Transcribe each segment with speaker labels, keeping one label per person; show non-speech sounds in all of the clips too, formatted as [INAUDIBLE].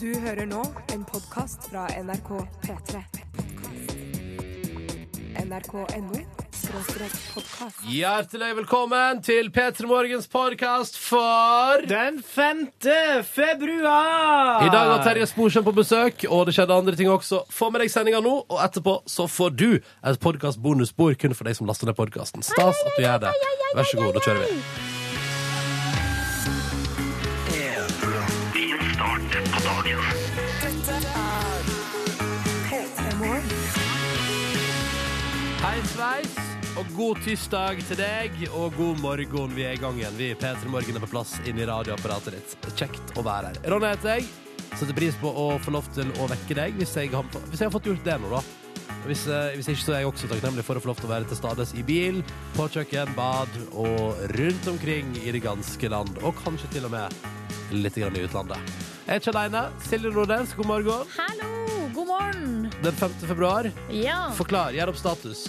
Speaker 1: Du hører nå en podkast fra NRK P3. NRK.no skråstrek podkast.
Speaker 2: Hjertelig velkommen til P3 Morgens podkast for I
Speaker 3: Den 5. februar!
Speaker 2: dag var Terje Sporsem på besøk, og det skjedde andre ting også. Få med deg sendinga nå, og etterpå så får du et podkast-bonusspor kun for deg som laster ned podkasten. Stas at du gjør det. Vær så god, da kjører vi.
Speaker 1: P3 Morgen.
Speaker 2: Hei sveis, og god tirsdag til deg, og god morgen. Vi er i gang igjen. Vi i P3 Morgen er på plass inni radioapparatet ditt. Kjekt å være her. Ronny heter jeg. Setter pris på å få lov til å vekke deg hvis jeg har, hvis jeg har fått gjort det nå, da. Hvis, eh, hvis ikke så er jeg også takknemlig for å få lov til å være til stades i bil, på kjøkken, bad og rundt omkring i det ganske land. Og kanskje til og med litt grann i utlandet. Jeg er ikke aleine. Silje Nordnes, god morgen.
Speaker 4: Hallo, god morgen.
Speaker 2: Den 5. februar.
Speaker 4: Ja,
Speaker 2: Forklar. Gjør opp status.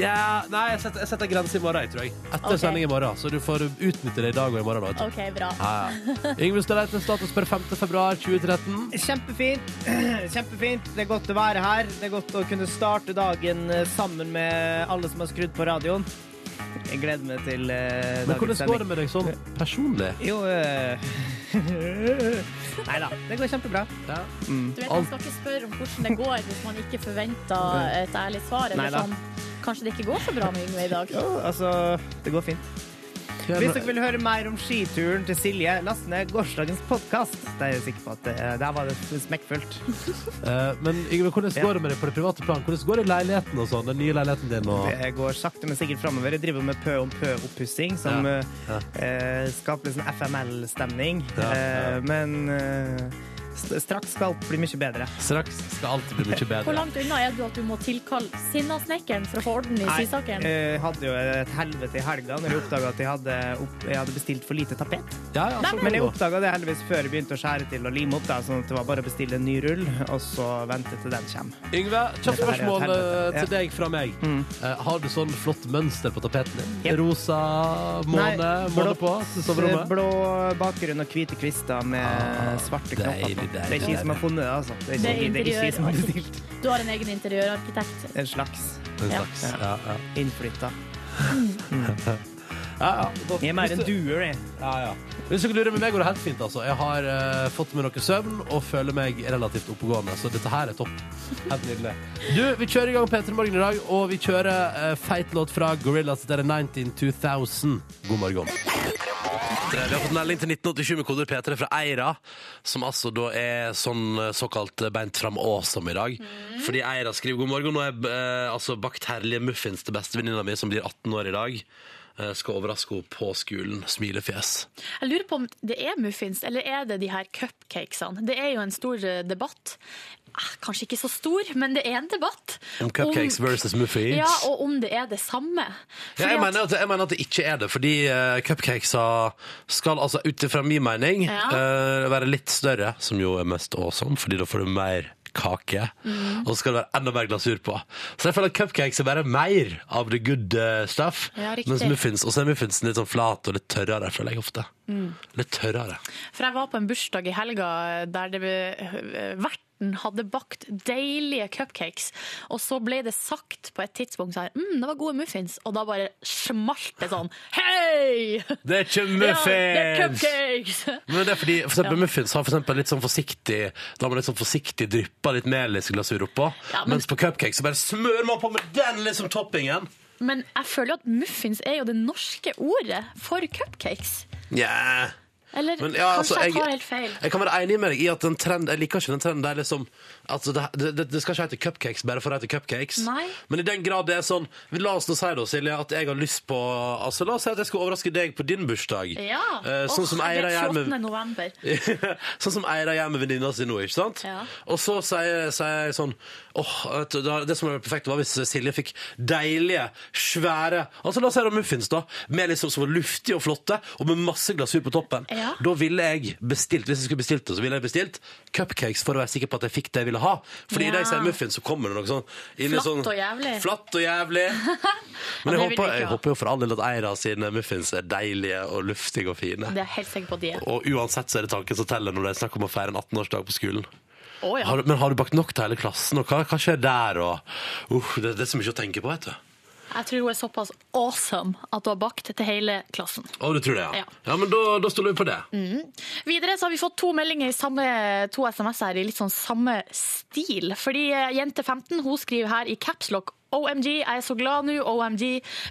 Speaker 2: Ja, nei, jeg setter, jeg setter grense i morgen, jeg, tror jeg. Etter
Speaker 4: Ok.
Speaker 2: sending i morgen. Så du får utnytte det i dag og i morgen. Da.
Speaker 4: OK, bra.
Speaker 2: Ja, ja. Yngve Staleite, status per 5. februar 2013.
Speaker 3: Kjempefint. [CLEARS THROAT] Kjempefint. Det er godt å være her. Det er godt å kunne starte dagen eh, sammen med alle som har skrudd på radioen. Jeg gleder meg til eh,
Speaker 2: Men hvordan
Speaker 3: dagens
Speaker 2: går det
Speaker 3: sending.
Speaker 2: med deg sånn personlig?
Speaker 3: Jo eh, [LAUGHS] Nei da. Det går kjempebra.
Speaker 2: Ja.
Speaker 4: Du vet, Man skal ikke spørre om hvordan det går hvis man ikke forventer et ærlig svar.
Speaker 3: Nei
Speaker 4: Eller
Speaker 3: da.
Speaker 4: sånn. Kanskje det ikke går så bra med Yngve i dag.
Speaker 3: Jo, altså Det går fint. Hvis dere vil høre mer om skituren til Silje, last ned gårsdagens podkast. Der er jeg sikker på at det, der var det smekkfullt.
Speaker 2: Eh, Men Yngve, hvordan
Speaker 3: Ja.
Speaker 2: går det med deg på det private plan? Hvordan går det i leiligheten og sånn? Den nye leiligheten din og
Speaker 3: Det går sakte, men sikkert framover. Jeg driver med pø om pø-oppussing, som
Speaker 2: Ja,
Speaker 3: eh, eh, skaper litt sånn FML-stemning.
Speaker 2: Ja, ja.
Speaker 3: Eh, men eh, st- straks skal alt bli mye bedre.
Speaker 2: Straks skal alt bli mye
Speaker 4: Hvor
Speaker 2: bedre.
Speaker 4: langt unna er du at du må tilkalle Sinnasnekkeren for å få orden i
Speaker 3: Nei,
Speaker 4: sysaken?
Speaker 3: eh, hadde jo et helvete i helga når jeg oppdaga at jeg hadde, opp, jeg hadde bestilt for lite tapet.
Speaker 2: Ja, ja,
Speaker 4: Oh.
Speaker 2: sånn kan det
Speaker 3: Men jeg
Speaker 2: gå.
Speaker 3: oppdaga det heldigvis før jeg begynte å skjære til og lime opp, da, sånn at det var bare å bestille en ny rull, og så vente til den kommer.
Speaker 2: Yngve, kjapt
Speaker 3: Dette her er et
Speaker 2: spørsmål
Speaker 3: helvete.
Speaker 2: eh, til deg fra meg.
Speaker 3: Mm.
Speaker 2: Eh, Har du sånn flott mønster på tapeten din?
Speaker 3: Jep.
Speaker 2: Rosa måne,
Speaker 3: Nei,
Speaker 2: måne
Speaker 3: blått,
Speaker 2: på til soverommet?
Speaker 3: Blå bakgrunn og hvite kvister med
Speaker 2: Ah,
Speaker 3: svarte
Speaker 2: deilig,
Speaker 3: knopper. på. Det er ikke
Speaker 2: deilig,
Speaker 3: jeg som har funnet det, altså. Det er
Speaker 4: Det
Speaker 3: ikke,
Speaker 4: er
Speaker 3: det er ikke jeg som har
Speaker 4: interiør.
Speaker 3: bestilt.
Speaker 4: Du har en egen interiørarkitekt.
Speaker 3: En slags
Speaker 2: Den
Speaker 4: Ja.
Speaker 2: slags. Ja, ja.
Speaker 3: innflytta.
Speaker 2: Ja, ja. Godt.
Speaker 3: Jeg er mer
Speaker 2: Hvis
Speaker 3: en
Speaker 2: du-
Speaker 3: duer, jeg.
Speaker 2: Ja, ja. Hvis dere lurer med meg, går det helt fint. altså. Jeg har eh, fått meg noe søvn og føler meg relativt oppegående, så dette her er topp. Helt nydelig. Du, vi kjører i gang P3 Morgen i dag, og vi kjører eh, feit låt fra Gorillas. Dette er 192000. God morgen. Eh, Vi har fått melding til 1987 med koder P3 fra Eira, som altså da er sånn eh, såkalt beint fram awesome i dag. Fordi Eira skriver god morgen. Nå har jeg eh, altså bakt herlige muffins til bestevenninna mi, som blir 18 år i dag. Eh, Skal overraske henne på skolen. Smilefjes.
Speaker 4: Jeg lurer på om det er muffins, eller er det de her cupcakesene? Det er jo en stor eh, debatt. Eh, Kanskje ikke så stor, men det er en debatt.
Speaker 2: Om cupcakes versus muffins.
Speaker 4: Ja, og om det er det samme.
Speaker 2: Ja,
Speaker 4: Fordi
Speaker 2: jeg,
Speaker 4: at-
Speaker 2: mener at, jeg mener at det ikke er det, fordi uh, cupcakeser skal altså ut ifra min mening
Speaker 4: Ja.
Speaker 2: eh, være litt større, som jo er mest awesome, fordi da får du mer kake,
Speaker 4: Mm.
Speaker 2: og så skal det være enda mer glasur på. Så jeg føler at cupcakes er bare mer av the good eh, stuff,
Speaker 4: Ja, riktig.
Speaker 2: mens muffins, og så er muffinsen litt sånn flat og litt tørrere, føler jeg ofte.
Speaker 4: Mm.
Speaker 2: Litt tørrere.
Speaker 4: For jeg var på en bursdag i helga der det eh, verten hadde bakt deilige cupcakes, og så ble det sagt på et tidspunkt sånn mm, det var gode muffins, og da bare smalt det sånn hei! [LAUGHS]
Speaker 2: Det er ikke
Speaker 4: Ja,
Speaker 2: muffins!
Speaker 4: det er cupcakes!
Speaker 2: Men det er fordi for eksempel, Muffins har for eksempel litt sånn forsiktig Da har man litt sånn forsiktig dryppa litt melisglasur oppå.
Speaker 4: Ja, men-
Speaker 2: Mens på cupcake så bare smører man på med den liksom toppingen!
Speaker 4: Men jeg føler jo at muffins er jo det norske ordet for cupcakes.
Speaker 2: Yeah.
Speaker 4: Eller
Speaker 2: Men ja, altså,
Speaker 4: kanskje jeg
Speaker 2: jeg-
Speaker 4: tar helt feil.
Speaker 2: Jeg kan være enig med deg i at en trend, jeg liker ikke den trenden der liksom at det, det, det skal ikke hete cupcakes bare for å hete cupcakes.
Speaker 4: Nei.
Speaker 2: Men i den grad det er sånn La oss nå si da, Silje, at jeg har lyst på altså La oss si at jeg skal overraske deg på din bursdag.
Speaker 4: Ja.
Speaker 2: Eh, sånn,
Speaker 4: Åh,
Speaker 2: som
Speaker 4: det
Speaker 2: Eira
Speaker 4: er
Speaker 2: gjør
Speaker 4: 28.
Speaker 2: med,
Speaker 4: november.
Speaker 2: [LAUGHS] sånn som Eira gjør med venninna si nå, ikke sant?
Speaker 4: Ja.
Speaker 2: Og så sier sier jeg sånn Åh, vet du, da- det som hadde vært perfekt, var hvis Silje fikk deilige, svære Altså La oss si det er muffins, da. Med liksom som var luftige og flotte, og med masse glasur på toppen.
Speaker 4: Ja.
Speaker 2: Da ville jeg bestilt hvis jeg skulle bestilt det, så ville jeg bestilt cupcakes for å være sikker på at jeg fikk det jeg ville ha. Fordi
Speaker 4: Ja.
Speaker 2: i det jeg sier muffins, så kommer det noe sånn inn i
Speaker 4: Flatt
Speaker 2: sånn,
Speaker 4: og jævlig.
Speaker 2: Flatt og
Speaker 4: [LAUGHS]
Speaker 2: jævlig. Men
Speaker 4: det
Speaker 2: jeg
Speaker 4: vil vi
Speaker 2: håper,
Speaker 4: ikke
Speaker 2: jeg
Speaker 4: ha.
Speaker 2: håper jo for all del at Eira sine muffins er deilige og luftige og fine.
Speaker 4: Det er jeg helt sikker på at de er.
Speaker 2: Og uansett så er det tanken som teller når det er snakk om å feire en 18-årsdag på skolen.
Speaker 4: Å ja.
Speaker 2: Har, du- men har du bakt nok til hele klassen, og hva, hva skjer der? Og, uff, det, det er så mye å tenke på, vet du.
Speaker 4: Jeg tror hun er såpass awesome at hun har bakt til hele klassen.
Speaker 2: Å, du tror det, ja?
Speaker 4: Ja.
Speaker 2: Ja, men da, da stoler vi på det. Mm.
Speaker 4: Videre så har vi fått to meldinger i samme, to SMS her i litt sånn samme stil. Fordi eh, jente 15 hun skriver her i capslock OMG, jeg er så glad nå. OMG.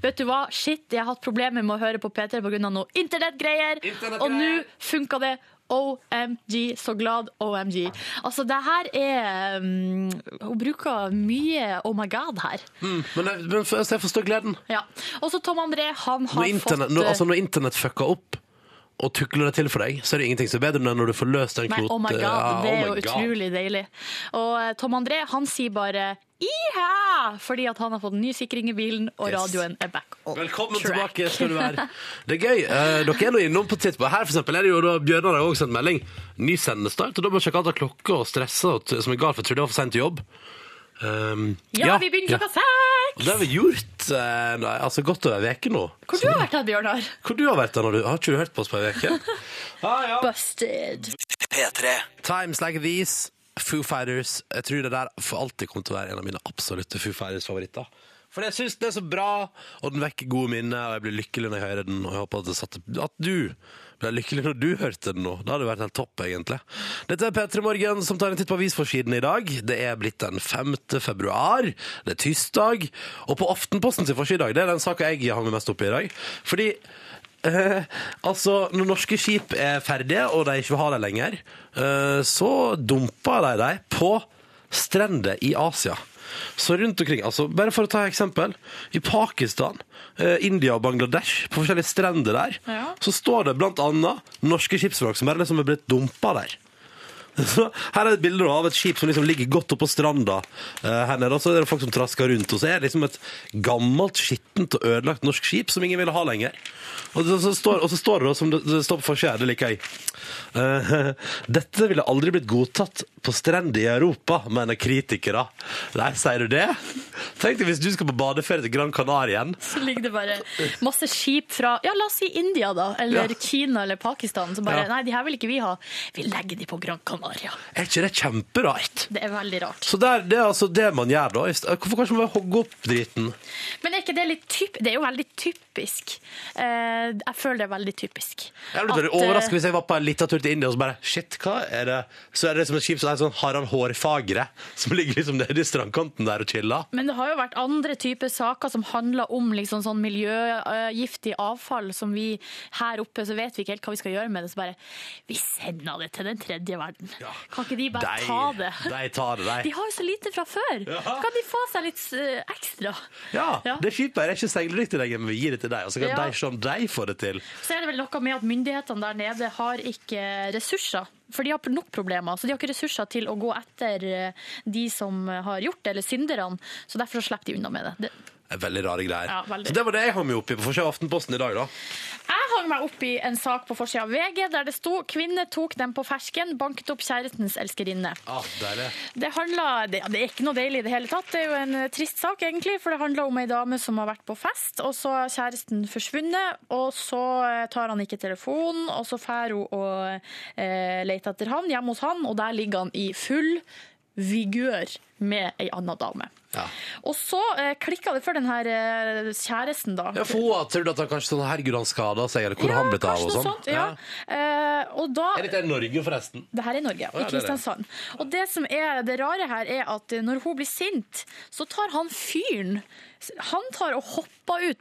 Speaker 4: Vet du hva? Shit, jeg har hatt problemer med å høre på P3 pga. noe internettgreier.
Speaker 2: Internettgreier.
Speaker 4: Og nå funka det. OMG, så glad. OMG. Altså, det her er mm, Hun bruker mye oh my god her.
Speaker 2: Mm, men jeg, men for, jeg forstår gleden.
Speaker 4: Ja. Og så Tom André, han har
Speaker 2: Når internett,
Speaker 4: fått
Speaker 2: når,
Speaker 4: eh,
Speaker 2: altså, når internett fucker opp og tukler det til for deg, så er det ingenting som er bedre enn når du får løst den
Speaker 4: Nei,
Speaker 2: kloten.
Speaker 4: oh my god,
Speaker 2: Ja,
Speaker 4: det
Speaker 2: oh
Speaker 4: er
Speaker 2: my
Speaker 4: jo
Speaker 2: god.
Speaker 4: utrolig deilig. Og eh, Tom André han sier bare iha, fordi at han har fått ny sikring i bilen, og
Speaker 2: Yes.
Speaker 4: radioen er back on
Speaker 2: Velkommen
Speaker 4: track.
Speaker 2: tilbake skal du være. Det er gøy. Eh, dere er nå innom på tidspunkt. Her for eksempel, er det jo da Bjørnar har også sendt melding. Ny sendestart, og da må jeg sjekke alt av klokke og stresse og t- som er galt, for jeg trodde jeg var for sent til jobb. Um,
Speaker 4: Ja, vi begynner klokka
Speaker 2: Ja.
Speaker 4: seks!
Speaker 2: Det har vi gjort eh, nei, altså godt over en uke nå.
Speaker 4: Hvor du har vært hen, Bjørnar?
Speaker 2: Hvor du har vært da? når du- Har ikke du hørt på oss på en
Speaker 4: [LAUGHS]
Speaker 2: uke?
Speaker 4: Busted.
Speaker 2: Times like these, Foo Fighters. Jeg tror det der for alltid kommer til å være en av mine absolutte Foo Fighters-favoritter. For jeg syns den er så bra, og den vekker gode minner, og jeg blir lykkelig når jeg hører den. Og jeg håper at, det satte, at du ble lykkelig når du hørte den nå. Det hadde vært helt topp, egentlig. Dette er P3 Morgen som tar en titt på avisforsidene i dag. Det er blitt den 5. februar. Det er tirsdag. Og på Aftenposten sin forside i dag, det er den saka jeg hang meg mest opp i i dag. Fordi Eh, altså, når norske skip er ferdige, og de ikke vil ha dem lenger, eh, så dumper de dem på strender i Asia. Så rundt omkring, altså, bare for å ta et eksempel, i Pakistan, eh, India og Bangladesh, på forskjellige strender der,
Speaker 4: Ja.
Speaker 2: så står det blant annet norske skipsvrak som bare liksom er blitt dumpa der. Så her er et bilde da av et skip som liksom ligger godt oppå stranda eh, her nede. Og så er det folk som trasker rundt. Og så er det liksom et gammelt, skittent og ødelagt norsk skip som ingen ville ha lenger. Og så, så, står, og så står det da, som det, det står på forsida, det liker jeg. Eh, [LAUGHS] Dette ville aldri blitt godtatt på strender i Europa, mener kritikere. Nei, sier du det? Tenk deg hvis du skal på badeferie til Gran Canaria igjen.
Speaker 4: Så ligger det bare masse skip fra ja, la oss si India, da, eller
Speaker 2: Ja.
Speaker 4: Kina eller Pakistan, som bare
Speaker 2: Ja.
Speaker 4: Nei, de her vil ikke vi ha. Vi legger de på Gran Canaria.
Speaker 2: Er ikke det kjemperart?
Speaker 4: Det er veldig rart.
Speaker 2: Så der, det er altså det man gjør da. i st- Hvorfor kan ikke man bare hogge opp driten?
Speaker 4: Men er ikke det litt typ... Det er jo veldig typisk. Eh, jeg føler det er veldig typisk.
Speaker 2: Jeg ble
Speaker 4: At, eh,
Speaker 2: overrasket hvis jeg var på en liten tur til India og så bare Shit, hva er det? Så er det som et skip som er sånn Harald Hårfagre, som ligger liksom nede i strandkanten der og chiller.
Speaker 4: Men det har jo vært andre typer saker som handler om liksom sånn miljøgiftig avfall som vi her oppe så vet vi ikke helt hva vi skal gjøre med det. Så bare vi sender det til den tredje verden. Kan ikke de bare
Speaker 2: De-
Speaker 4: ta det?
Speaker 2: De tar det,
Speaker 4: De
Speaker 2: de.
Speaker 4: har jo så lite fra før. Kan de få seg litt eh, ekstra?
Speaker 2: Ja,
Speaker 4: Ja.
Speaker 2: det skipet her er ikke seilerykt i lenger, men vi gir det til deg. Og så kan
Speaker 4: Ja.
Speaker 2: de se om de får det til.
Speaker 4: Så er det vel noe med at myndighetene der nede har ikke ressurser. For de har nok problemer, så de har ikke ressurser til å gå etter eh, de som har gjort det, eller synderne. Så derfor så slipper de unna med det. det
Speaker 2: Det er Veldig rare greier.
Speaker 4: Ja, veldig.
Speaker 2: Så det var det jeg hang meg opp i på forsida av Aftenposten i dag, da.
Speaker 4: Jeg hang meg opp i en sak på forsida av VG der det sto 'Kvinne tok dem på fersken, banket opp kjærestens elskerinne'.
Speaker 2: Ah, deilig.
Speaker 4: Det, handler, det, det er ikke noe deilig i det hele tatt. Det er jo en eh, trist sak, egentlig. For det handler om ei dame som har vært på fest, og så har kjæresten forsvunnet. Og så eh, tar han ikke telefonen, og så drar hun og eh, leter etter han hjemme hos han, og der ligger han i full vigør med ei anna dame.
Speaker 2: Ja.
Speaker 4: Og så eh, klikka det for den her eh, kjæresten, da.
Speaker 2: Ja, for hun har trodd at han kanskje sånn Herregud, han skada seg, eller hvor
Speaker 4: Ja,
Speaker 2: har han blitt av,
Speaker 4: kanskje
Speaker 2: og
Speaker 4: noe
Speaker 2: sånn.
Speaker 4: sånt, ja. Eh, og da
Speaker 2: Er dette i Norge, forresten?
Speaker 4: det her er
Speaker 2: Å, ja,
Speaker 4: Norge, i
Speaker 2: det er det.
Speaker 4: Kristiansand. Og det som er det rare her, er at når hun blir sint, så tar han fyren Han tar og hopper ut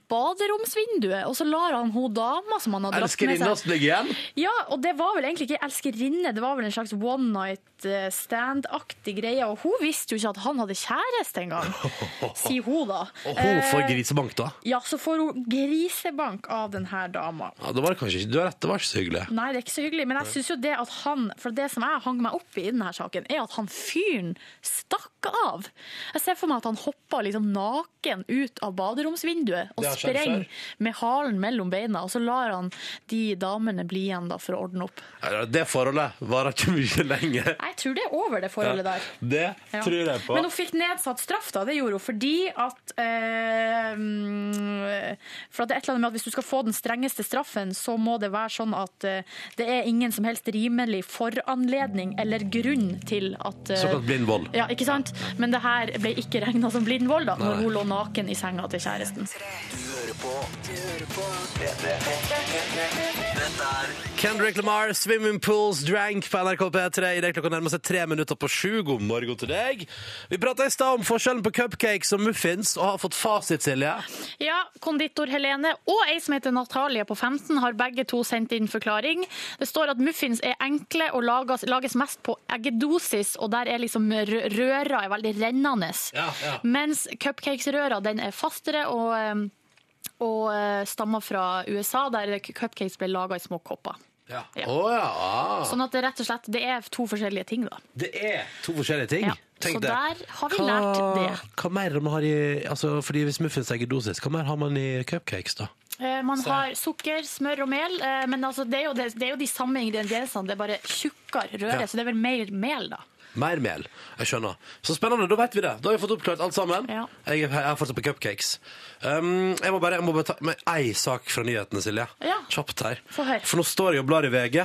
Speaker 4: baderomsvinduet, og så lar han hun dama som han har dratt med
Speaker 2: Elskerinna
Speaker 4: seg
Speaker 2: ligger igjen?
Speaker 4: Ja, og det var vel egentlig ikke elskerinne, det var vel en slags one night eh, stand-aktig greie. Og hun visste jo ikke at han hadde kjæreste
Speaker 2: [LAUGHS]
Speaker 4: engang, sier hun da.
Speaker 2: Og hun får
Speaker 4: Eh,
Speaker 2: grisebank, da.
Speaker 4: Ja, så får hun grisebank av denne dama.
Speaker 2: Ja, det var kanskje ikke, Du har rett, det var ikke så hyggelig.
Speaker 4: Nei, det er ikke så hyggelig, men jeg synes jo det at han For det som jeg hang meg opp i i denne saken, er at han fyren stakk av. Jeg ser for meg at han hoppa liksom naken ut av baderomsvinduet og
Speaker 2: Det har skjedd
Speaker 4: sprenger
Speaker 2: før.
Speaker 4: med halen mellom beina, og så lar han de damene bli igjen da for å ordne opp.
Speaker 2: Ja, Det forholdet varer ikke mye lenger.
Speaker 4: Jeg tror det er over, det forholdet der.
Speaker 2: Det
Speaker 4: Ja.
Speaker 2: tror jeg på.
Speaker 4: Men hun fikk nedsatt straff, da. Det gjorde hun fordi at eh, mm, For at det er et eller annet med at hvis du skal få den strengeste straffen, så må det være sånn at eh, det er ingen som helst rimelig foranledning eller grunn til at eh,
Speaker 2: Såkalt blind vold.
Speaker 4: Ja, ikke sant? Men det her ble ikke regna som blind vold, da,
Speaker 2: Nei.
Speaker 4: når hun lå naken i senga til kjæresten.
Speaker 2: Kendrick Lamar, 'Swimming Pools Drank' på NRK P3. I det klokka nærmer seg tre minutter på sju. God morgen til deg. Vi prata i stad om forskjellen på cupcakes og muffins, og har fått fasit, Silje.
Speaker 4: Ja, konditor Helene og ei som heter Natalie på 15 har begge to sendt inn forklaring. Det står at muffins er enkle og lages, lages mest på eggedosis, og der er liksom rø- røra er veldig rennende.
Speaker 2: Ja, ja.
Speaker 4: Mens cupcakesrøra den er fastere og, eh, og eh, stammer fra USA, der cupcakes ble laga i små kopper.
Speaker 2: Ja.
Speaker 4: Ja.
Speaker 2: Å ja. ah.
Speaker 4: Sånn at det rett og slett det er to forskjellige ting, da.
Speaker 2: Det er to forskjellige ting.
Speaker 4: Ja.
Speaker 2: Tenk
Speaker 4: Så
Speaker 2: det.
Speaker 4: der har vi lært det.
Speaker 2: Hva mer man har i altså, Fordi Hvis muffins er eggedosis, hva mer har man i cupcakes, da?
Speaker 4: Eh, Man har sukker, smør og mel, eh, men altså, det, er jo, det, det er jo de samme ingrediensene, det er bare tjukkere røre,
Speaker 2: Ja.
Speaker 4: så det er vel mer mel, da.
Speaker 2: Mer mel. Jeg skjønner. Så spennende. Da vet vi det. Da har vi fått oppklart alt sammen.
Speaker 4: Ja.
Speaker 2: Jeg, er- jeg er fortsatt på cupcakes. Um, jeg må bare, jeg må bare ta med ei sak fra nyhetene, Silje.
Speaker 4: Ja.
Speaker 2: Kjapt her.
Speaker 4: Få høre.
Speaker 2: For nå står jeg og blar i VG,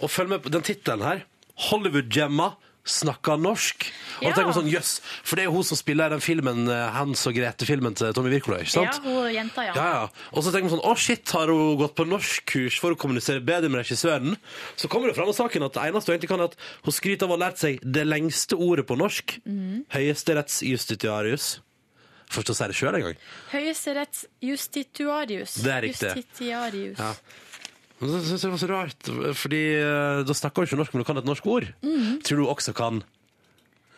Speaker 2: og følg med på den tittelen her. Hollywood-gemma snakker norsk. Og
Speaker 4: Ja.
Speaker 2: da tenker man sånn, jøss, For det er jo hun som spiller i den filmen, eh, Hans og Grete-filmen til Tommy Wirkola, ikke sant?
Speaker 4: Ja, hun jenta, ja.
Speaker 2: Ja, ja. Og så tenker man sånn, å shit, har hun gått på norskkurs for å kommunisere bedre med regissøren? Så kommer det fram av saken at det eneste hun egentlig kan er at hun skryter av å ha lært seg det lengste ordet på norsk.
Speaker 4: Mhm.
Speaker 2: Høyesterettsjustitiarius. Får ikke å si det sjøl engang.
Speaker 4: Høyesteretts justitiarius.
Speaker 2: Det er riktig.
Speaker 4: Justitiarius.
Speaker 2: Ja. Men så synes jeg det var så rart, fordi eh, da snakker hun ikke norsk, men hun kan et norsk ord.
Speaker 4: Mhm.
Speaker 2: Tror du hun også kan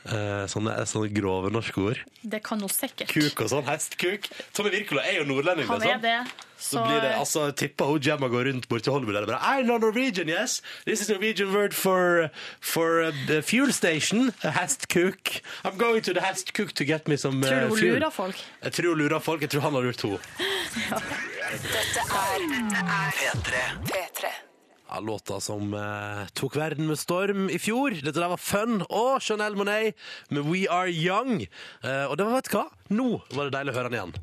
Speaker 2: eh, sånne, sånne grove norske ord?
Speaker 4: Det kan hun sikkert.
Speaker 2: Kuk og sånn, hestkuk. Tommy Wirkola er jo nordlending,
Speaker 4: Han er
Speaker 2: liksom.
Speaker 4: det.
Speaker 2: Så
Speaker 4: Så,
Speaker 2: blir det, altså, jeg tipper hun Gemma går rundt borti Hollywood og bare I know Norwegian, yes! This is Norwegian word for, for uh, the fuel station. A hestkuk. I'm going to the hestkuk to get me some uh,
Speaker 4: tror du hun
Speaker 2: fuel.
Speaker 4: lurer folk?
Speaker 2: Jeg tror hun lurer folk. Jeg tror han har lurt henne.
Speaker 1: P3.
Speaker 2: Ja, låta som eh, tok verden med storm i fjor. Dette der var Fun og Chanel Monet med We Are Young. Eh, og det var, vet du hva? Nå var det deilig å høre den igjen.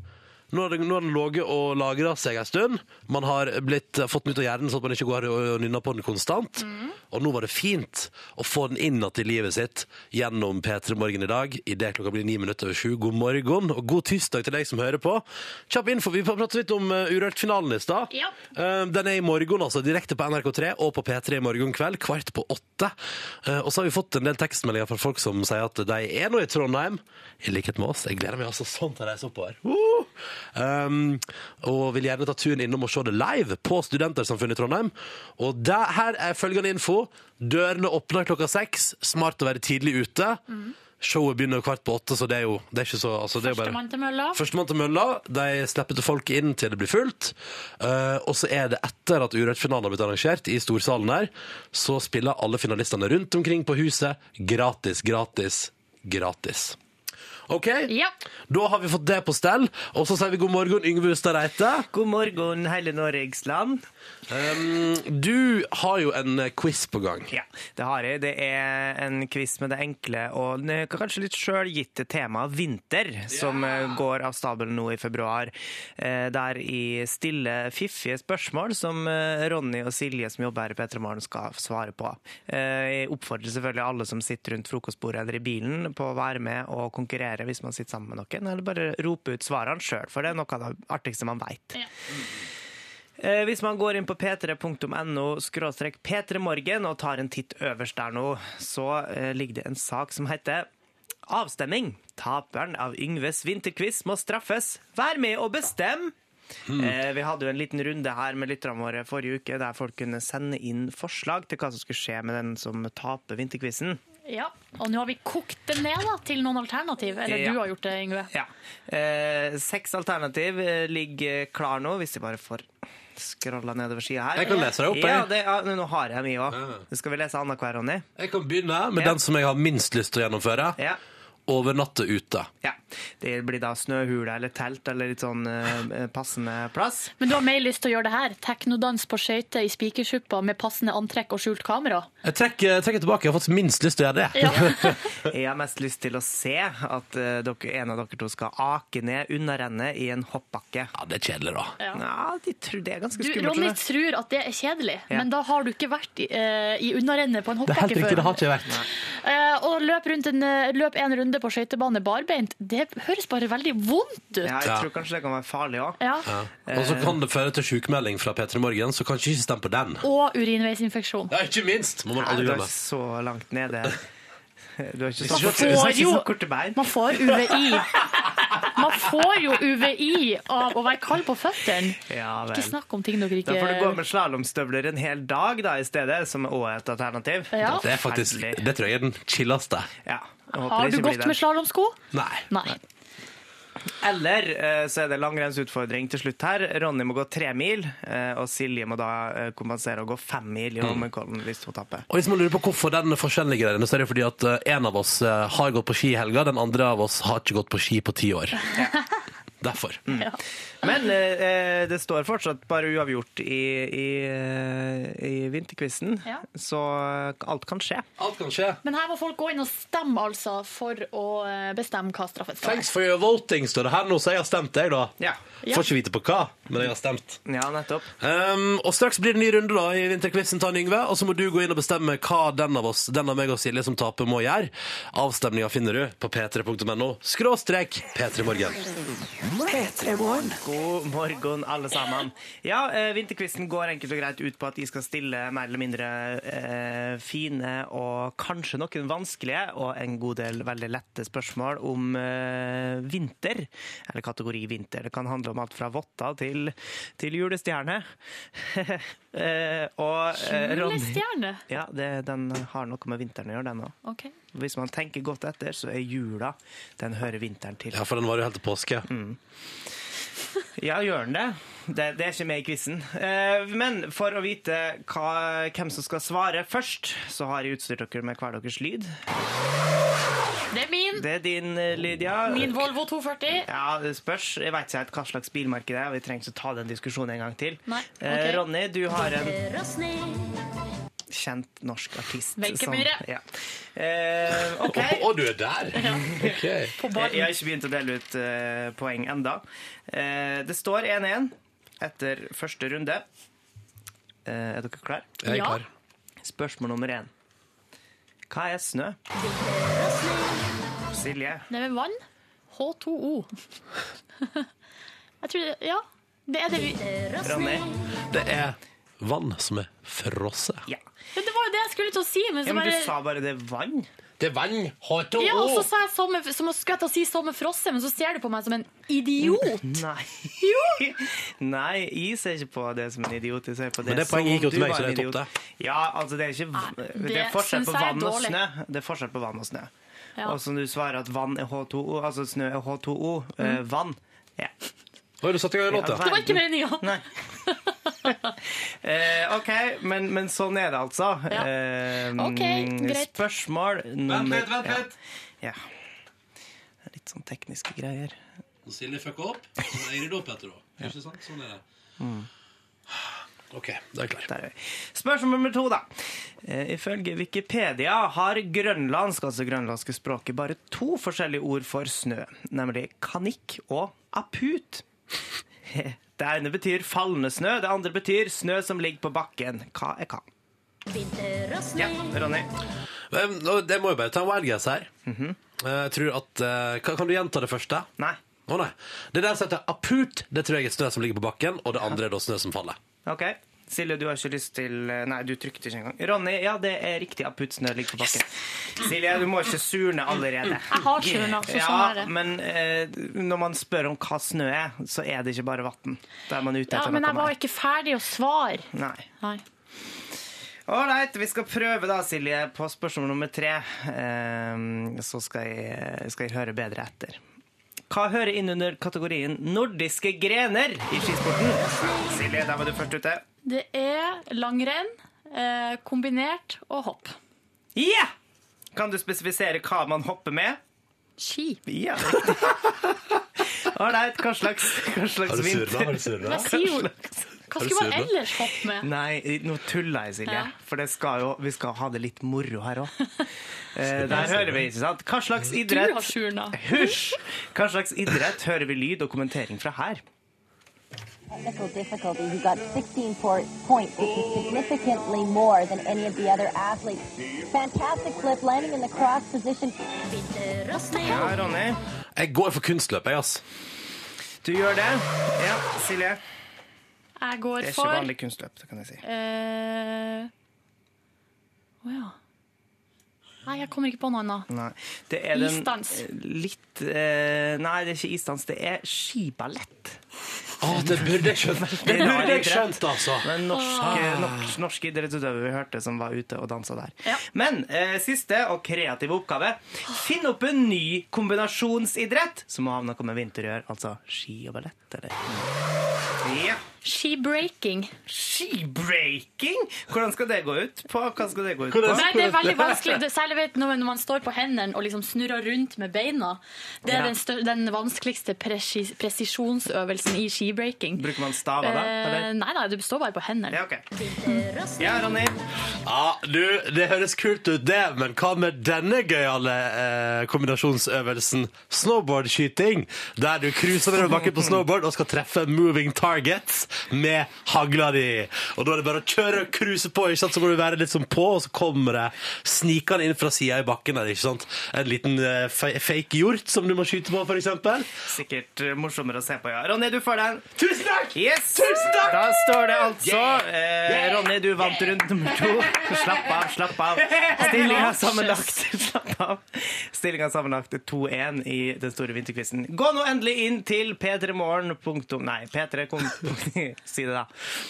Speaker 2: Nå har den, nå har den ligget og lagra seg en stund. Man har blitt, fått den ut av hjernen, sånn at man ikke går og, og nynner på den konstant. Og nå var det fint å få den inn igjen i livet sitt gjennom P3 Morgen i dag. Idet klokka blir ni minutter over sju. God morgen og god tirsdag til deg som hører på. Kjapp info. Vi pratet litt om eh, Urørt-finalen i stad.
Speaker 4: Ja.
Speaker 2: Eh, Den er i morgen, altså. Direkte på NRK3 og på P3 i morgen kveld, kvart på åtte. Eh, Og så har vi fått en del tekstmeldinger fra folk som sier at de er nå i Trondheim, i likhet med oss. Jeg gleder meg altså sånn til å reise oppover. Uh! Um, og vil gjerne ta turen innom og se det live på Studentersamfunnet i Trondheim. Og der, her er følgende info. Dørene åpner klokka seks. Smart å være tidlig ute. Showet begynner kvart på åtte, så det er jo, det er ikke så altså, det er jo bare...
Speaker 4: Førstemann til mølla.
Speaker 2: Førstemann til mølla. De slipper til folk inn til det blir fullt. Eh, og så er det etter at Urørt-finalen har blitt arrangert i storsalen her, så spiller alle finalistene rundt omkring på huset gratis, gratis, gratis. OK,
Speaker 4: Ja.
Speaker 2: da har vi fått det på stell. Og så sier vi god morgen, Yngve Hustad Reite.
Speaker 3: God morgen, hele Norges land.
Speaker 2: Du har jo en eh, quiz på gang.
Speaker 3: Ja, det har jeg. Det er en quiz med det enkle og n- kanskje litt sjølgitte temaet vinter, som eh, går av stabelen nå i februar. Eh, Der i stille, fiffige spørsmål som eh, Ronny og Silje som jobber her i Petra Morgen skal svare på. Eh, Jeg oppfordrer selvfølgelig alle som sitter rundt frokostbordet eller i bilen på å være med og konkurrere gjøre hvis man sitter sammen med noen, eller bare rope ut svarene sjøl, for det er noe av det artigste man veit.
Speaker 4: Ja.
Speaker 3: Eh, Hvis man går inn på p3.no skråstrek p3morgen og tar en titt øverst der nå, så eh, ligger det en sak som heter Avstemning. Taperen av Yngves vinterquiz må straffes. Vær med og bestem!
Speaker 2: Hmm.
Speaker 3: Eh, Vi hadde jo en liten runde her med lytterne våre forrige uke, der folk kunne sende inn forslag til hva som skulle skje med den som taper vinterquizen.
Speaker 4: Ja, og nå har vi kokt det ned da, til noen alternativ. Eller
Speaker 3: Ja.
Speaker 4: du har gjort det, Yngve.
Speaker 3: Ja. Eh, seks alternativ eh, ligger klar nå, hvis jeg bare får scrolla nedover sida her.
Speaker 2: Jeg kan lese det opp, jeg.
Speaker 3: Ja, det, ja, nå har jeg mye òg. Skal vi lese annenhver, Ronny?
Speaker 2: Jeg kan begynne med
Speaker 3: Ja.
Speaker 2: den som jeg har minst lyst til å gjennomføre.
Speaker 3: Ja.
Speaker 2: Overnatte ute.
Speaker 3: ja. Det blir da snøhule eller telt eller litt sånn eh, passende plass.
Speaker 4: Men du har mer lyst til å gjøre det her. Teknodans på skøyter i spikersuppa med passende antrekk og skjult
Speaker 2: [LAUGHS]
Speaker 4: kamera.
Speaker 2: Jeg trekker, jeg trekker tilbake. Jeg har fått minst lyst til å gjøre det.
Speaker 4: Ja.
Speaker 3: Jeg har mest lyst til å se at eh, dere, en av dere to skal ake ned unna rennet i en hoppbakke.
Speaker 2: [LAUGHS] Ja, det er kjedelig, da.
Speaker 4: Ja.
Speaker 3: Ja, de tror det er ganske
Speaker 4: Du,
Speaker 3: skummelt.
Speaker 4: Ronny
Speaker 3: eller?
Speaker 4: tror at det er kjedelig,
Speaker 3: Ja.
Speaker 4: men da har du ikke vært i, eh, i unnarennet på en
Speaker 2: Det er helt
Speaker 4: hoppbakke
Speaker 2: riktig, det
Speaker 4: før.
Speaker 2: har ikke jeg vært.
Speaker 4: Eh, og løp, rundt en, eh, løp en runde på skøytebane barbeint, det høres bare veldig vondt ut.
Speaker 3: Ja, jeg
Speaker 2: Ja.
Speaker 3: tror kanskje det kan være farlig òg.
Speaker 4: Ja.
Speaker 2: Og så kan det føre til sjukmelding fra P3 Morgen, så kanskje ikke stem på den.
Speaker 4: Og urinveisinfeksjon.
Speaker 2: Ja, ikke minst! Må man
Speaker 3: Nei,
Speaker 2: aldri
Speaker 3: Du er
Speaker 2: glemme.
Speaker 3: ikke så langt [LAUGHS] nede. Du har ikke så,
Speaker 2: Man
Speaker 3: du
Speaker 4: får
Speaker 3: har ikke så
Speaker 4: jo-
Speaker 3: korte bein.
Speaker 4: Man får UVI. Man får jo UVI av å være kald på føttene.
Speaker 3: Ja,
Speaker 4: Ikke
Speaker 3: vel.
Speaker 4: snakk om ting dere ikke
Speaker 3: Da får du gå med slalåmstøvler en hel dag da, i stedet, som også er et alternativ.
Speaker 4: Ja.
Speaker 2: Det er faktisk Det tror jeg er den chilleste.
Speaker 3: Ja, jeg håper
Speaker 4: Har
Speaker 3: det
Speaker 4: du
Speaker 3: ikke blir
Speaker 4: gått
Speaker 3: den.
Speaker 4: med slalåmsko?
Speaker 2: Nei.
Speaker 4: Nei.
Speaker 3: Eller eh, så er det langrennsutfordring til slutt her. Ronny må gå tre mil, eh, og Silje må da eh, kompensere og gå fem mil i Holmenkollen hvis hun tapper.
Speaker 2: Og hvis man lurer på hvorfor den forskjellen ligger der inne, så er det fordi at eh, en av oss eh, har gått på ski i helga, den andre av oss har ikke gått på ski på ti år. [LAUGHS] Derfor.
Speaker 3: Men eh, eh, det står fortsatt bare uavgjort i, i, eh, i vinterquizen,
Speaker 4: Ja.
Speaker 3: så alt kan skje.
Speaker 2: Alt kan skje.
Speaker 4: Men her må folk gå inn og stemme altså for å eh, bestemme hva straffen skal være.
Speaker 2: Thanks for your voting, står det her nå, så jeg har stemt, jeg, da.
Speaker 3: Ja.
Speaker 4: Ja.
Speaker 2: Får ikke vite på hva, men jeg har stemt.
Speaker 3: Ja, nettopp.
Speaker 2: Um, og straks blir det ny runde da i vinterquizen til Yngve, og så må du gå inn og bestemme hva den av oss, den av meg og Silje som taper, må gjøre. Avstemninga finner du på p3.no skråstrek p3morgen.
Speaker 1: P3 Morgen.
Speaker 3: God morgen, alle sammen. Ja, eh, Vinterquizen går enkelt og greit ut på at de skal stille mer eller mindre eh, fine og kanskje noen vanskelige og en god del veldig lette spørsmål om eh, vinter. Eller kategori vinter. Det kan handle om alt fra votter til, til julestjerne. [LAUGHS] eh, og eh, Ronny
Speaker 4: Julestjerne.
Speaker 3: ja, det, den har noe med vinteren å gjøre, den òg.
Speaker 4: Ok.
Speaker 3: Hvis man tenker godt etter, så er jula Den hører vinteren til.
Speaker 2: Ja, for den varer jo helt til påske.
Speaker 4: Mm.
Speaker 3: Ja, gjør den det? Det, det er ikke med i quizen. Eh, men for å vite hva, hvem som skal svare først, så har jeg utstyrt dere med hver deres lyd.
Speaker 4: Det er min,
Speaker 3: Det er din, eh, Lydia.
Speaker 4: min Volvo 240.
Speaker 3: Ja, det spørs. Jeg vet ikke helt hva slags bilmarked det er, og vi trenger ikke ta den diskusjonen en gang til.
Speaker 4: Nei, ok. Eh,
Speaker 3: Eh, Ronny, du har en kjent norsk artist.
Speaker 4: Wenche
Speaker 3: som-
Speaker 4: Myhre.
Speaker 3: Ja. Eh, OK.
Speaker 2: Å, å, du er der! Ok.
Speaker 4: På
Speaker 3: Jeg, jeg
Speaker 4: baren.
Speaker 3: har ikke begynt å dele ut eh, poeng enda. Eh, det står 1-1 etter første runde. Eh, er dere klare?
Speaker 2: Jeg er
Speaker 4: Ja.
Speaker 2: klar.
Speaker 3: Spørsmål nummer én. Hva er snø? Silje.
Speaker 4: Det er med vann. H2O. [LAUGHS] Jeg tror det Ja. Det er det vi
Speaker 3: Ronny.
Speaker 2: Det er vann som er frosset.
Speaker 3: Ja.
Speaker 4: Men Det var jo det jeg skulle til å si, men
Speaker 3: ja,
Speaker 4: så
Speaker 3: men du
Speaker 4: bare
Speaker 3: sa bare det er vann.
Speaker 2: Det er vann! H2O!
Speaker 4: ja, og så sa jeg som, som jeg skulle til å si som en frosse, men så ser du på meg som en idiot.
Speaker 3: Nei. [LAUGHS] Nei, jeg ser ikke på det som en idiot. Jeg ser på det
Speaker 2: Men det
Speaker 3: som
Speaker 2: poenget gikk jo
Speaker 3: om
Speaker 2: til
Speaker 3: du
Speaker 2: meg,
Speaker 3: var
Speaker 2: så det
Speaker 3: en
Speaker 2: er topp,
Speaker 3: idiot. Ja, altså det er ikke
Speaker 4: Nei,
Speaker 3: Det er
Speaker 4: Ah, det
Speaker 3: forskjell
Speaker 4: synes
Speaker 3: på
Speaker 4: jeg er
Speaker 3: vann og
Speaker 4: dårlig.
Speaker 3: snø. Det er forskjell på vann og snø.
Speaker 4: Ja.
Speaker 3: Og som du svarer at vann er H2O, altså snø er H2O. eh,
Speaker 4: Mm.
Speaker 3: vann. Ja.
Speaker 2: Oi, du satte i gang en låt, ja.
Speaker 4: Det var ikke meninga.
Speaker 3: Nei. eh, OK, men, men sånn er det altså.
Speaker 4: Ja.
Speaker 3: Eh,
Speaker 4: [LAUGHS] Ok, greit.
Speaker 3: Spørsmål nummer
Speaker 2: Vent litt, vent litt.
Speaker 3: Ja. ja. Litt sånn tekniske greier.
Speaker 2: Når Silje fucker opp, så må jeg rydde opp etter henne. Ikke sant? Sånn er det.
Speaker 4: Mm.
Speaker 2: OK, da er jeg klar.
Speaker 3: Der er vi. Spørsmål nummer to, da. Eh, ifølge Wikipedia har grønlandsk, altså grønlandske språket, bare to forskjellige ord for snø, nemlig kanikk og aput. [LAUGHS] Det ene betyr fallende snø, det andre betyr snø som ligger på bakken. Hva er hva? Ja, Ronny.
Speaker 2: Men, nå, Det må jo bare ta en wild guess her. Eh, Jeg tror at eh, kan, kan du gjenta det første?
Speaker 3: Nei.
Speaker 2: Å nei. Det der som heter aput, det tror jeg er snø som ligger på bakken, og det andre er da snø som faller.
Speaker 3: OK. Silje, du har ikke lyst til eh, Nei, du trykte ikke engang. Ronny, ja, det er riktig. Aputt snø ligger på bakken. Silje, du må ikke surne allerede.
Speaker 4: Jeg har surna, så sånn er
Speaker 3: Ja,
Speaker 4: det.
Speaker 3: men eh, når man spør om hva snø er, så er det ikke bare vann. Da er man ute
Speaker 4: Ja,
Speaker 3: etter
Speaker 4: men
Speaker 3: noe
Speaker 4: jeg var
Speaker 3: mer.
Speaker 4: ikke ferdig å svare.
Speaker 3: Nei.
Speaker 4: Nei.
Speaker 3: Ålreit, vi skal prøve da, Silje, på spørsmål nummer tre. Ehm, Så skal jeg, skal jeg høre bedre etter. Hva hører inn under kategorien 'nordiske grener' i skisporten? Silje, der var du først ute.
Speaker 4: Det er langrenn, eh, kombinert og hopp.
Speaker 3: Ja! Kan du spesifisere hva man hopper med?
Speaker 4: Ski.
Speaker 3: Ja, riktig.
Speaker 4: [LAUGHS]
Speaker 3: Ålreit, hva slags, hva slags vinter
Speaker 2: Har du surra?
Speaker 4: Jeg sier jo Hva skulle man
Speaker 2: surna?
Speaker 4: ellers hoppe med?
Speaker 3: Nei, nå tuller jeg, Silje.
Speaker 4: Ja.
Speaker 3: For det skal jo, vi skal ha det litt moro her
Speaker 4: [LAUGHS]
Speaker 3: òg. Der hører vi, ikke sant? Hva slags idrett
Speaker 4: Du har surna.
Speaker 3: Hysj! Hva slags idrett hører vi lyd og kommentering fra her?
Speaker 5: technical difficulty. He got 16 por- points, which is significantly more than any of the other athletes. Fantastic flip, landing in the cross position.
Speaker 3: Ja, Ronny.
Speaker 2: Jeg går for kunstløp, jeg, ass.
Speaker 3: Du gjør det. Ja, Silje.
Speaker 4: Jeg går
Speaker 3: Det er ikke
Speaker 4: for
Speaker 3: vanlig kunstløp, det kan jeg si.
Speaker 4: eh, Å ja. Nei, jeg kommer ikke på noe annet.
Speaker 3: Nei. Det er den,
Speaker 4: Isdans.
Speaker 3: eh, Litt eh, Nei, det er ikke isdans. Det er skiballett.
Speaker 2: Å, det burde jeg skjønt. Det burde jeg skjønt, altså.
Speaker 3: Den norske, norsk, norske idrettsutøver vi hørte som var ute og dansa der.
Speaker 4: Ja.
Speaker 3: Men eh, siste og kreative oppgave. Finn opp en ny kombinasjonsidrett som må ha noe med vinter å gjøre. Altså ski og ballett, eller? Ja.
Speaker 4: Skibreaking.
Speaker 3: Skibreaking? Hvordan skal det gå ut? På, hva skal det gå ut
Speaker 2: Hvordan-
Speaker 3: på?
Speaker 4: Nei, det er
Speaker 3: [LAUGHS]
Speaker 4: veldig vanskelig. Det- Særlig vet, når når man står på hendene og liksom snurrer rundt med beina. Det er
Speaker 3: Ja.
Speaker 4: den, stør, den vanskeligste presi presisjonsøvelsen i skibreaking.
Speaker 3: Bruker man staver da?
Speaker 4: Eh,
Speaker 3: Eller?
Speaker 4: nei, nei, du står bare på hendene.
Speaker 3: Ja, OK. Ja, Ronny.
Speaker 2: Ja, du, det høres kult ut, det, men hva med denne gøyale eh, kombinasjonsøvelsen snowboardskyting? Der du cruiser nedover bakken på snowboard og skal treffe moving targets med hagla di. Og da er det bare å kjøre og cruise på, ikke sant? så må du være litt sånn på, og så kommer det snikende inn fra sida i bakken der, ikke sant. En liten eh, fe fake hjort som du må skyte på, for eksempel.
Speaker 3: Sikkert eh, morsommere å se på, ja. Ronny, du får den.
Speaker 2: Tusen takk!
Speaker 3: Yes!
Speaker 2: Tusen takk!
Speaker 3: Da står det altså eh, Ronny, du vant rundt nummer to. Slapp av, slapp av.
Speaker 2: [LAUGHS]
Speaker 3: Stillinga sammenlagt [LAUGHS] Slapp av. Stillinga sammenlagt er 2-1 i den store vinterquizen. Gå nå endelig inn til p3morgen.no Nei, p3 kom... [LAUGHS] Si det, da.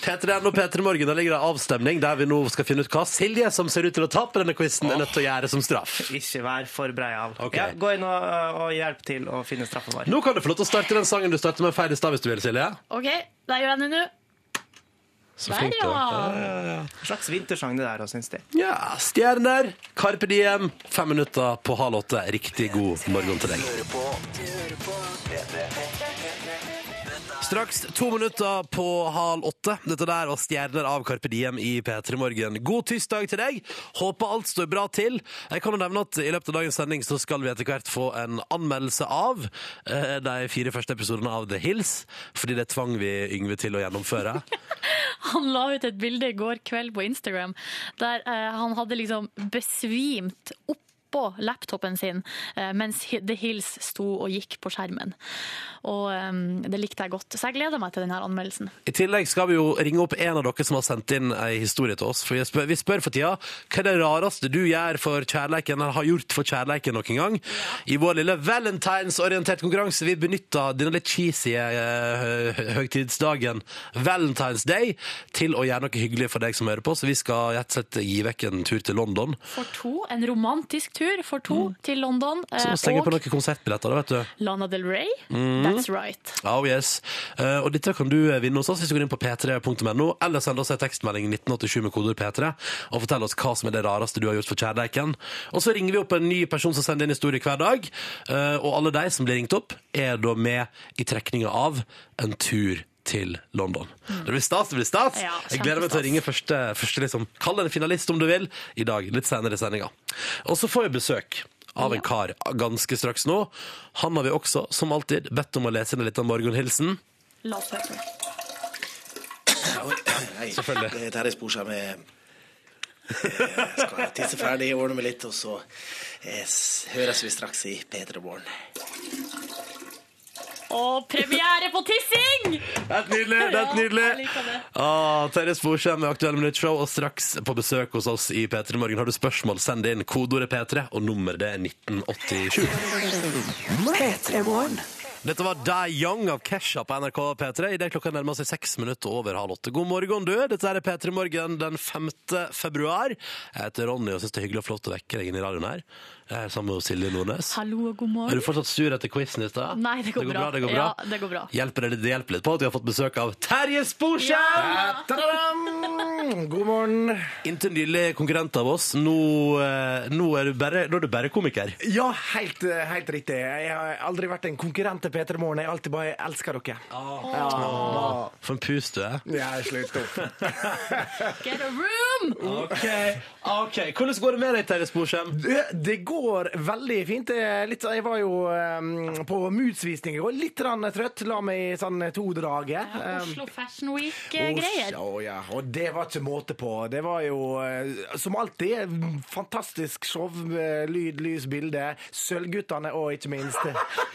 Speaker 2: P3 N og P3 Morgen, der ligger det avstemning der vi nå skal finne ut hva Silje, som ser ut til å tape denne quizen, er nødt til å gjøre som straff.
Speaker 3: Ikke vær for brei av.
Speaker 2: Ok.
Speaker 3: Ja, gå inn og, og hjelp til å finne straffen vår.
Speaker 2: Nå kan du få lov til å starte den sangen du startet med feil i stad, hvis du vil, Silje.
Speaker 4: OK, der gjør jeg det nå.
Speaker 2: Så
Speaker 4: Der,
Speaker 2: du
Speaker 4: ja.
Speaker 3: Hva slags vintersang det der òg, syns de.
Speaker 2: Ja, Stjerner, Carpe Diem, fem minutter på halv åtte. Riktig god morgen til deg. Straks to minutter på halv åtte. Dette der var Stjerner av Carpe Diem i P3 Morgen. God tirsdag til deg. Håper alt står bra til. Jeg kan jo nevne at i løpet av dagens sending så skal vi etter hvert få en anmeldelse av eh, de fire første episodene av The Hills, fordi det tvang vi Yngve til å gjennomføre.
Speaker 4: Han la ut et bilde i går kveld på Instagram der eh, han hadde liksom besvimt oppå laptopen sin eh, mens Hi- The Hills sto og gikk på skjermen. Og eh, det likte jeg godt. Så jeg gleder meg til denne anmeldelsen.
Speaker 2: I tillegg skal vi jo ringe opp en av dere som har sendt inn ei historie til oss. For vi spør, vi spør for tida hva er det rareste du gjør for kjærleiken, eller har gjort for kjærleiken noen gang. I vår lille valentinsorientert konkurranse vi benytter denne litt cheesy eh, hø- høgtidsdagen, Valentine's Day, til å gjøre noe hyggelig for deg som hører på. Så vi skal rett og slett gi vekk en tur til London.
Speaker 4: For to, en romantisk tur for to til London. eh,
Speaker 2: Mm. Så slenger vi på Mm.
Speaker 4: og
Speaker 2: noen konsertbilletter, da, vet du.
Speaker 4: Lana Del Rey. That's right.
Speaker 2: Oh yes. Eh, og dette kan du eh, vinne hos oss hvis du går inn på p3.no, eller send oss en tekstmelding 1987 med kodeord P3, og fortell oss hva som er det rareste du har gjort for kjærleiken. Og så ringer vi opp en ny person som sender inn historie hver dag, eh, og alle de som blir ringt opp, er da med i trekninga av en tur til London. Det blir stas, det blir stas.
Speaker 4: Ja,
Speaker 2: jeg gleder meg til å
Speaker 4: kjempestas.
Speaker 2: ringe første, første liksom, kall det en finalist om du vil, i dag, litt senere i sendinga. Og så får jeg besøk av en kar ganske straks nå. Han har vi også, som alltid, bedt om å lese inn en liten morgenhilsen.
Speaker 4: La oss høre på.
Speaker 6: Oi, oi, oi.
Speaker 2: Selvfølgelig.
Speaker 6: Det der er sporet med Skal eh, jeg tisse ferdig, ordne meg litt, og så eh, s- høres vi straks i P3 Morgen.
Speaker 4: Og premiere på tissing!
Speaker 2: Det er nydelig! det er nydelig
Speaker 4: Ja, jeg liker det.
Speaker 2: ah, Terje Sporsem med Aktuelle Minuttshow og straks på besøk hos oss i P3 Morgen. Har du spørsmål, send inn kodeordet P3, og nummeret det er 1987. Dette var Die Young av Kesha på NRK P3 idet klokka nærmer seg seks minutter over halv åtte. God morgen, du. Dette er P3 Morgen den 5. februar. Jeg heter Ronny og syns det er hyggelig og flott å vekke deg inn i radioen her Jeg er sammen med Silje Nordnes.
Speaker 4: Hallo og god
Speaker 2: Er
Speaker 4: morgen.
Speaker 2: du fortsatt sur etter quizen i stad?
Speaker 4: Nei, det går, bra.
Speaker 2: det går bra.
Speaker 4: Ja, det går bra.
Speaker 2: Hjelper det, det hjelper litt på at vi har fått besøk av Terje Sporsem!
Speaker 6: Ta-da-dam! God morgen.
Speaker 2: Inntil nylig konkurrent av oss. Nå, eh, nå, er, du bare, nå er du bare komiker.
Speaker 6: Ja, helt, helt riktig. Jeg har aldri vært en konkurrent til P3 Morgen. Jeg har alltid bare elska dere.
Speaker 2: For en pus du er.
Speaker 6: Ja, slutt opp.
Speaker 4: Get a room!
Speaker 2: Ok, ok. Hvordan går det med deg, Terje Sporsem?
Speaker 6: Det, det går veldig fint. Det er Litt, jeg var jo eh, på Moods-visning i går. Litt rann trøtt. La meg i sånn to draget.
Speaker 2: um,
Speaker 4: Oslo Fashion eh, Week-greier.
Speaker 6: Å, ja. Og det var ikke måte på. Det var jo, eh, som alltid, fantastisk show. eh, Lyd, lys, bilde. Sølvguttene og
Speaker 4: [LAUGHS]
Speaker 6: ikke minst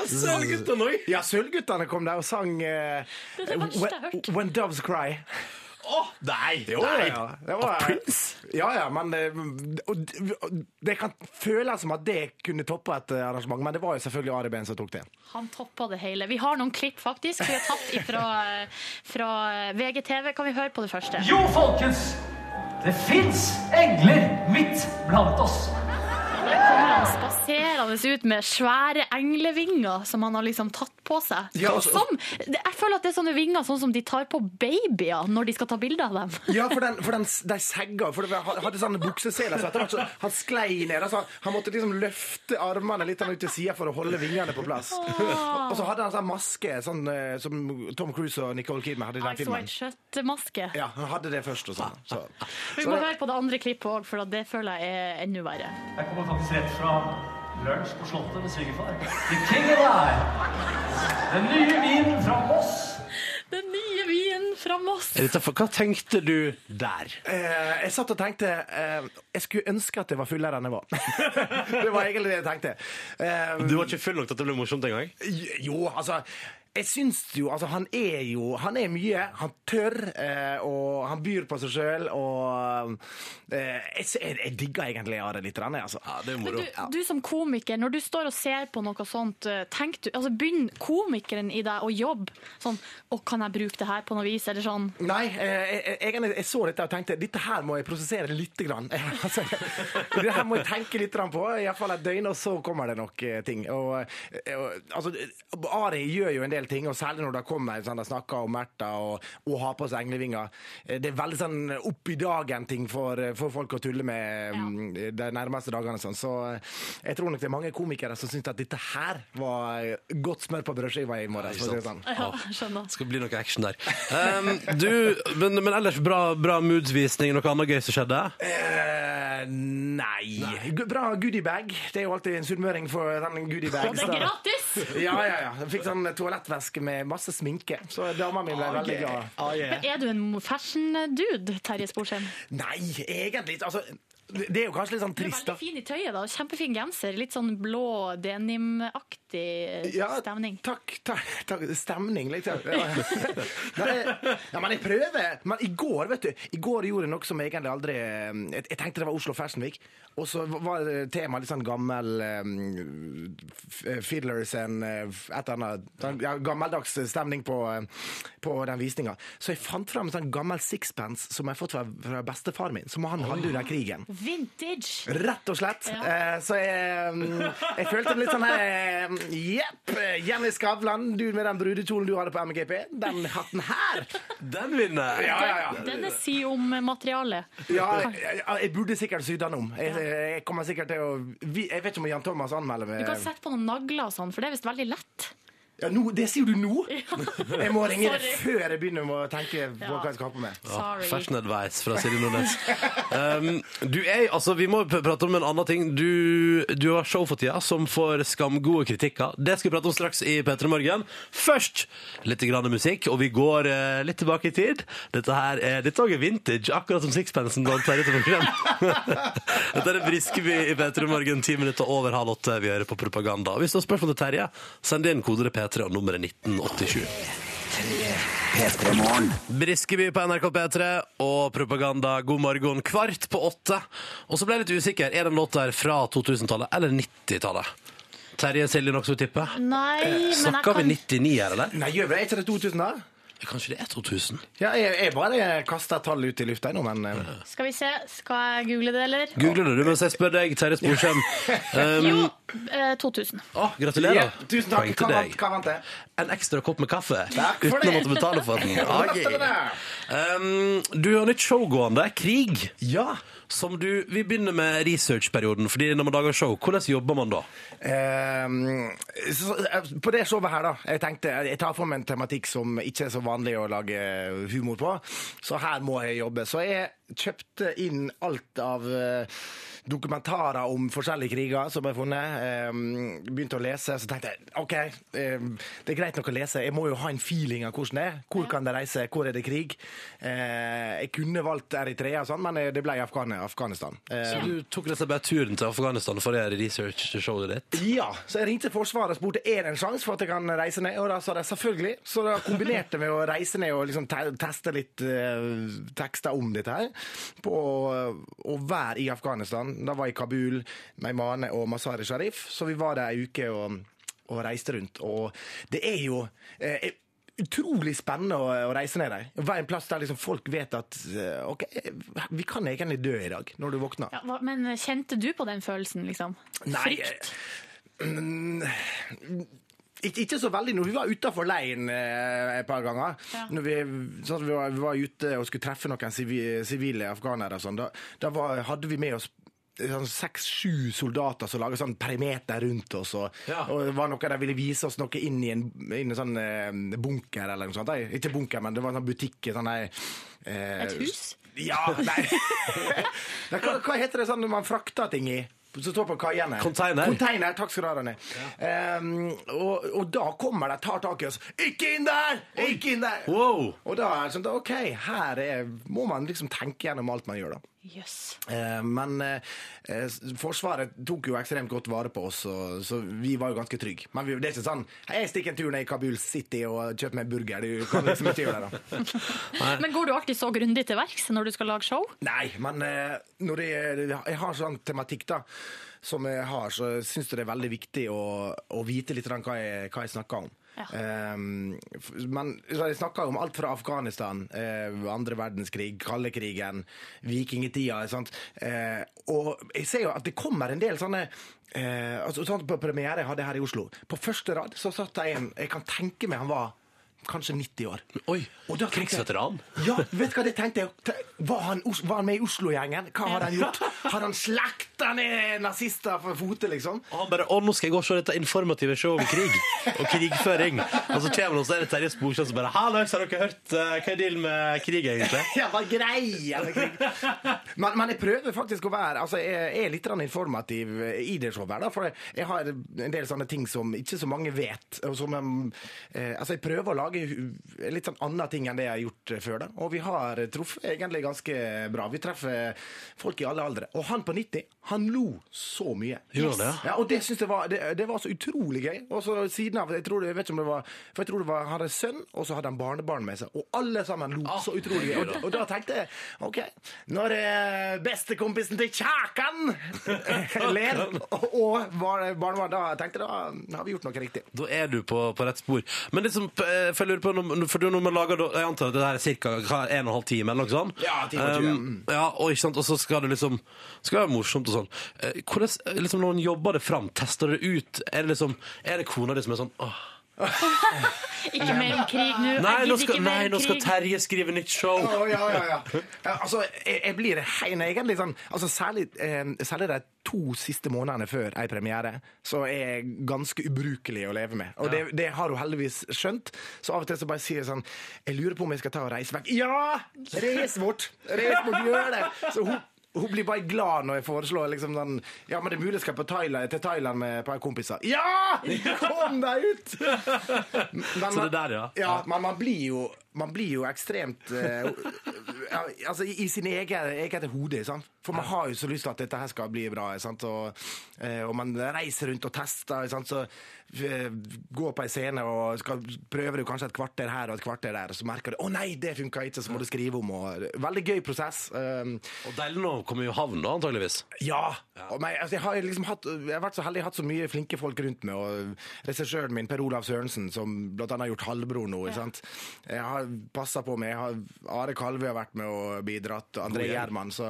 Speaker 2: Sølvgutten òg!
Speaker 6: Ja, Sølvguttene kom der og sang eh,
Speaker 4: Det er det verste jeg har hørt.
Speaker 6: when, when Doves Cry.
Speaker 2: nei!
Speaker 6: Jo,
Speaker 2: nei.
Speaker 6: ja, det var-
Speaker 2: Av Prince?
Speaker 6: Ja, ja, men eh, og, og, Det kan føles som at det kunne toppe et eh, arrangement, men det var jo selvfølgelig Ari Behn som tok det.
Speaker 4: Han toppa det hele. Vi har noen klipp, faktisk. Vi har tatt ifra, fra VGTV. Kan vi høre på det første?
Speaker 7: Jo, folkens! Det fins engler midt blant oss.
Speaker 4: Han spaserende ut med svære englevinger som han har liksom tatt på seg.
Speaker 6: Ja, altså-
Speaker 4: som, det- jeg føler at det er sånne vinger sånn som de tar på babyer når de skal ta bilde av dem.
Speaker 6: Ja, for, den, for den, de segga For det var- hadde sånne bukseseler, så etter hvert så han sklei ned. Altså, han måtte liksom løfte armene litt sånn ut til sida for å holde vingene på plass. Og så hadde han sånn maske, sånn eh, som Tom Cruise og Nicole Kidman hadde i den
Speaker 4: Ice White
Speaker 6: filmen.
Speaker 4: Shut-maske.
Speaker 6: Ja, han hadde det først og sånn. Så.
Speaker 4: Vi må høre på det andre klippet òg, for det føler jeg er enda verre.
Speaker 7: Jeg kommer faktisk rett fra lunsj på Slottet med svigerfar. The King of Eye. Den nye vinen fra Moss.
Speaker 4: Den nye vinen fra Moss.
Speaker 2: Er dette for- Hva tenkte du der?
Speaker 6: Eh, jeg satt og tenkte eh, Jeg skulle ønske at jeg var fullere enn jeg var. [LAUGHS] det var egentlig det jeg tenkte. Eh,
Speaker 2: Du var ikke full nok til at det ble morsomt engang?
Speaker 6: jo, altså jeg syns jo, altså Han er jo Han er mye. Han tør, eh, og han byr på seg sjøl. Og eh, jeg, sy- jeg, jeg digger egentlig Are litt. grann, jeg, Altså.
Speaker 2: Ja, det er
Speaker 4: Men
Speaker 2: moro.
Speaker 4: du, du som komiker, når du står og ser på noe sånt, eh, tenk du, altså begynn komikeren i deg å jobbe. Sånn, å, kan jeg bruke det her på noe vis, eller sånn.
Speaker 6: Nei, eh, jeg, jeg, egentlig- jeg så dette og tenkte dette her må jeg prosessere litt. Grann. [LAUGHS] altså, det her må jeg tenke litt grann på, iallfall et døgn, og så kommer det nok eh, ting. Og, eh, og, altså, Ari gjør jo en del ting, og særlig når det kommer sånn, de snakker om Märtha og, og har på seg englevinger. Eh, Det er veldig sånn opp i dagen-ting for, eh, for folk å tulle med mm, de nærmeste dagene. og Sånn. Så eh, jeg tror nok det er mange komikere som syns at dette her var eh, godt smør på brødskiva i morges. for å si det sånn.
Speaker 4: Ja, skjønner.
Speaker 2: Skal bli noe action der. Um, du, men, men ellers bra, bra moodsvisning. Noe annet gøy som skjedde?
Speaker 6: Eh, nei. Gu- Bra goodiebag. Det er jo alltid en sunnmøring for den goodiebagen.
Speaker 4: Og det er gratis!
Speaker 6: Ja, ja, ja. Jeg fikk sånn toalettveske med masse sminke, så dama mi ble veldig glad.
Speaker 4: Men er du en fashion-dude, Terje Sporsheim?
Speaker 6: Nei, egentlig ikke. Altså, det det er jo kanskje litt sånn
Speaker 4: Du er
Speaker 6: trist,
Speaker 4: veldig
Speaker 6: da.
Speaker 4: fin i tøyet, da. Kjempefin genser. Litt sånn blå denimaktig eh,
Speaker 6: Ja,
Speaker 4: stemning.
Speaker 6: Takk, takk, takk. Stemning, liksom. Ja. [LAUGHS] Nei, ja, men jeg prøver. Men i går, vet du, i går gjorde jeg noe som jeg egentlig aldri um, Jeg, jeg tenkte det var Oslo Fashion Week, og så var det temaet litt sånn gammel um, f- Fiddlers and eh, f- et eller annet sånn, ja, Gammeldags stemning på, eh, på den visninga. Så jeg fant fram en sånn gammel sixpence som jeg har fått fra, fra bestefaren min, som han hadde under krigen.
Speaker 4: Vintage!
Speaker 6: Rett og slett.
Speaker 4: Ja.
Speaker 6: Eh, så jeg, mm, jeg følte meg litt sånn her eh, Jepp! Jenny Skavlan, du med den brudekjolen du hadde på MGP. Den hatten her!
Speaker 2: Den vinner!
Speaker 6: Ja, ja, ja.
Speaker 4: Denne si om materialet.
Speaker 6: ja jeg, jeg burde sikkert sydd den om. Jeg, jeg kommer sikkert til å vi- Jeg vet ikke om Jan Thomas anmelder
Speaker 4: Du kan
Speaker 6: meg.
Speaker 4: sette på noen nagler og sånn, for det er visst veldig lett.
Speaker 6: Ja, nå, det sier du
Speaker 4: [LAUGHS]
Speaker 6: nå? Jeg må ringe deg
Speaker 4: Sorry.
Speaker 6: før jeg begynner med å tenke på
Speaker 4: Ja.
Speaker 6: hva jeg skal ha på meg.
Speaker 4: Sorry.
Speaker 2: Fashion advice fra Silje Nordnes. Um, du er, altså, vi må pr- prate om en annen ting. Du, du har show for tida som får skamgode kritikker. Det skal vi prate om straks i P3 Morgen. Først litt grann musikk, og vi går eh, litt tilbake i tid. Dette her er, dette også er vintage, akkurat som sixpensen da han tar ut [LAUGHS] Dette er Briskeby i P3 Morgen, ti minutter over halv åtte. Vi hører på propaganda. Og Hvis du har spørsmål til Terje, send inn kodere P3 og nummeret 1987. Briskeby på NRK P3 og propaganda God morgen kvart på åtte. Og så ble jeg litt usikker. Er det en låt der fra 2000-tallet eller 90-tallet? Terje Silje nokså tippe.
Speaker 4: Nei, men jeg
Speaker 2: Snakker vi
Speaker 4: kan
Speaker 2: 99 her, eller?
Speaker 6: Nei, gjør vi det? Er ikke det 2000, da?
Speaker 2: Kanskje det er 2000?
Speaker 6: Ja, jeg, jeg bare kaster tall ut i lufta nå, men eh,
Speaker 4: Skal vi se, skal jeg google det, eller?
Speaker 2: Googler du det mens jeg spør deg, Terje
Speaker 6: [LAUGHS]
Speaker 2: Sporsem? Um,
Speaker 4: Jo, eh, 2000.
Speaker 2: å, gratulerer.
Speaker 6: ja, Tusen takk.
Speaker 2: Poeng
Speaker 6: Hva
Speaker 2: til deg.
Speaker 6: vant- Hva vant jeg?
Speaker 2: En ekstra kopp med kaffe
Speaker 6: Takk for
Speaker 2: uten å
Speaker 6: det.
Speaker 2: måtte betale for
Speaker 6: [LAUGHS]
Speaker 2: den. Ah, yeah. Um, du har nytt show gående. Krig.
Speaker 6: Ja.
Speaker 2: Som du, vi begynner med researchperioden, fordi når man lager show, hvordan jobber man da?
Speaker 6: Ehm, så, så- på det showet her, da. Jeg tenkte, jeg tar for meg en tematikk som ikke er så vanlig å lage humor på, så her må jeg jobbe. Så jeg kjøpte inn alt av eh, dokumentarer om forskjellige kriger som jeg har funnet. Ehm, begynte å lese, så tenkte jeg OK, ehm, det er greit nok å lese, jeg må jo ha en feeling av hvordan det er. Hvor kan de reise, hvor er det krig? Eh, jeg kunne valgt Eritrea og sånn, men eh, det ble Afghan Afghanistan. Eh,
Speaker 2: Så du tok rett og slett bare turen til Afghanistan for å gjøre research til showet ditt?
Speaker 6: Ja, så jeg ringte Forsvaret og spurte er det en sjanse for at jeg kan reise ned. Og da sa de selvfølgelig. Så da kombinerte vi å reise ned og liksom te teste litt eh, tekster om dette her. På å- å være i Afghanistan. Da var jeg i Kabul, Meymane og Masari Sharif. Så vi var der ei uke og, og reiste rundt. Og det er jo eh, Utrolig spennende å, å reise ned der. Være en plass der liksom folk vet at eh, OK, vi kan egentlig dø i dag, når du våkner.
Speaker 4: Ja, hva- men kjente du på den følelsen, liksom?
Speaker 6: Nei, eh,
Speaker 4: Frykt?
Speaker 6: Ik ikke så veldig når vi var utafor leiren eh, et par ganger.
Speaker 4: Ja.
Speaker 6: Når vi, sånn, at vi, var, vi var ute og skulle treffe noen sivi- sivile afghanere og sånn. Da, da var, hadde vi med oss sånn seks-sju soldater som laget sånn perimeter rundt oss. Og, og det var noe de ville vise oss noe inn i en, inn i en sånn eh, bunker eller noe sånt. Nei, ikke bunker, men det var en sånn butikk. Sånn, nei, eh,
Speaker 4: Et hus?
Speaker 6: Ja, nei. [LAUGHS] nei hva, hva heter det sånn når man frakter ting i? Som står på kaiene?
Speaker 2: Container.
Speaker 6: Container, takk skal du ha, Ronny. Ehm, og, og da kommer de, tar tak i oss. Ikke inn der! Ikke inn der!
Speaker 2: Wow!
Speaker 6: Og da er det sånn, da, OK, her er, må man liksom tenke gjennom alt man gjør, da.
Speaker 4: Jøss.
Speaker 6: Eh, Men eh, eh, Forsvaret tok jo ekstremt godt vare på oss, og, så vi var jo ganske trygge. Men vi, det er ikke sånn «Hei, Jeg stikker en tur ned i Kabul City og kjøper meg en burger. Du kan liksom ikke gjøre det, da.
Speaker 4: Men går du alltid så grundig til verks når du skal lage show?
Speaker 6: Nei, men eh, når jeg, jeg har sånn tematikk, da, som jeg har, så syns jeg det er veldig viktig å, å vite litt grann hva jeg, hva jeg snakker om.
Speaker 4: Ja.
Speaker 6: Ehm, f- men så jeg snakker om alt fra Afghanistan, eh, andre verdenskrig, kaldekrigen, vikingtida. ikke sant? Eh, og jeg ser jo at det kommer en del sånne eh, altså, sånn På premiere jeg hadde her i Oslo, på første rad så satt det en jeg kan tenke meg han var kanskje 90 år.
Speaker 2: Oi!
Speaker 6: Og da tenkte jeg-
Speaker 2: Krigsveteran?
Speaker 6: Ja, vet du hva det tenkte jeg? Te- Var han, Os- var han med i Oslo-gjengen? Hva har han gjort? Har han slakta ned nazister for fote, liksom?
Speaker 2: Og han bare 'Å, nå skal jeg gå og se dette informative showet om krig og [LAUGHS] krigføring'. Og så kommer han, og så er det Terje Sporsem som bare 'Hallais, har dere hørt eh, hva er dealen med krig, egentlig?'
Speaker 6: Ja, hva greier det, Krig? liksom. men, men jeg prøver faktisk å være Altså, jeg er litt grann informativ i det showet, her, da, for jeg har en del sånne ting som ikke så mange vet. Og som, um, eh, altså, jeg prøver å lage hu- litt sånn annen ting enn det jeg har gjort eh, før. da. Og vi har truffet egentlig ganske bra. Vi treffer folk i alle aldre. Og han på 90, han lo så mye.
Speaker 2: Gjorde han det,
Speaker 6: Ja, og det synes jeg var, det, det var så utrolig gøy. Og så siden av, jeg tror, det- jeg vet ikke om det var, for jeg tror det var, han hadde sønn, og så hadde han barnebarn med seg. Og alle sammen lo så utrolig gøy. Og, Ah, da- og da tenkte jeg, ok, når eh, bestekompisen til Kjakan [LAUGHS] ler, og, og var- barnebarn, da tenkte jeg, da har vi gjort noe riktig.
Speaker 2: Da er du på, på rett spor. Men liksom, eh, for jeg lurer på når- for når man lager da- Jeg antar at det her er cirka hva, en og en halv time eller noe sånt?
Speaker 6: Ja, time og tjue,
Speaker 2: Um, ja, og, ikke sant? og så skal det liksom skal det være morsomt og sånn. Eh, Hvordan, eh, liksom, når man jobber det fram, tester det ut, er det liksom Er det kona di som er sånn Åh,
Speaker 4: Ikke mer om krig nå. Jeg
Speaker 8: Nei, nå
Speaker 4: gidder
Speaker 8: skal,
Speaker 4: ikke mer
Speaker 8: nei,
Speaker 4: om
Speaker 8: nå skal
Speaker 4: krig.
Speaker 8: Terje skrive nytt show!
Speaker 6: Å, ja, ja, ja. Ja, Altså, jeg, jeg blir hein egentlig sånn altså, særlig, eh, særlig de to siste månedene før ei premiere, så er jeg ganske ubrukelig å leve med. Og det, det har hun heldigvis skjønt. Så av og til så bare sier jeg sånn Jeg lurer på om jeg skal ta og reise vekk. Ja! Reis bort! Reis bort, gjør det! Så hun hun blir bare glad når jeg foreslår liksom den, Ja, men det er mulig jeg skal på Thailand, til Thailand med et par kompiser. Ja! Kom deg ut! Men
Speaker 8: Så
Speaker 6: man-
Speaker 8: det der, ja.
Speaker 6: Ja, men man blir jo, man blir jo ekstremt eh, [LAUGHS] ja, Altså i, i sin egen, eget hode, sant? For man har jo så lyst til at dette her skal bli bra, sant? Og, eh, og man reiser rundt og tester, sant? Så eh, går på en scene og skal, prøver du kanskje et kvarter her og et kvarter der, og så merker du, å nei, det funket ikke, så må du skrive om, og veldig gøy prosess. Um,
Speaker 8: Og deilig nå kommer jo havn, da, antageligvis.
Speaker 6: ja! Og meg, altså, jeg, har liksom hatt, jeg har vært så heldig jeg har hatt så mye flinke folk rundt meg. Og regissøren min, Per Olav Sørensen, som blant annet har gjort halvbror nå. ikke sant? Jeg har passa på meg. Jeg har, Are Kalve har vært med og bidratt. og André Gjerman. Så,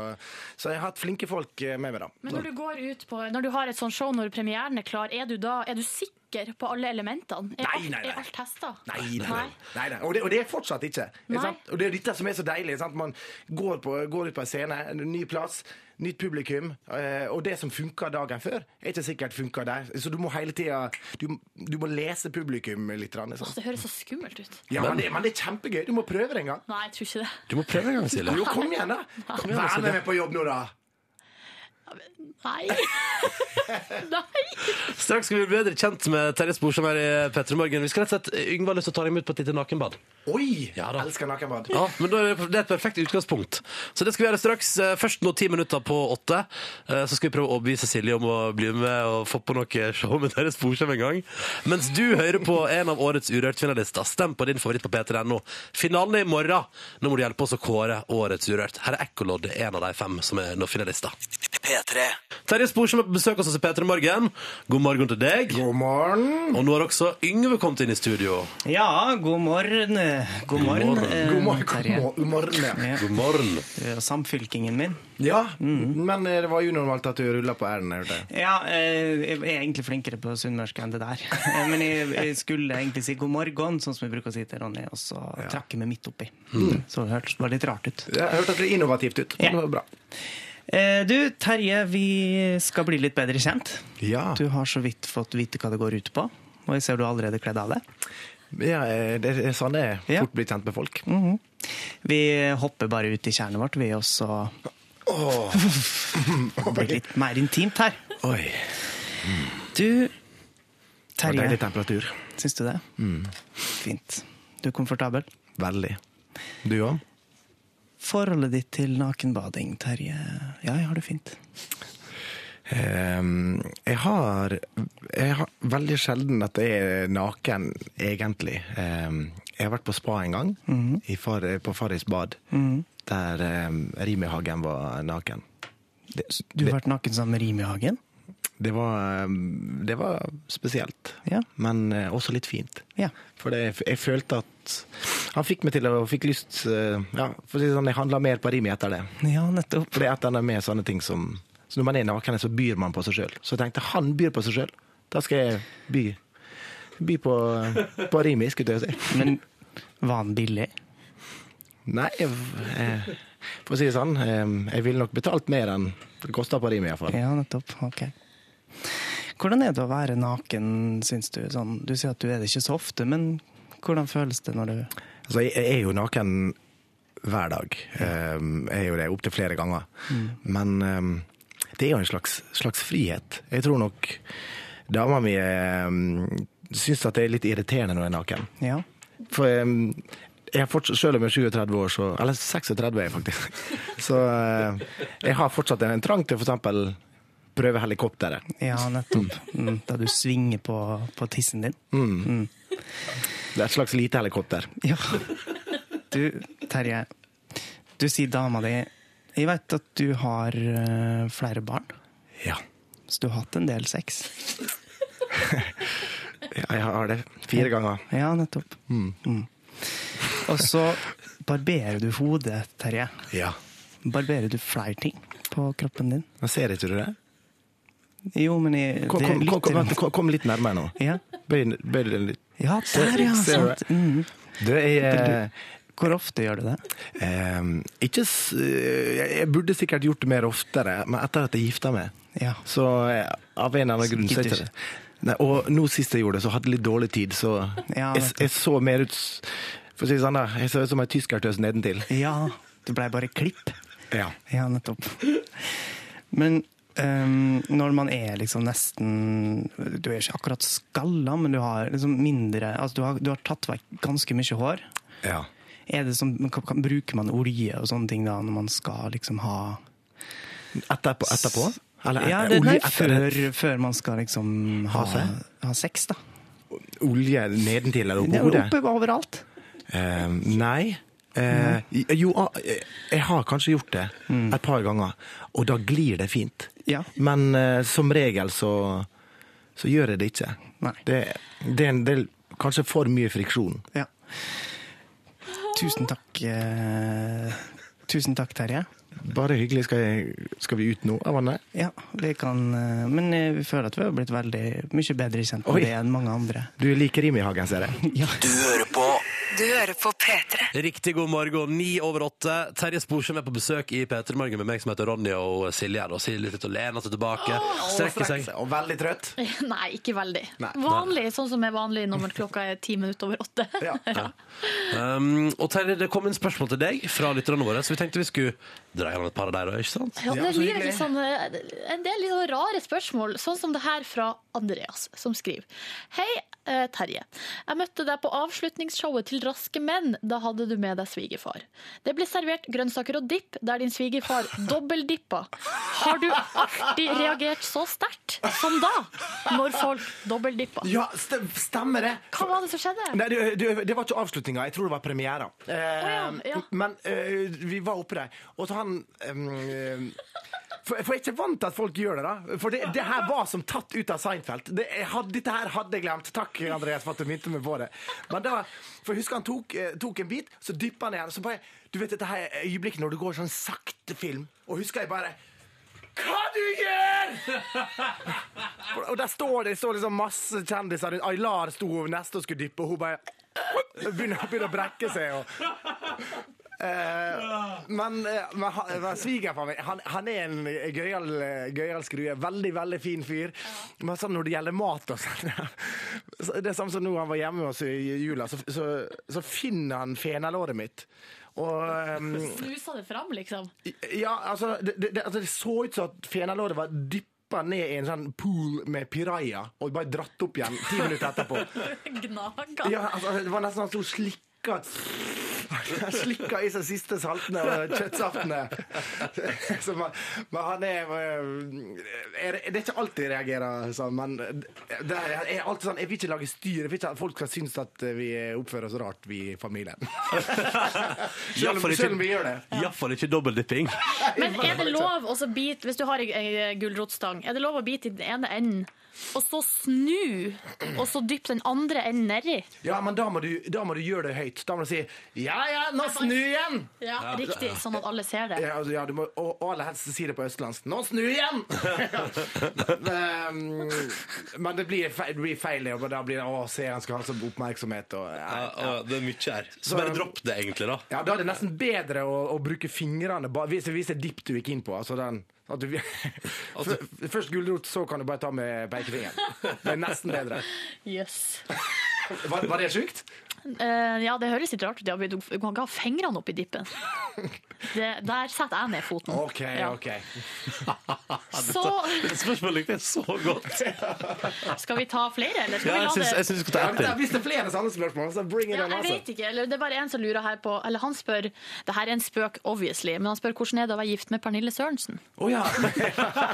Speaker 6: så jeg har hatt flinke folk eh, med meg, da.
Speaker 4: Men når du går ut på Når du har et sånt show når premieren er klar, er du da Er du sikker på alle elementene? Er
Speaker 6: Nei,
Speaker 4: alt-
Speaker 6: nei, nei.
Speaker 4: Er alt testa?
Speaker 6: Nei, nei, nei. nei, nei. Og, det, og det er fortsatt ikke.
Speaker 4: Nei.
Speaker 6: ikke sant? Og det er dette som er så deilig. Sant? Man går, på, går ut på en scene, en ny plass, nytt publikum. eh, Og det som funka dagen før, er ikke sikkert funka der. Så du må hele tida du, du må lese publikum litt. grann, ikke sant?
Speaker 4: Åh, det høres så skummelt ut.
Speaker 6: Ja, men, det, men det er kjempegøy. Du må prøve det en gang.
Speaker 4: Nei, jeg tror ikke det.
Speaker 8: Du må prøve en gang, Silje.
Speaker 6: Jo, kom igjen, da. Vær med meg på jobb nå, da. [LAUGHS]
Speaker 4: Nei. nei.
Speaker 2: Straks skal vi bli bedre kjent med Terje Sporsem her i Petter Morgen. Vi skal rett og slett eh, Yngve har lyst til å ta deg med ut på et lite nakenbad.
Speaker 6: Oi!
Speaker 2: Ja, da.
Speaker 6: Elsker nakenbad.
Speaker 2: Ja, men da er det det er et perfekt utgangspunkt. Så det skal vi gjøre straks. Eh, Først nå ti minutter på åtte. Eh, Så skal vi prøve å overbevise Silje om å bli med og få på noe show med Terje Sporsem en gang. Mens du hører på en av årets Urørt-finalister. Stem på din favoritt på p3.no. Finalen er i morgen. Nå må du hjelpe oss å kåre årets Urørt. Her er Ekkolodd en av de fem som er nå finalister. Terje Sporsem er på besøk hos oss i P3 Morgen. God morgen til deg.
Speaker 6: God morgen.
Speaker 2: Og nå har også Yngve kommet inn i studio.
Speaker 3: Ja, god morgen. God morgen, eh,
Speaker 6: God morgen. God
Speaker 3: Terje.
Speaker 6: mor- God morgen.
Speaker 2: God morgen.
Speaker 3: Eh, Samfylkingen min.
Speaker 6: Ja, men eh, det var unormalt at du rulla på r-en. hørte jeg.
Speaker 3: Ja, eh, jeg er egentlig flinkere på sunnmørsk enn det der. Eh, Men jeg, jeg skulle egentlig si god morgen, sånn som jeg bruker å si til Ronny, og så trakk jeg meg midt oppi. Så det hørtes bare litt rart ut.
Speaker 6: Jeg hørte at det er innovativt ut.
Speaker 3: Ja.
Speaker 6: Det var bra.
Speaker 3: Eh, Du, Terje, vi skal bli litt bedre kjent.
Speaker 6: Ja.
Speaker 3: Du har så vidt fått vite hva det går ut på, og jeg ser du har allerede kledd av deg.
Speaker 6: Ja, eh, det er sånn det er.
Speaker 3: Ja.
Speaker 6: Fort blir kjent med folk.
Speaker 3: Mhm. Vi hopper bare ut i kjernet vårt, vi også. Det blir litt mer intimt her.
Speaker 6: Oi.
Speaker 3: Du,
Speaker 6: Det var deilig
Speaker 3: Terje,
Speaker 6: temperatur.
Speaker 3: syns du det? Fint. Du er komfortabel?
Speaker 6: Veldig. Du òg?
Speaker 3: Forholdet ditt til nakenbading, Terje. Ja, jeg har det fint.
Speaker 6: Ehm, jeg, har, jeg har veldig sjelden at jeg er naken, egentlig. Ehm, jeg har vært på spa en gang,
Speaker 3: Mhm.
Speaker 6: i far, på Farris bad, der um, Rimi-Hagen var naken. Det,
Speaker 3: Du
Speaker 6: det,
Speaker 3: har vært naken sammen med Rimi Hagen?
Speaker 6: det, var, ehm, det var spesielt,
Speaker 3: Ja.
Speaker 6: men eh, også litt fint.
Speaker 3: Ja.
Speaker 6: For det, jeg følte at Han fikk meg til å fikk lyst eh, ja, for å si det sånn, Jeg handla mer på Rimi etter det.
Speaker 3: Ja, nettopp.
Speaker 6: For det er et eller annet med sånne ting som Så når man er naken, så byr man på seg sjøl. Så jeg tenkte han byr på seg sjøl. Da skal jeg by. By på, på Rimi, skulle jeg til å si.
Speaker 3: Men var han billig?
Speaker 6: Nei, jeg, eh, for å si det sånn, eh, jeg ville nok betalt mer enn det kosta på Rimi, iallfall.
Speaker 3: Ja, nettopp. Ok. Hvordan er det å være naken, syns du? Sånn, du sier at du er det ikke så ofte, men hvordan føles det når du
Speaker 6: Altså, jeg, jeg er jo naken hver dag. Um, jeg er jo det opptil flere ganger.
Speaker 3: Mm.
Speaker 6: Men um, det er jo en slags, slags frihet. Jeg tror nok dama mi um, syns at det er litt irriterende når jeg er naken.
Speaker 3: Ja.
Speaker 6: For um, jeg har fortsatt, selv om jeg er 37 år, så Eller 36 er jeg
Speaker 3: [LAUGHS]
Speaker 6: faktisk. Så uh, jeg har fortsatt en, en trang til f.eks. prøve helikopteret.
Speaker 3: Ja, nettopp. Mm, da du svinger på, på tissen din.
Speaker 6: Det er et slags lite helikopter.
Speaker 3: Ja. Du, Terje. Du sier dama di Jeg vet at du har eh, flere barn,
Speaker 6: Ja.
Speaker 3: så du har hatt en del sex.
Speaker 6: ja, jeg har det fire ganger.
Speaker 3: Ja, nettopp. Mm. Og så barberer du hodet, Terje.
Speaker 6: Ja.
Speaker 3: Barberer du flere ting på kroppen din?
Speaker 6: Men ser ikke du det?
Speaker 3: Jo, men jeg,
Speaker 6: Kom,
Speaker 3: det er
Speaker 6: kom,
Speaker 3: litt
Speaker 6: kom, kom, kom, kom litt nærmere nå.
Speaker 3: Ja.
Speaker 6: Bøy, bøy deg litt.
Speaker 3: Ja, der, ja.
Speaker 6: Sarah.
Speaker 3: Sant. Mm.
Speaker 6: Du, jeg, eh,
Speaker 3: Hvor ofte gjør du det?
Speaker 6: Ehm, ikke s jeg jeg burde sikkert gjort det mer oftere, men etter at jeg gifta meg,
Speaker 3: Ja.
Speaker 6: så eh, av en eller annen grunn så er
Speaker 3: Gidder
Speaker 6: ikke det. Nei, og nå sist jeg gjorde det, så hadde jeg litt dårlig tid, så
Speaker 3: Ja,
Speaker 6: jeg,
Speaker 3: vet du.
Speaker 6: jeg så mer ut s- For å si det sånn, da. Jeg så ut som ei tyskertøs nedentil.
Speaker 3: Ja, det blei bare klipp.
Speaker 6: Ja.
Speaker 3: Ja, nettopp. Men ehm, når man er liksom nesten Du er ikke akkurat skalla, men du har liksom mindre altså du, har, du har tatt vekk ganske mye hår.
Speaker 6: ja.
Speaker 3: Er det sånn, kan, kan, bruker man olje og sånne ting da, når man skal liksom ha
Speaker 6: Etterpå? etterpå? Eller
Speaker 3: Ja,
Speaker 6: eh,
Speaker 3: det, nei,
Speaker 6: olje, etter,
Speaker 3: før, før man skal liksom ha,
Speaker 6: Ha seg?
Speaker 3: ha sex, da.
Speaker 6: olje nedentil eller
Speaker 3: Det
Speaker 6: oppå
Speaker 3: er jo
Speaker 6: hodet?
Speaker 3: oppe overalt.
Speaker 6: Eh, nei. Eh, jo, ah, eh, jeg har kanskje gjort det et par ganger, og da glir det fint.
Speaker 3: Ja.
Speaker 6: Men eh, som regel så, så gjør jeg det ikke.
Speaker 3: Nei.
Speaker 6: Det, det er en del, kanskje for mye friksjon.
Speaker 3: Ja. Tusen takk. eh, tusen takk, Terje.
Speaker 6: Bare hyggelig. Skal, jeg, skal vi ut nå av vannet?
Speaker 3: Ja, vi kan eh, Men eh, vi føler at vi har blitt veldig mye bedre kjent
Speaker 6: Oi.
Speaker 3: med det enn mange
Speaker 6: [LAUGHS]
Speaker 3: andre.
Speaker 6: Du liker Rimi-hagen, ser jeg.
Speaker 3: Ja.
Speaker 1: Du hører på P3.
Speaker 2: Riktig god morgen, ni over åtte. Terje Sporsem er på besøk i P3 Morgen med meg som heter Ronny og Silje. her, Og Silje sitter og lener seg tilbake, strekker seg.
Speaker 6: Og veldig trøtt.
Speaker 4: Nei, ikke veldig.
Speaker 6: Nei.
Speaker 4: Vanlig, sånn som er vanlig når klokka er ti minutter over åtte.
Speaker 6: Ja.
Speaker 2: Um, og Terje, det kom inn spørsmål til deg fra lytterne våre, så vi tenkte vi skulle dra gjennom et par av dem. Ikke sant?
Speaker 4: Ja,
Speaker 6: Ja,
Speaker 4: det
Speaker 6: så
Speaker 4: lyder
Speaker 6: hyggelig.
Speaker 4: litt sånn, eh, en del litt sånn rare spørsmål, sånn som det her fra Andreas, som skriver. Hei, eh, Terje. Jeg møtte deg på avslutningsshowet til Raske menn. Da hadde du med deg svigerfar. Det ble servert grønnsaker og dipp, der din svigerfar
Speaker 6: [LAUGHS]
Speaker 4: dobbeldippa. Har du alltid reagert så sterkt som da, når folk dobbeldippa?
Speaker 6: Ja, st- stemmer det!
Speaker 4: Hva var det som skjedde?
Speaker 6: Nei, det, det, det var ikke avslutninga. Jeg tror det var premiera.
Speaker 4: Å ja, ja.
Speaker 6: Ehm, Men eh, vi var oppe der, og så han eh, for, for jeg er ikke vant til at folk gjør det, da. For det, det her var som tatt ut av Seinfeld. Det, jeg hadde, dette her hadde jeg glemt. Takk, Andreas, for at du minte meg på det. Men da, for jeg husker han tok, eh, tok en bit, så dyppa han i den, og så bare Du vet dette her øyeblikket når det går sånn sakte film, og husker jeg bare hva du gjør! [LAUGHS] Og- Og der står det står liksom masse kjendiser rundt. Aylar sto neste og skulle dyppe, og hun bare begynner, begynner å brekke seg. Og, Eh, men eh, men, han- men svigerfaren min han, han er en gøyal eh, gøyal skrue. Veldig, veldig fin fyr. Men sånn når det gjelder mat og sånn [LAUGHS] så Det er samme som nå han var hjemme med oss i jula, så, så, så finner han fenalåret mitt. Og ehm,
Speaker 4: Snusa det fram, liksom? [LAUGHS]
Speaker 6: ja, altså det, det, det- altså det så ut som at fenalåret var dyppa ned i en sånn pool med piraja, og bare dratt opp igjen ti minutter etterpå.
Speaker 4: Gnaga?
Speaker 6: Ja, altså, det var nesten sånn at hun slikka [LAUGHS] Slikka i seg siste saltene og kjøttsaftene. [LAUGHS] Så man, men han er eh, er- Det er ikke alltid jeg reagerer sånn, men det er alltid sånn Jeg vil ikke lage styr. Jeg vil ikke at folk skal synes at vi oppfører oss rart, vi i familien. Selv om, selv om vi gjør det.
Speaker 2: Iallfall ikke [LAUGHS] dobbeldypping.
Speaker 4: Men er det lov å så bite, hvis du har ei- ei gulrotstang, er det lov å bite i den ene enden, og så snu, og så dyppe den andre enden nedi?
Speaker 6: Ja, men da må, du, da må du gjøre det høyt. Da må du si 'ja ja, nå snu igjen'!
Speaker 4: Ja, riktig, sånn at alle ser det.
Speaker 6: Ja, altså, ja, du må, og, og aller helst si det på østlandsk. 'Nå snu igjen!' [LAUGHS] men, men det blir feil, det blir feil og da blir det 'å, seeren skal ha så oppmerksomhet', og ja.
Speaker 8: Ja, ja, det er mye her. Så bare dropp det, egentlig, da.
Speaker 6: ja, Da er det nesten bedre å, å bruke fingrene ba- Hvis, hvis det er dipp du gikk inn på. Altså den at du, [LAUGHS] Før- Først gulrot, så kan du bare ta med pekefingeren. Det er nesten bedre.
Speaker 4: Yes.
Speaker 6: Var, var det sjukt?
Speaker 4: Eh, ja, det høres litt rart ut. ja, men Du du kan ikke ha fingrene oppi dippen. Det, der setter jeg ned foten.
Speaker 6: OK,
Speaker 4: Ja.
Speaker 6: OK.
Speaker 4: Så
Speaker 2: Spørsmålet likte jeg så godt.
Speaker 4: [LAUGHS] skal vi ta flere, eller skal
Speaker 2: Ja,
Speaker 4: vi
Speaker 2: jeg
Speaker 4: la
Speaker 2: syns
Speaker 4: det
Speaker 2: jeg syns vi skal ta ett til.
Speaker 6: Hvis det er flere sånne spørsmål, så bring it
Speaker 4: Ja,
Speaker 6: on.
Speaker 4: jeg
Speaker 6: altså.
Speaker 4: vet ikke. Eller det er bare en som lurer her på Eller han spør Det her er en spøk, obviously, men han spør hvordan er det å være gift med Pernille Sørensen?
Speaker 6: Å ja.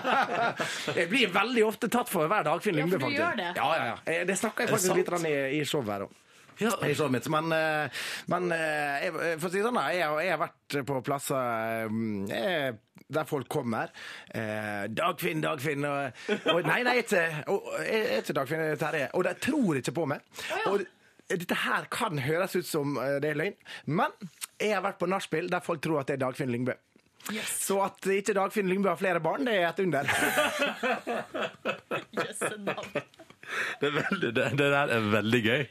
Speaker 6: [LAUGHS] jeg blir veldig ofte tatt for hver dag, Finn
Speaker 4: Ja, for
Speaker 6: Lyngve,
Speaker 4: du
Speaker 6: faktisk.
Speaker 4: gjør det.
Speaker 6: Ja, ja, ja. Eh, Det snakka jeg
Speaker 2: Er det
Speaker 6: faktisk litt
Speaker 2: sant?
Speaker 6: grann i, i showet her òg. I showet mitt. Men, eh, men eh, jeg, for å si det sånn, da, jeg, har- jeg har vært på plasser mm, eh, der folk kommer. Eh, Dagfinn, Dagfinn og, og Nei, nei, jeg er ikke, og, jeg er ikke Dagfinn, jeg er Terje. Og de tror ikke på meg. Og dette her kan høres ut som eh, det er løgn, men jeg har vært på nachspiel der folk tror at det er Dagfinn Lyngbø. Så at ikke Dagfinn Lyngbø har flere barn, det er et under.
Speaker 4: Jøsse navn.
Speaker 2: Det, er veldig, det, det der er veldig gøy.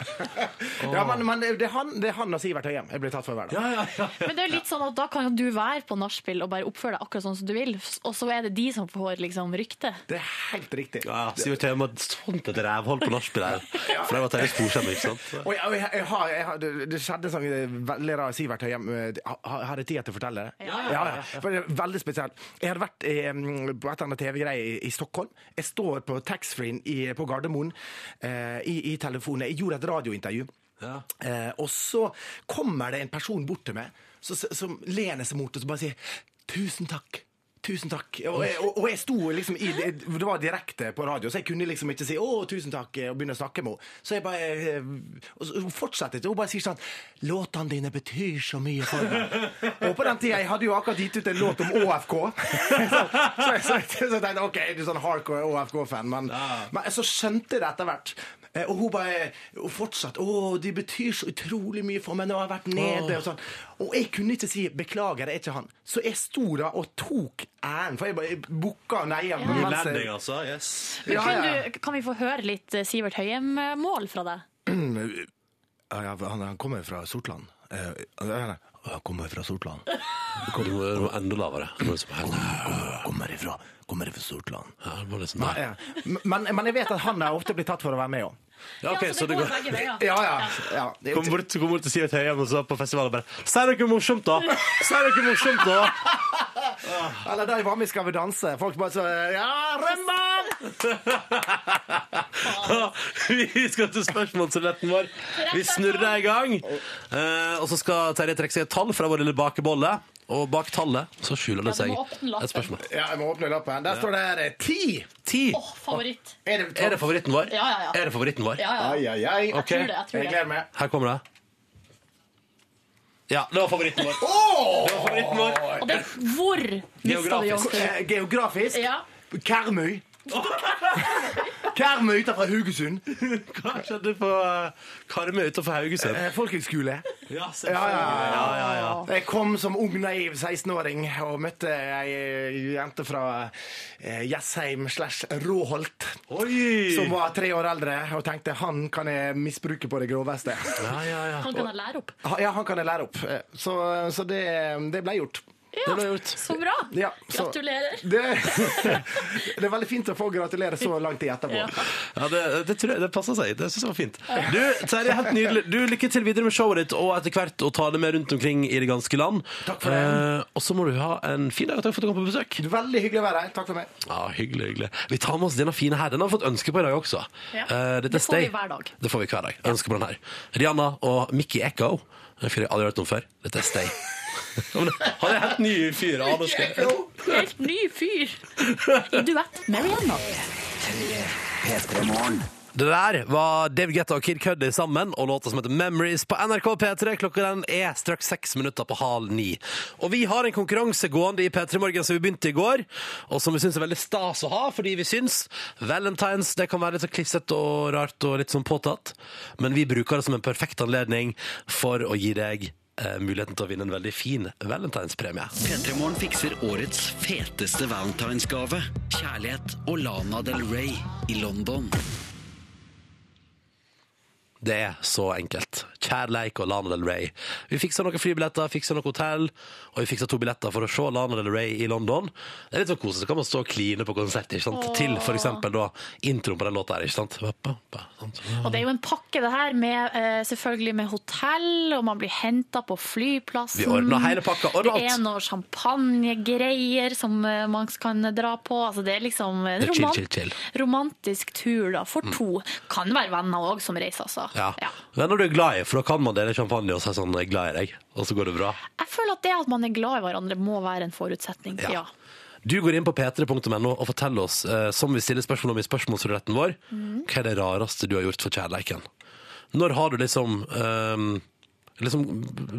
Speaker 6: Ja, men, men det, er han, det er han og Sivert Høyem. Jeg blir tatt for hver dag.
Speaker 2: Ja, ja, ja.
Speaker 4: Men det er jo litt sånn at da kan jo du være på nachspiel og bare oppføre deg akkurat sånn som du vil, og så er det de som får liksom rykte.
Speaker 6: Det er helt riktig.
Speaker 2: Ja, Sivert Høyem hadde sånt et rævhold på nachspiel her. For det var Terje Sporsem, ikke sant?
Speaker 6: Og jeg, og jeg, jeg, har, jeg har, det, det skjedde en sånn veldig rar Sivert Høyem. eh, ha- Har jeg tid til å fortelle det? Ja, ja, For det er veldig spesielt. Jeg hadde vært eh, på et eller annet TV-greie i, i Stockholm. Jeg står på taxfree-en i- på Gardermoen eh, i, i telefonen. Jeg gjorde et radiointervju. Eh, og så kommer det en person bort til meg så- så- som lener seg mot og så bare sier 'tusen takk'. Tusen takk. Og jeg, og og jeg sto liksom i det, det var direkte på radio, så jeg kunne liksom ikke si 'Å, tusen takk' og begynne å snakke med henne. Så jeg bare eh, og så- Hun fortsetter ikke. Hun bare sier sånn 'Låtene dine betyr så mye for meg'. Og på den tida jeg hadde jo akkurat gitt ut en låt om ÅFK. [LAUGHS] Så, så, jeg- så, jeg- så jeg tenkte OK, du er sånn hardcore ÅFK-fan, men, men så skjønte jeg det etter hvert. Eh, Og hun bare hun fortsatte 'Å, de betyr så utrolig mye for meg når jeg har vært nede' og sånn. Og jeg kunne ikke si 'beklager, det er ikke han'. Så jeg sto der og tok æren, for jeg bare jeg booka neia. mens jeg-
Speaker 2: Landing, altså. Yes.
Speaker 4: Men
Speaker 6: Ja,
Speaker 4: kunne
Speaker 6: ja.
Speaker 4: Du, kan vi få høre litt eh, Sivert Høyem-mål fra deg?
Speaker 6: Ja, ja, han, han kommer fra Sortland. Eh, nei, nei, han kommer fra Sortland.
Speaker 2: Du må du må enda lavere. Du må liksom helt-
Speaker 6: Kommer ifra, kommer ifra Sortland.
Speaker 2: Ja, du må liksom der.
Speaker 6: Ja. Men, men jeg vet at han er ofte blitt tatt for å være med òg.
Speaker 2: Ja, ok, så det går.
Speaker 4: altså, begge veier.
Speaker 6: Ja, ja. ja. Det er
Speaker 2: Kom bort, kom bort til Sivert Høyem og så på festival og bare Si noe morsomt, da! Si noe morsomt, da!
Speaker 6: Eller da jeg var med i Skal vi danse. Folk bare så Ja,
Speaker 2: [LAUGHS]
Speaker 6: Remban!
Speaker 2: Vi skal til spørsmålsretten vår. Vi snurrer i gang. Eh, og så skal Terje trekke seg et tall fra vår lille bakebolle. Og bak tallet så skjuler det
Speaker 4: Ja,
Speaker 2: seg
Speaker 4: du må åpne lappen.
Speaker 2: et spørsmål.
Speaker 6: Ja, jeg må åpne lappen. Der står det her eh, ti.
Speaker 2: Ti.
Speaker 4: Åh, favoritt.
Speaker 6: Er det
Speaker 2: Er det favoritten vår?
Speaker 4: Ja, ja, ja.
Speaker 2: Er det favoritten vår?
Speaker 4: Ja, ja.
Speaker 6: Ai, ai, ai.
Speaker 2: Ok.
Speaker 4: Jeg tror det. Jeg tror
Speaker 6: Jeg
Speaker 4: det.
Speaker 6: gleder meg.
Speaker 2: Her kommer det. Ja, det var favoritten vår. Det var favoritten vår.
Speaker 4: Og det er hvor mista du
Speaker 2: Geografisk.
Speaker 4: jobben?
Speaker 6: Eh, Geografisk
Speaker 4: Ja.
Speaker 6: Karmøy. Karmøy utenfor Haugesund.
Speaker 2: Hva skjedde på eh, Karmøy utenfor Haugesund?
Speaker 6: Eh, Folkehøgskole.
Speaker 2: Ja,
Speaker 6: Ja, ja,
Speaker 2: selvfølgelig.
Speaker 6: ja, Jeg kom som ung, naiv 16-åring og møtte ei eh, jente fra eh, Jessheim slash Råholt som
Speaker 2: Oi!
Speaker 6: var tre år eldre, og tenkte han kan jeg misbruke på det groveste.
Speaker 2: Ja, ja, ja.
Speaker 4: Han kan jeg lære opp.
Speaker 6: Ha- Ja, han kan jeg lære opp. Eh, Så, så det, det ble gjort.
Speaker 4: Ja, så bra.
Speaker 6: Ja, så-
Speaker 4: Gratulerer.
Speaker 6: Det, [LAUGHS] det er veldig fint å få gratulere så lang tid etterpå.
Speaker 4: Ja.
Speaker 2: Ja, det, det, tror jeg, det passer seg. Det synes jeg var fint. Du, Terje, helt nydelig. Du, Lykke til videre med showet ditt, og etter hvert å ta det med rundt omkring i det ganske land.
Speaker 6: Takk for det.
Speaker 2: Eh, og så må du ha en fin dag, og takk for at du kom på besøk.
Speaker 6: Veldig hyggelig å være her. Takk for meg.
Speaker 2: Ja, Hyggelig. hyggelig. Vi tar med oss denne fine her. Den har vi fått ønske på i dag også.
Speaker 4: Ja.
Speaker 2: Eh, dette er
Speaker 4: Det får vi
Speaker 2: Stay.
Speaker 4: hver dag.
Speaker 2: Det får vi hver dag. Ønske på den her. Rihanna og Mickey Echo. En fyr jeg aldri har hørt om før. Dette er
Speaker 4: [LAUGHS]
Speaker 2: Stay. Han er helt ny fyr. aner ikke.
Speaker 4: Helt ny fyr. I duett med Rihanna.
Speaker 2: Det der var David Guetta og Kid Cudi sammen og låta som heter Memories på NRK P3. Klokka den er straks seks minutter på halv ni. Og vi har en konkurranse gående i P3 Morgen som vi begynte i går, og som vi syns er veldig stas å ha, fordi vi syns valentines det kan være litt så klissete og rart og litt sånn påtatt, men vi bruker det som en perfekt anledning for å gi deg eh, muligheten til å vinne en veldig fin valentinspremie.
Speaker 9: P3morgen fikser årets feteste valentinsgave. Kjærlighet og Lana Del Rey i London.
Speaker 2: Det er så enkelt. Kjærleik og Lana Del Rey. Vi fiksa noen flybilletter, fiksa noe hotell, og vi fiksa to billetter for å se Lana Del Rey i London. Det er litt sånn koselig. Så kan man stå og kline på konsert ikke sant? til for eksempel da, introen på den låta her. Ikke sant? Ba, ba, ba, sant?
Speaker 4: Og det er jo en pakke, det her, med, eh, selvfølgelig med hotell, og man blir henta på flyplassen.
Speaker 2: Vi ordner hele pakka, ordner
Speaker 4: Det er
Speaker 2: alt.
Speaker 4: noe champagnegreier som eh, man kan dra på. Altså, det er liksom en
Speaker 2: Det er chill,
Speaker 4: romant-
Speaker 2: chill, chill. Mm.
Speaker 4: romantisk tur da, for to. Kan være venner òg som reiser, altså.
Speaker 2: Ja.
Speaker 4: Ja.
Speaker 2: Det er når du er glad i, for da kan man dele champagne og si sånn 'jeg er glad i deg', og så går det bra.
Speaker 4: Jeg føler at det at man er glad i hverandre, må være en forutsetning.
Speaker 2: Ja.
Speaker 4: Ja.
Speaker 2: Du går inn på p3.no og forteller oss, eh, som vi stiller spørsmål om i spørsmålsruletten vår, hva er det rareste du har gjort for kjærleiken? Når har du liksom eh, liksom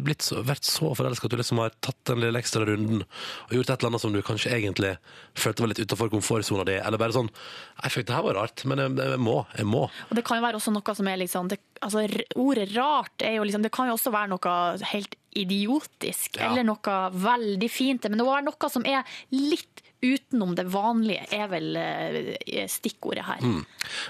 Speaker 2: blitt så, vært så forelska at du liksom har tatt den lille ekstra runden og gjort et eller annet som du kanskje egentlig følte var litt utafor komfortsona di, eller bare sånn Nei, fuck, det her var rart, men jeg, jeg må. Jeg må.
Speaker 4: Og det kan jo være også noe som er liksom det, altså, r- Ordet rart er jo liksom Det kan jo også være noe helt idiotisk,
Speaker 2: Ja.
Speaker 4: eller noe veldig fint. Men det må være noe som er litt utenom det vanlige, er vel eh, stikkordet her.
Speaker 2: Mm.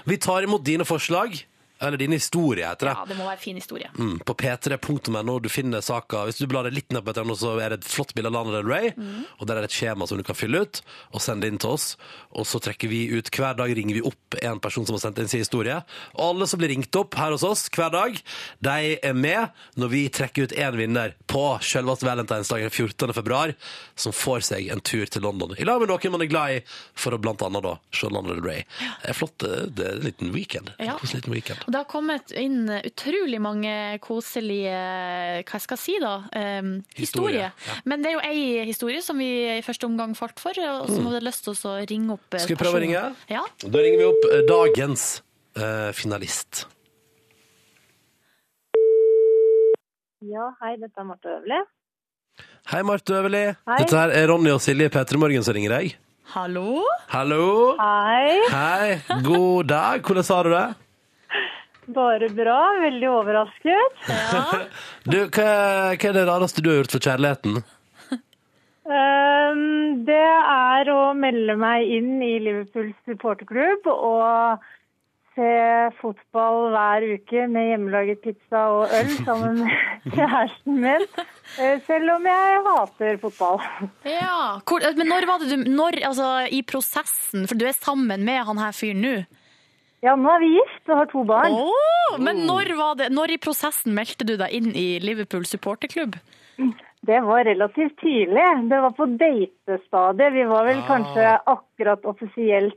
Speaker 2: Vi tar imot dine forslag, eller dine historier, heter det.
Speaker 4: Ja, det må være fin historie.
Speaker 2: Mm, på p3.no du finner saka. Hvis du blar deg litt ned på et eller annet, så er det et flott bilde av Lana Del Rey. Og der er det et skjema som du kan fylle ut og sende inn til oss. Og så trekker vi ut Hver dag ringer vi opp en person som har sendt inn sin historie. Og alle som blir ringt opp her hos oss hver dag, de er med når vi trekker ut én vinner på selveste valentinsdagen 14. februar, som får seg en tur til London. I lag med noen man er glad i, for å blant annet da se Lana Del Rey. Det er flott. eh, Det er en liten weekend.
Speaker 4: Ja.
Speaker 2: En koselig liten weekend.
Speaker 4: Og det har kommet inn utrolig mange koselige hva jeg skal si da, um,
Speaker 2: Historier,
Speaker 4: historier. Men det er jo ei historie som vi i første omgang falt for, eh, og som hadde lyst til oss å ringe opp eh,
Speaker 2: Mm. Skal vi prøve å
Speaker 4: personer.
Speaker 2: ringe?
Speaker 4: Ja.
Speaker 2: Da ringer vi opp eh, dagens eh, finalist.
Speaker 10: Ja, hei, dette er Marte Øverli.
Speaker 2: Hei, Marte Øverli. Dette her er Ronny og Silje i P3 Morgen som ringer deg.
Speaker 4: Hallo?
Speaker 2: Hallo.
Speaker 10: Hei.
Speaker 2: Hei. God dag. Hvordan har du det?
Speaker 10: Bare bra. Veldig overrasket.
Speaker 2: Du, hva, hva er det rareste du har gjort for kjærligheten?
Speaker 10: Ehm, det er å melde meg inn i Liverpools supporterklubb og se fotball hver uke med hjemmelaget pizza og øl sammen med kjæresten min. Eh, Selv om jeg hater fotball.
Speaker 4: Ja, hvor, eh, men når var det du når, altså, I prosessen, for du er sammen med han her fyren nå.
Speaker 10: Ja, nå er vi gift og har to barn.
Speaker 4: Åh, men når, var det, når i prosessen meldte du deg inn i Liverpool supporterklubb?
Speaker 10: Det var relativt tidlig. Det var på datestadiet. Vi var
Speaker 2: Ah.
Speaker 10: vel kanskje akkurat offisielt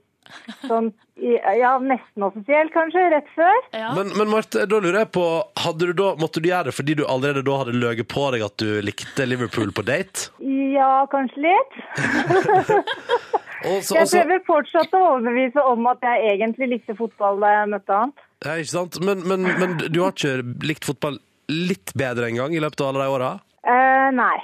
Speaker 10: sånn i- Ja, nesten offisielt, kanskje. Rett før.
Speaker 4: Ja.
Speaker 2: Men, men Marte, da lurer jeg på hadde du da, Måtte du gjøre det fordi du allerede da hadde løyet på deg at du likte Liverpool på date?
Speaker 10: Ja, kanskje
Speaker 2: [LAUGHS]
Speaker 10: litt.
Speaker 2: Og så,
Speaker 10: Jeg
Speaker 2: og så,
Speaker 10: prøver fortsatt å overbevise om at jeg egentlig likte fotball da jeg møtte han.
Speaker 2: ja, ikke sant? Men, men, men du har ikke likt fotball litt bedre engang i løpet av alle de åra?
Speaker 10: Eh, nei.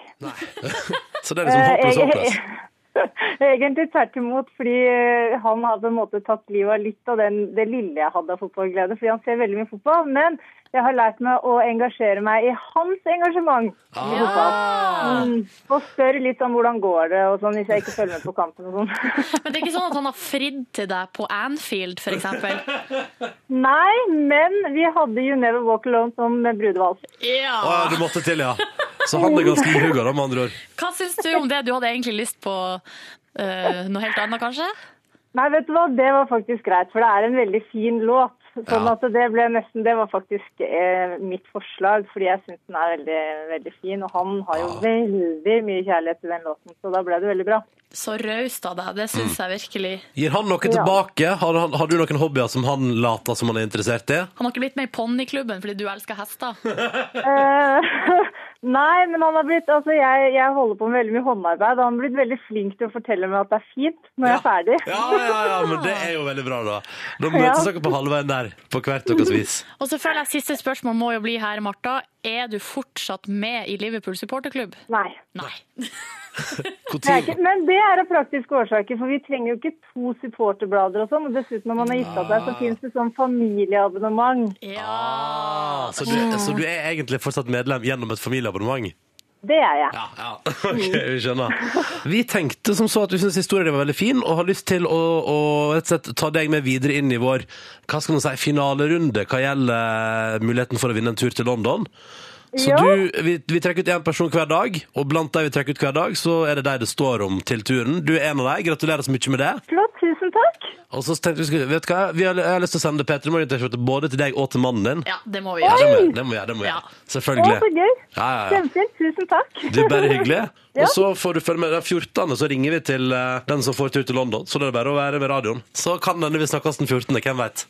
Speaker 2: Så det er liksom håpløst
Speaker 10: Eh,
Speaker 2: håpløst.
Speaker 10: [LAUGHS] Egentlig tvert imot, fordi eh, han har på en måte tatt livet av litt av den, det lille jeg hadde av fotballglede, fordi han ser veldig mye fotball. Men jeg har lært meg å engasjere meg i hans engasjement i fotball. Mm, og spørre litt om hvordan går det og sånn, hvis jeg ikke følger med på kampen og sånn.
Speaker 4: [LAUGHS]
Speaker 10: [LAUGHS]
Speaker 4: Men det er ikke sånn at han har fridd til deg på Anfield, for eksempel?
Speaker 10: Nei, men vi hadde You Never Walk Alone som brudevals.
Speaker 2: Å ja, du måtte til, ja. Så han er ganske ihuga, da, med andre ord.
Speaker 4: Hva syns du om det? Du hadde egentlig lyst på eh, noe helt annet, kanskje?
Speaker 10: Nei, vet du hva, det var faktisk greit, for det er en veldig fin låt. Sånn
Speaker 2: Ja.
Speaker 10: at det ble nesten Det var faktisk eh, mitt forslag, fordi jeg syns den er veldig, veldig fin. Og han har jo
Speaker 2: Ah.
Speaker 10: veldig mye kjærlighet til den låten, så da ble det veldig bra.
Speaker 4: Så raust av deg, det syns jeg virkelig.
Speaker 2: Gir han noe tilbake? Har, han, har du noen hobbyer som han later som han er interessert i?
Speaker 4: Han har ikke blitt med i ponniklubben fordi du elsker hester.
Speaker 10: Eh, [LAUGHS] nei, men han har blitt Altså, jeg, jeg holder på med veldig mye håndarbeid, og han har blitt veldig flink til å fortelle meg at det er fint når jeg er ferdig.
Speaker 2: Ja, ja, ja, men det er jo veldig bra, da. Da
Speaker 10: Ja.
Speaker 2: møtes dere på halvveien der, på hvert deres vis.
Speaker 4: Og så føler jeg siste spørsmål må jo bli her, Marta. Er du fortsatt med i Liverpool supporterklubb?
Speaker 10: Nei.
Speaker 4: Nei.
Speaker 2: Hvor
Speaker 10: Det er
Speaker 2: tid-
Speaker 10: ikke, men det er av praktiske årsaker, for vi trenger jo ikke to supporterblader og sånn. Og dessuten, når man har gifta seg,
Speaker 2: Ah.
Speaker 10: så finnes det sånn familieabonnement.
Speaker 4: Ja.
Speaker 2: Ah, så, du, så du er egentlig fortsatt medlem gjennom et familieabonnement?
Speaker 10: Det er jeg.
Speaker 2: Ja, ja. [LAUGHS] Ok, vi skjønner. Vi tenkte som så at du syntes historien din var veldig fin, og har lyst til å, å rett og slett ta deg med videre inn i vår hva skal man si, finalerunde hva gjelder muligheten for å vinne en tur til London. Så
Speaker 10: Ja.
Speaker 2: du, vi, vi trekker ut én person hver dag, og blant de vi trekker ut hver dag, så er det de det står om til turen. Du er en av dem. Gratulerer så mye med det.
Speaker 10: Flott, tusen takk.
Speaker 2: Og så tenkte vi, skulle- vet du hva, vi har, jeg har lyst til å sende Peter Morgen-T-skjorte både til deg og til mannen din.
Speaker 4: ja, det må vi
Speaker 2: Ja,
Speaker 4: gjøre.
Speaker 2: det må jeg- det må vi gjøre. Det må vi
Speaker 4: Ja.
Speaker 2: gjøre.
Speaker 10: Å,
Speaker 2: Selvfølgelig.
Speaker 10: så gøy.
Speaker 2: Ja, ja, ja.
Speaker 10: Kjempefint. Tusen takk.
Speaker 2: Det er bare hyggelig.
Speaker 10: [LAUGHS] Ja.
Speaker 2: Og så får du følge med den 14. Så ringer vi til eh, den som får tur til London. Så det er bare å være ved radioen. Så kan denne vi snakkes den 14. Hvem veit.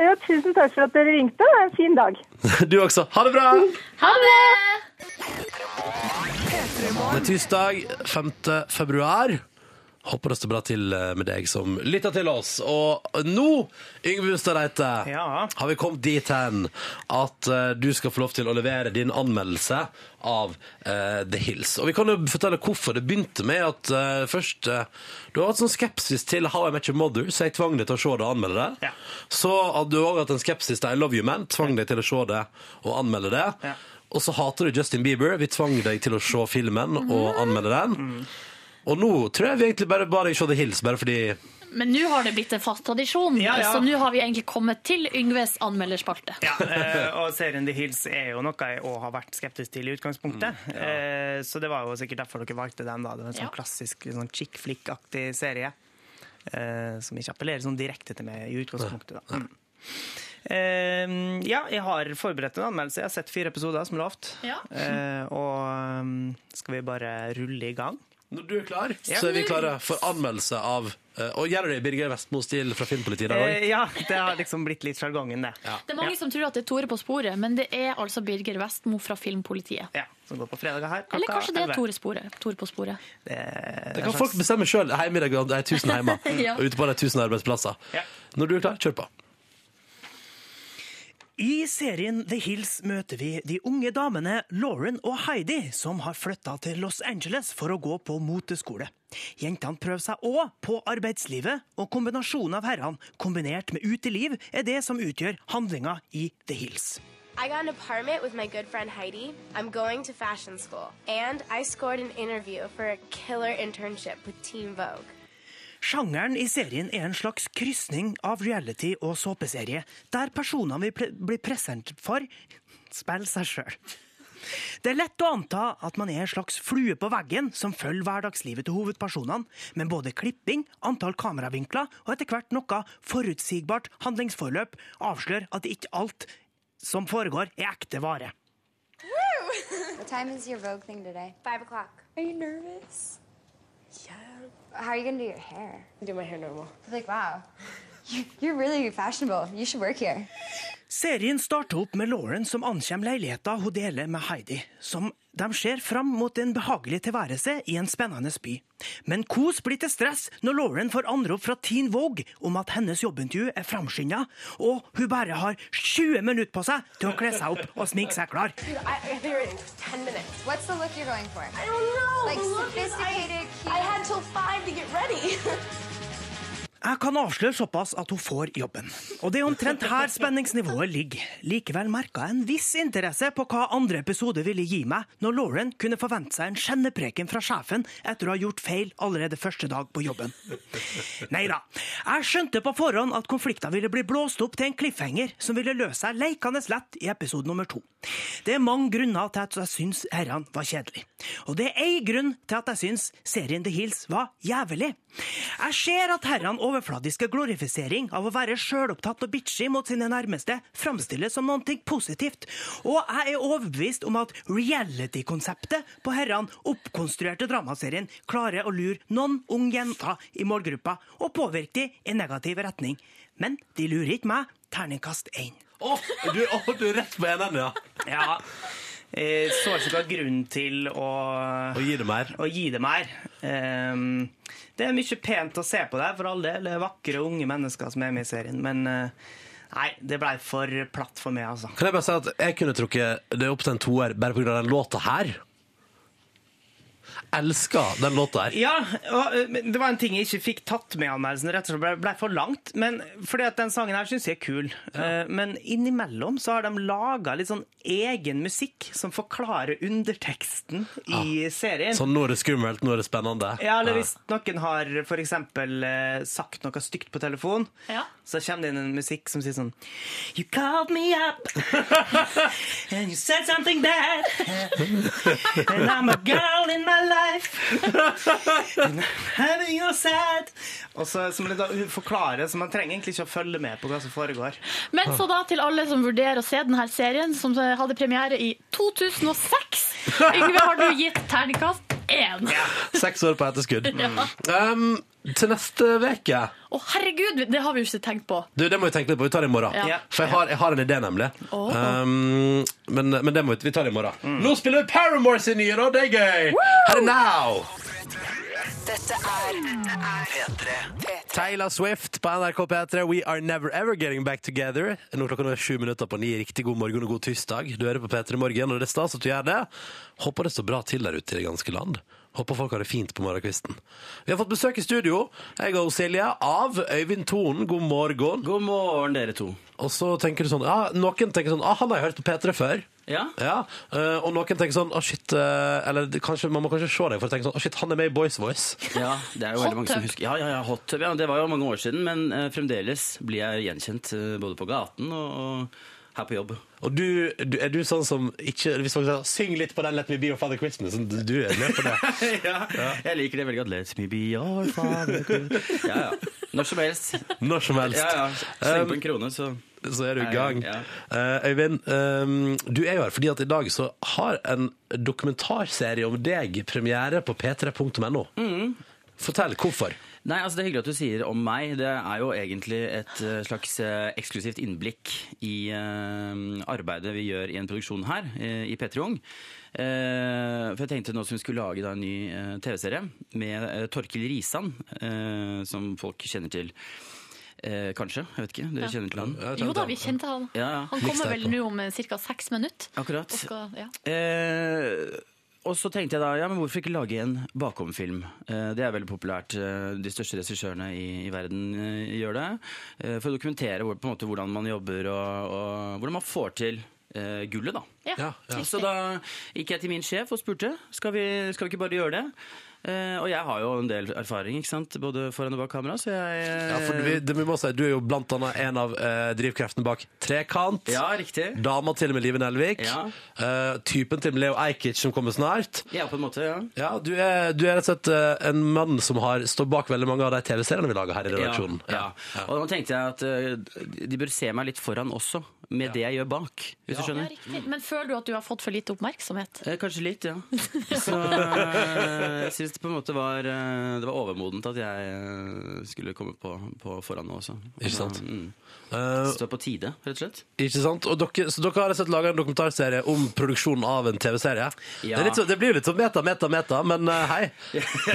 Speaker 10: Ja, tusen takk for at dere ringte. Det er en fin dag.
Speaker 2: [LAUGHS] Du også. Ha det bra!
Speaker 4: Ha det!
Speaker 2: Det er tirsdag 5. februar. Håper det står bra til eh, med deg som lytter til oss. Og nå, Yngve Bustad Reite,
Speaker 3: Ja.
Speaker 2: har vi kommet dit hen at eh, du skal få lov til å levere din anmeldelse av eh, The Hills. Og vi kan jo fortelle hvorfor det begynte med at eh, først eh, Du har hatt sånn skepsis til How I Met Your Mother, så jeg tvang deg til å se det og anmelde det.
Speaker 3: Ja.
Speaker 2: Så hadde du òg hatt en skepsis til I Love You Man, tvang deg til å se det og anmelde det.
Speaker 3: Ja.
Speaker 2: Og så hater du Justin Bieber, vi tvang deg til å se filmen og anmelde den. Og nå tror jeg vi egentlig bare bare ikke hadde hils, bare fordi
Speaker 4: Men nå har det blitt en fast tradisjon,
Speaker 3: Ja, ja.
Speaker 4: så nå har vi egentlig kommet til Yngves anmelderspalte.
Speaker 3: Ja, eh, og serien The Hills er jo noe jeg òg har vært skeptisk til i utgangspunktet.
Speaker 2: Mm,
Speaker 3: Eh, Så det var jo sikkert derfor dere valgte den. da. Det var En sånn
Speaker 4: Ja.
Speaker 3: klassisk litt sånn chick flick-aktig serie. eh, Som ikke appellerer sånn direkte til meg i utgangspunktet. da. Mm. Eh, Ja, jeg har forberedt en anmeldelse. Jeg har sett fire episoder, som lovt.
Speaker 4: Ja.
Speaker 3: Eh, Og um, skal vi bare rulle i gang?
Speaker 2: Når du er klar, så er vi klare for anmeldelse av eh, Og gjør du det i Birger Vestmo-stil fra Filmpolitiet i dag
Speaker 3: Eh, Ja, det har liksom blitt litt sjargongen, det.
Speaker 4: Det er mange som tror at det er Tore på sporet, men det er altså Birger Vestmo fra Filmpolitiet.
Speaker 3: Ja, Som går på fredager her. klokka
Speaker 4: Eller kanskje det er
Speaker 3: 11.
Speaker 4: Tore, sporet, Tore på sporet.
Speaker 3: Det er
Speaker 2: Det
Speaker 3: en
Speaker 2: kan
Speaker 3: slags-
Speaker 2: folk bestemme sjøl hjemme i deg, og det er 1000 hjemme.
Speaker 3: [LAUGHS]
Speaker 4: Ja.
Speaker 2: Og ute på de 1000 arbeidsplasser.
Speaker 3: Ja.
Speaker 2: Når du er klar, kjør på.
Speaker 3: I serien The Hills møter vi de unge damene Lauren og Heidi, som har flytta til Los Angeles for å gå på moteskole. Jentene prøver seg òg på arbeidslivet, og kombinasjonen av herrene kombinert med uteliv er det som utgjør handlinga i The Hills.
Speaker 9: I got an apartment with my good friend Heidi. I'm going to fashion school. And I scored an interview for a killer internship with Team Vogue.
Speaker 3: Sjangeren i serien er en slags krysning av reality og såpeserie, der personene vi ple- blir presentert for, spiller seg sjøl. Det er lett å anta at man er en slags flue på veggen som følger hverdagslivet til hovedpersonene, men både klipping, antall kameravinkler og etter hvert noe forutsigbart handlingsforløp avslører at ikke alt som foregår, er ekte vare.
Speaker 9: What time is your Vogue thing today? Five o'clock. Are you nervous? Yeah. How are you gonna do your hair? Do my hair normal. Like, wow. [LAUGHS] You- You're really fashionable. You should work here.
Speaker 3: Serien starter opp med Lauren som ankommer leiligheten hun deler med Heidi, som de ser fram mot en behagelig tilværelse i en spennende by. Men kos blir til stress når Lauren får anrop fra Teen Vogue om at hennes jobbintervju er framskynda, og hun bare har 20 minutter på seg til å kle seg opp og sminke seg klar.
Speaker 9: I, I think we're in ten minutes. What's the look you're going for? I don't know. Like sophisticated. I, had till five to get ready.
Speaker 3: Jeg kan avsløre såpass at hun får jobben. Og det er omtrent her spenningsnivået ligger. Likevel merka jeg en viss interesse på hva andre episode ville gi meg, når Lauren kunne forvente seg en skjennepreken fra sjefen etter å ha gjort feil allerede første dag på jobben. Nei da. Jeg skjønte på forhånd at konflikten ville bli blåst opp til en cliffhanger som ville løse seg leikende lett i episode nummer to. Det er mange grunner til at jeg syns herrene var kjedelig. Og det er én grunn til at jeg syns serien The Hills var jævlig. Jeg ser at herrene overfladiske glorifisering av å være sjølopptatt og bitchy mot sine nærmeste framstilles som noe positivt, og jeg er overbevist om at reality-konseptet på herrene oppkonstruerte dramaserien klarer å lure noen unge jenter i målgruppa og påvirke de i negativ retning. Men de lurer ikke meg. Terningkast én.
Speaker 2: Å, du, å, du er rett på enden, ja.
Speaker 3: Ja. Jeg så ikke hva grunnen til å
Speaker 2: Og gir det mer.
Speaker 3: å gi det mer. Ehm, det er mye pent å se på der, for all del. Det er Vakre, unge mennesker som er med i serien. Men eh, nei, det blei for platt for meg, altså.
Speaker 2: Kan jeg bare si at jeg kunne trukket det opp til en toer bare pga. den låta her? Elsker den låta her.
Speaker 3: Ja, og, eh, men det var en ting jeg ikke fikk tatt med i anmeldelsen. Rett og slett ble, ble for langt. Men fordi at den sangen her syns jeg er kul. Eh, men innimellom så har de laga litt sånn egen musikk som forklarer underteksten i serien.
Speaker 2: Sånn, nå er det skummelt, nå er det spennende.
Speaker 3: Ja, eller hvis noen har for eksempel eh, sagt noe stygt på telefon,
Speaker 4: Ja.
Speaker 3: så kommer det inn en musikk som sier sånn You called me up and you said something bad and I'm a girl in my life and I'm having you sad Og så som det da forklarer, så man trenger egentlig ikke å følge med på hva som foregår.
Speaker 4: Men så da til alle som vurderer å se denne serien, som hadde premiere i 2006.
Speaker 3: [LAUGHS]
Speaker 4: Yngve har du gitt terningkast én. Å, [LAUGHS]
Speaker 2: Seks år på [LAUGHS] etterskudd. Um, til neste uke
Speaker 4: herregud, det har vi jo ikke tenkt på.
Speaker 2: Du, det må vi tenke litt på. Vi tar det i morgen.
Speaker 4: Ja.
Speaker 2: For jeg har, jeg har en idé, nemlig.
Speaker 4: Åh.
Speaker 2: Um, men, men det må vi, vi tar det i morgen. Nå spiller vi Paramore sin nye, da. Det er gøy! Her er Now!
Speaker 11: Dette er P3.
Speaker 2: Taylor Swift på NRK P3. We are never ever getting back together. Nå klokka nå er sju minutter på ni. Riktig god morgen og god tirsdag. Du hører på P3 Morgen, og det er stas at du gjør det. Håper det står bra til der ute i det ganske land. Håper folk har det fint på morgenkvisten. Vi har fått besøk i studio, jeg og Silje, av Øyvind Thon. God morgen.
Speaker 3: God morgen, dere to.
Speaker 2: Og så tenker du sånn ja, Noen tenker sånn ah, 'Han har jeg hørt på P3 før'.
Speaker 3: Ja.
Speaker 2: eh, og noen tenker sånn ah, shit, eh, Eller det- kanskje, man må kanskje se deg for å tenke sånn ah, 'Shit, han er med i Boys Voice'.
Speaker 3: Ja, det er
Speaker 2: Hot
Speaker 3: jo veldig mange som
Speaker 2: tub.
Speaker 3: husker Ja, ja, ja, hot tub, ja. Det var jo mange år siden, men eh, fremdeles blir jeg gjenkjent eh, både på gaten og, og her på jobb.
Speaker 2: Og du, du, er du sånn som ikke Hvis folk sier 'syng litt på den Let me be your father Christmas', sånn, du er med
Speaker 3: [LAUGHS]
Speaker 2: på det?
Speaker 3: ja, jeg liker det veldig godt. Let me be your father. Ja, ja. Når som helst.
Speaker 2: Når som helst.
Speaker 3: Ja, ja. Sleng på
Speaker 2: Um,
Speaker 3: en krone, så
Speaker 2: så er du i
Speaker 3: Ja,
Speaker 2: gang.
Speaker 3: ja.
Speaker 2: Eh, Øyvind, ehm, du er jo her fordi at i dag så har en dokumentarserie om deg premiere på p3.no.
Speaker 3: Mm.
Speaker 2: Fortell hvorfor.
Speaker 3: Nei, altså Det er hyggelig at du sier om meg. Det er jo egentlig et eh, slags eh, eksklusivt innblikk i eh, arbeidet vi gjør i en produksjon her eh, i P3 Ung. Eh, for jeg tenkte nå som vi skulle lage da, en ny eh, TV-serie med eh, Torkil Risan, eh, som folk kjenner til. Eh, kanskje? Jeg vet ikke. Dere
Speaker 4: Ja.
Speaker 3: kjenner til han?
Speaker 4: Jo da, vi kjente han.
Speaker 3: Ja, ja.
Speaker 4: Han kommer vel nå om ca. seks minutter.
Speaker 3: Akkurat.
Speaker 4: Og skal, ja.
Speaker 3: Eh, og så tenkte jeg da, ja, men hvorfor ikke lage en bakomfilm? Eh, det er veldig populært. Eh, de største regissørene i, i verden eh, gjør det. Eh, for å dokumentere hvor, på en måte, hvordan man jobber, og, og hvordan man får til eh, gullet, da.
Speaker 4: Ja, Ja, ja.
Speaker 3: Så da gikk jeg til min sjef og spurte, skal vi, skal vi ikke bare gjøre det? Eh, og jeg har jo en del erfaring, ikke sant? både foran og bak kamera, så jeg eh,
Speaker 2: Ja, for vi, det vi må si, Du er jo blant annet en av eh, drivkreftene bak Trekant.
Speaker 3: Ja, riktig.
Speaker 2: Dama til og med Live Nelvik.
Speaker 3: Ja.
Speaker 2: Eh, typen til Leo Ajkic som kommer snart.
Speaker 3: Ja, på en måte, ja.
Speaker 2: Ja, du er, du er rett og slett eh, en mann som har står bak veldig mange av de TV-seriene vi lager her i redaksjonen.
Speaker 3: Ja, ja. Og da tenkte jeg at eh, de bør se meg litt foran også, med det jeg gjør bak. Hvis du skjønner?
Speaker 4: Riktig. Men føler du at du har fått for lite oppmerksomhet?
Speaker 3: Eh, Kanskje litt, ja. Så eh, jeg syns det på en måte var, eh, det var overmodent at jeg eh, skulle komme på, på foran nå også.
Speaker 2: Ikke sant?
Speaker 3: Mm. Så det var på tide, rett og slett.
Speaker 2: Eh, Ikke sant? Og dere, så dere har rett og slett laga en dokumentarserie om produksjonen av en TV-serie.
Speaker 3: Ja.
Speaker 2: Det, er litt så- det blir jo litt sånn meta, meta, meta, men eh, hei.
Speaker 3: [LAUGHS]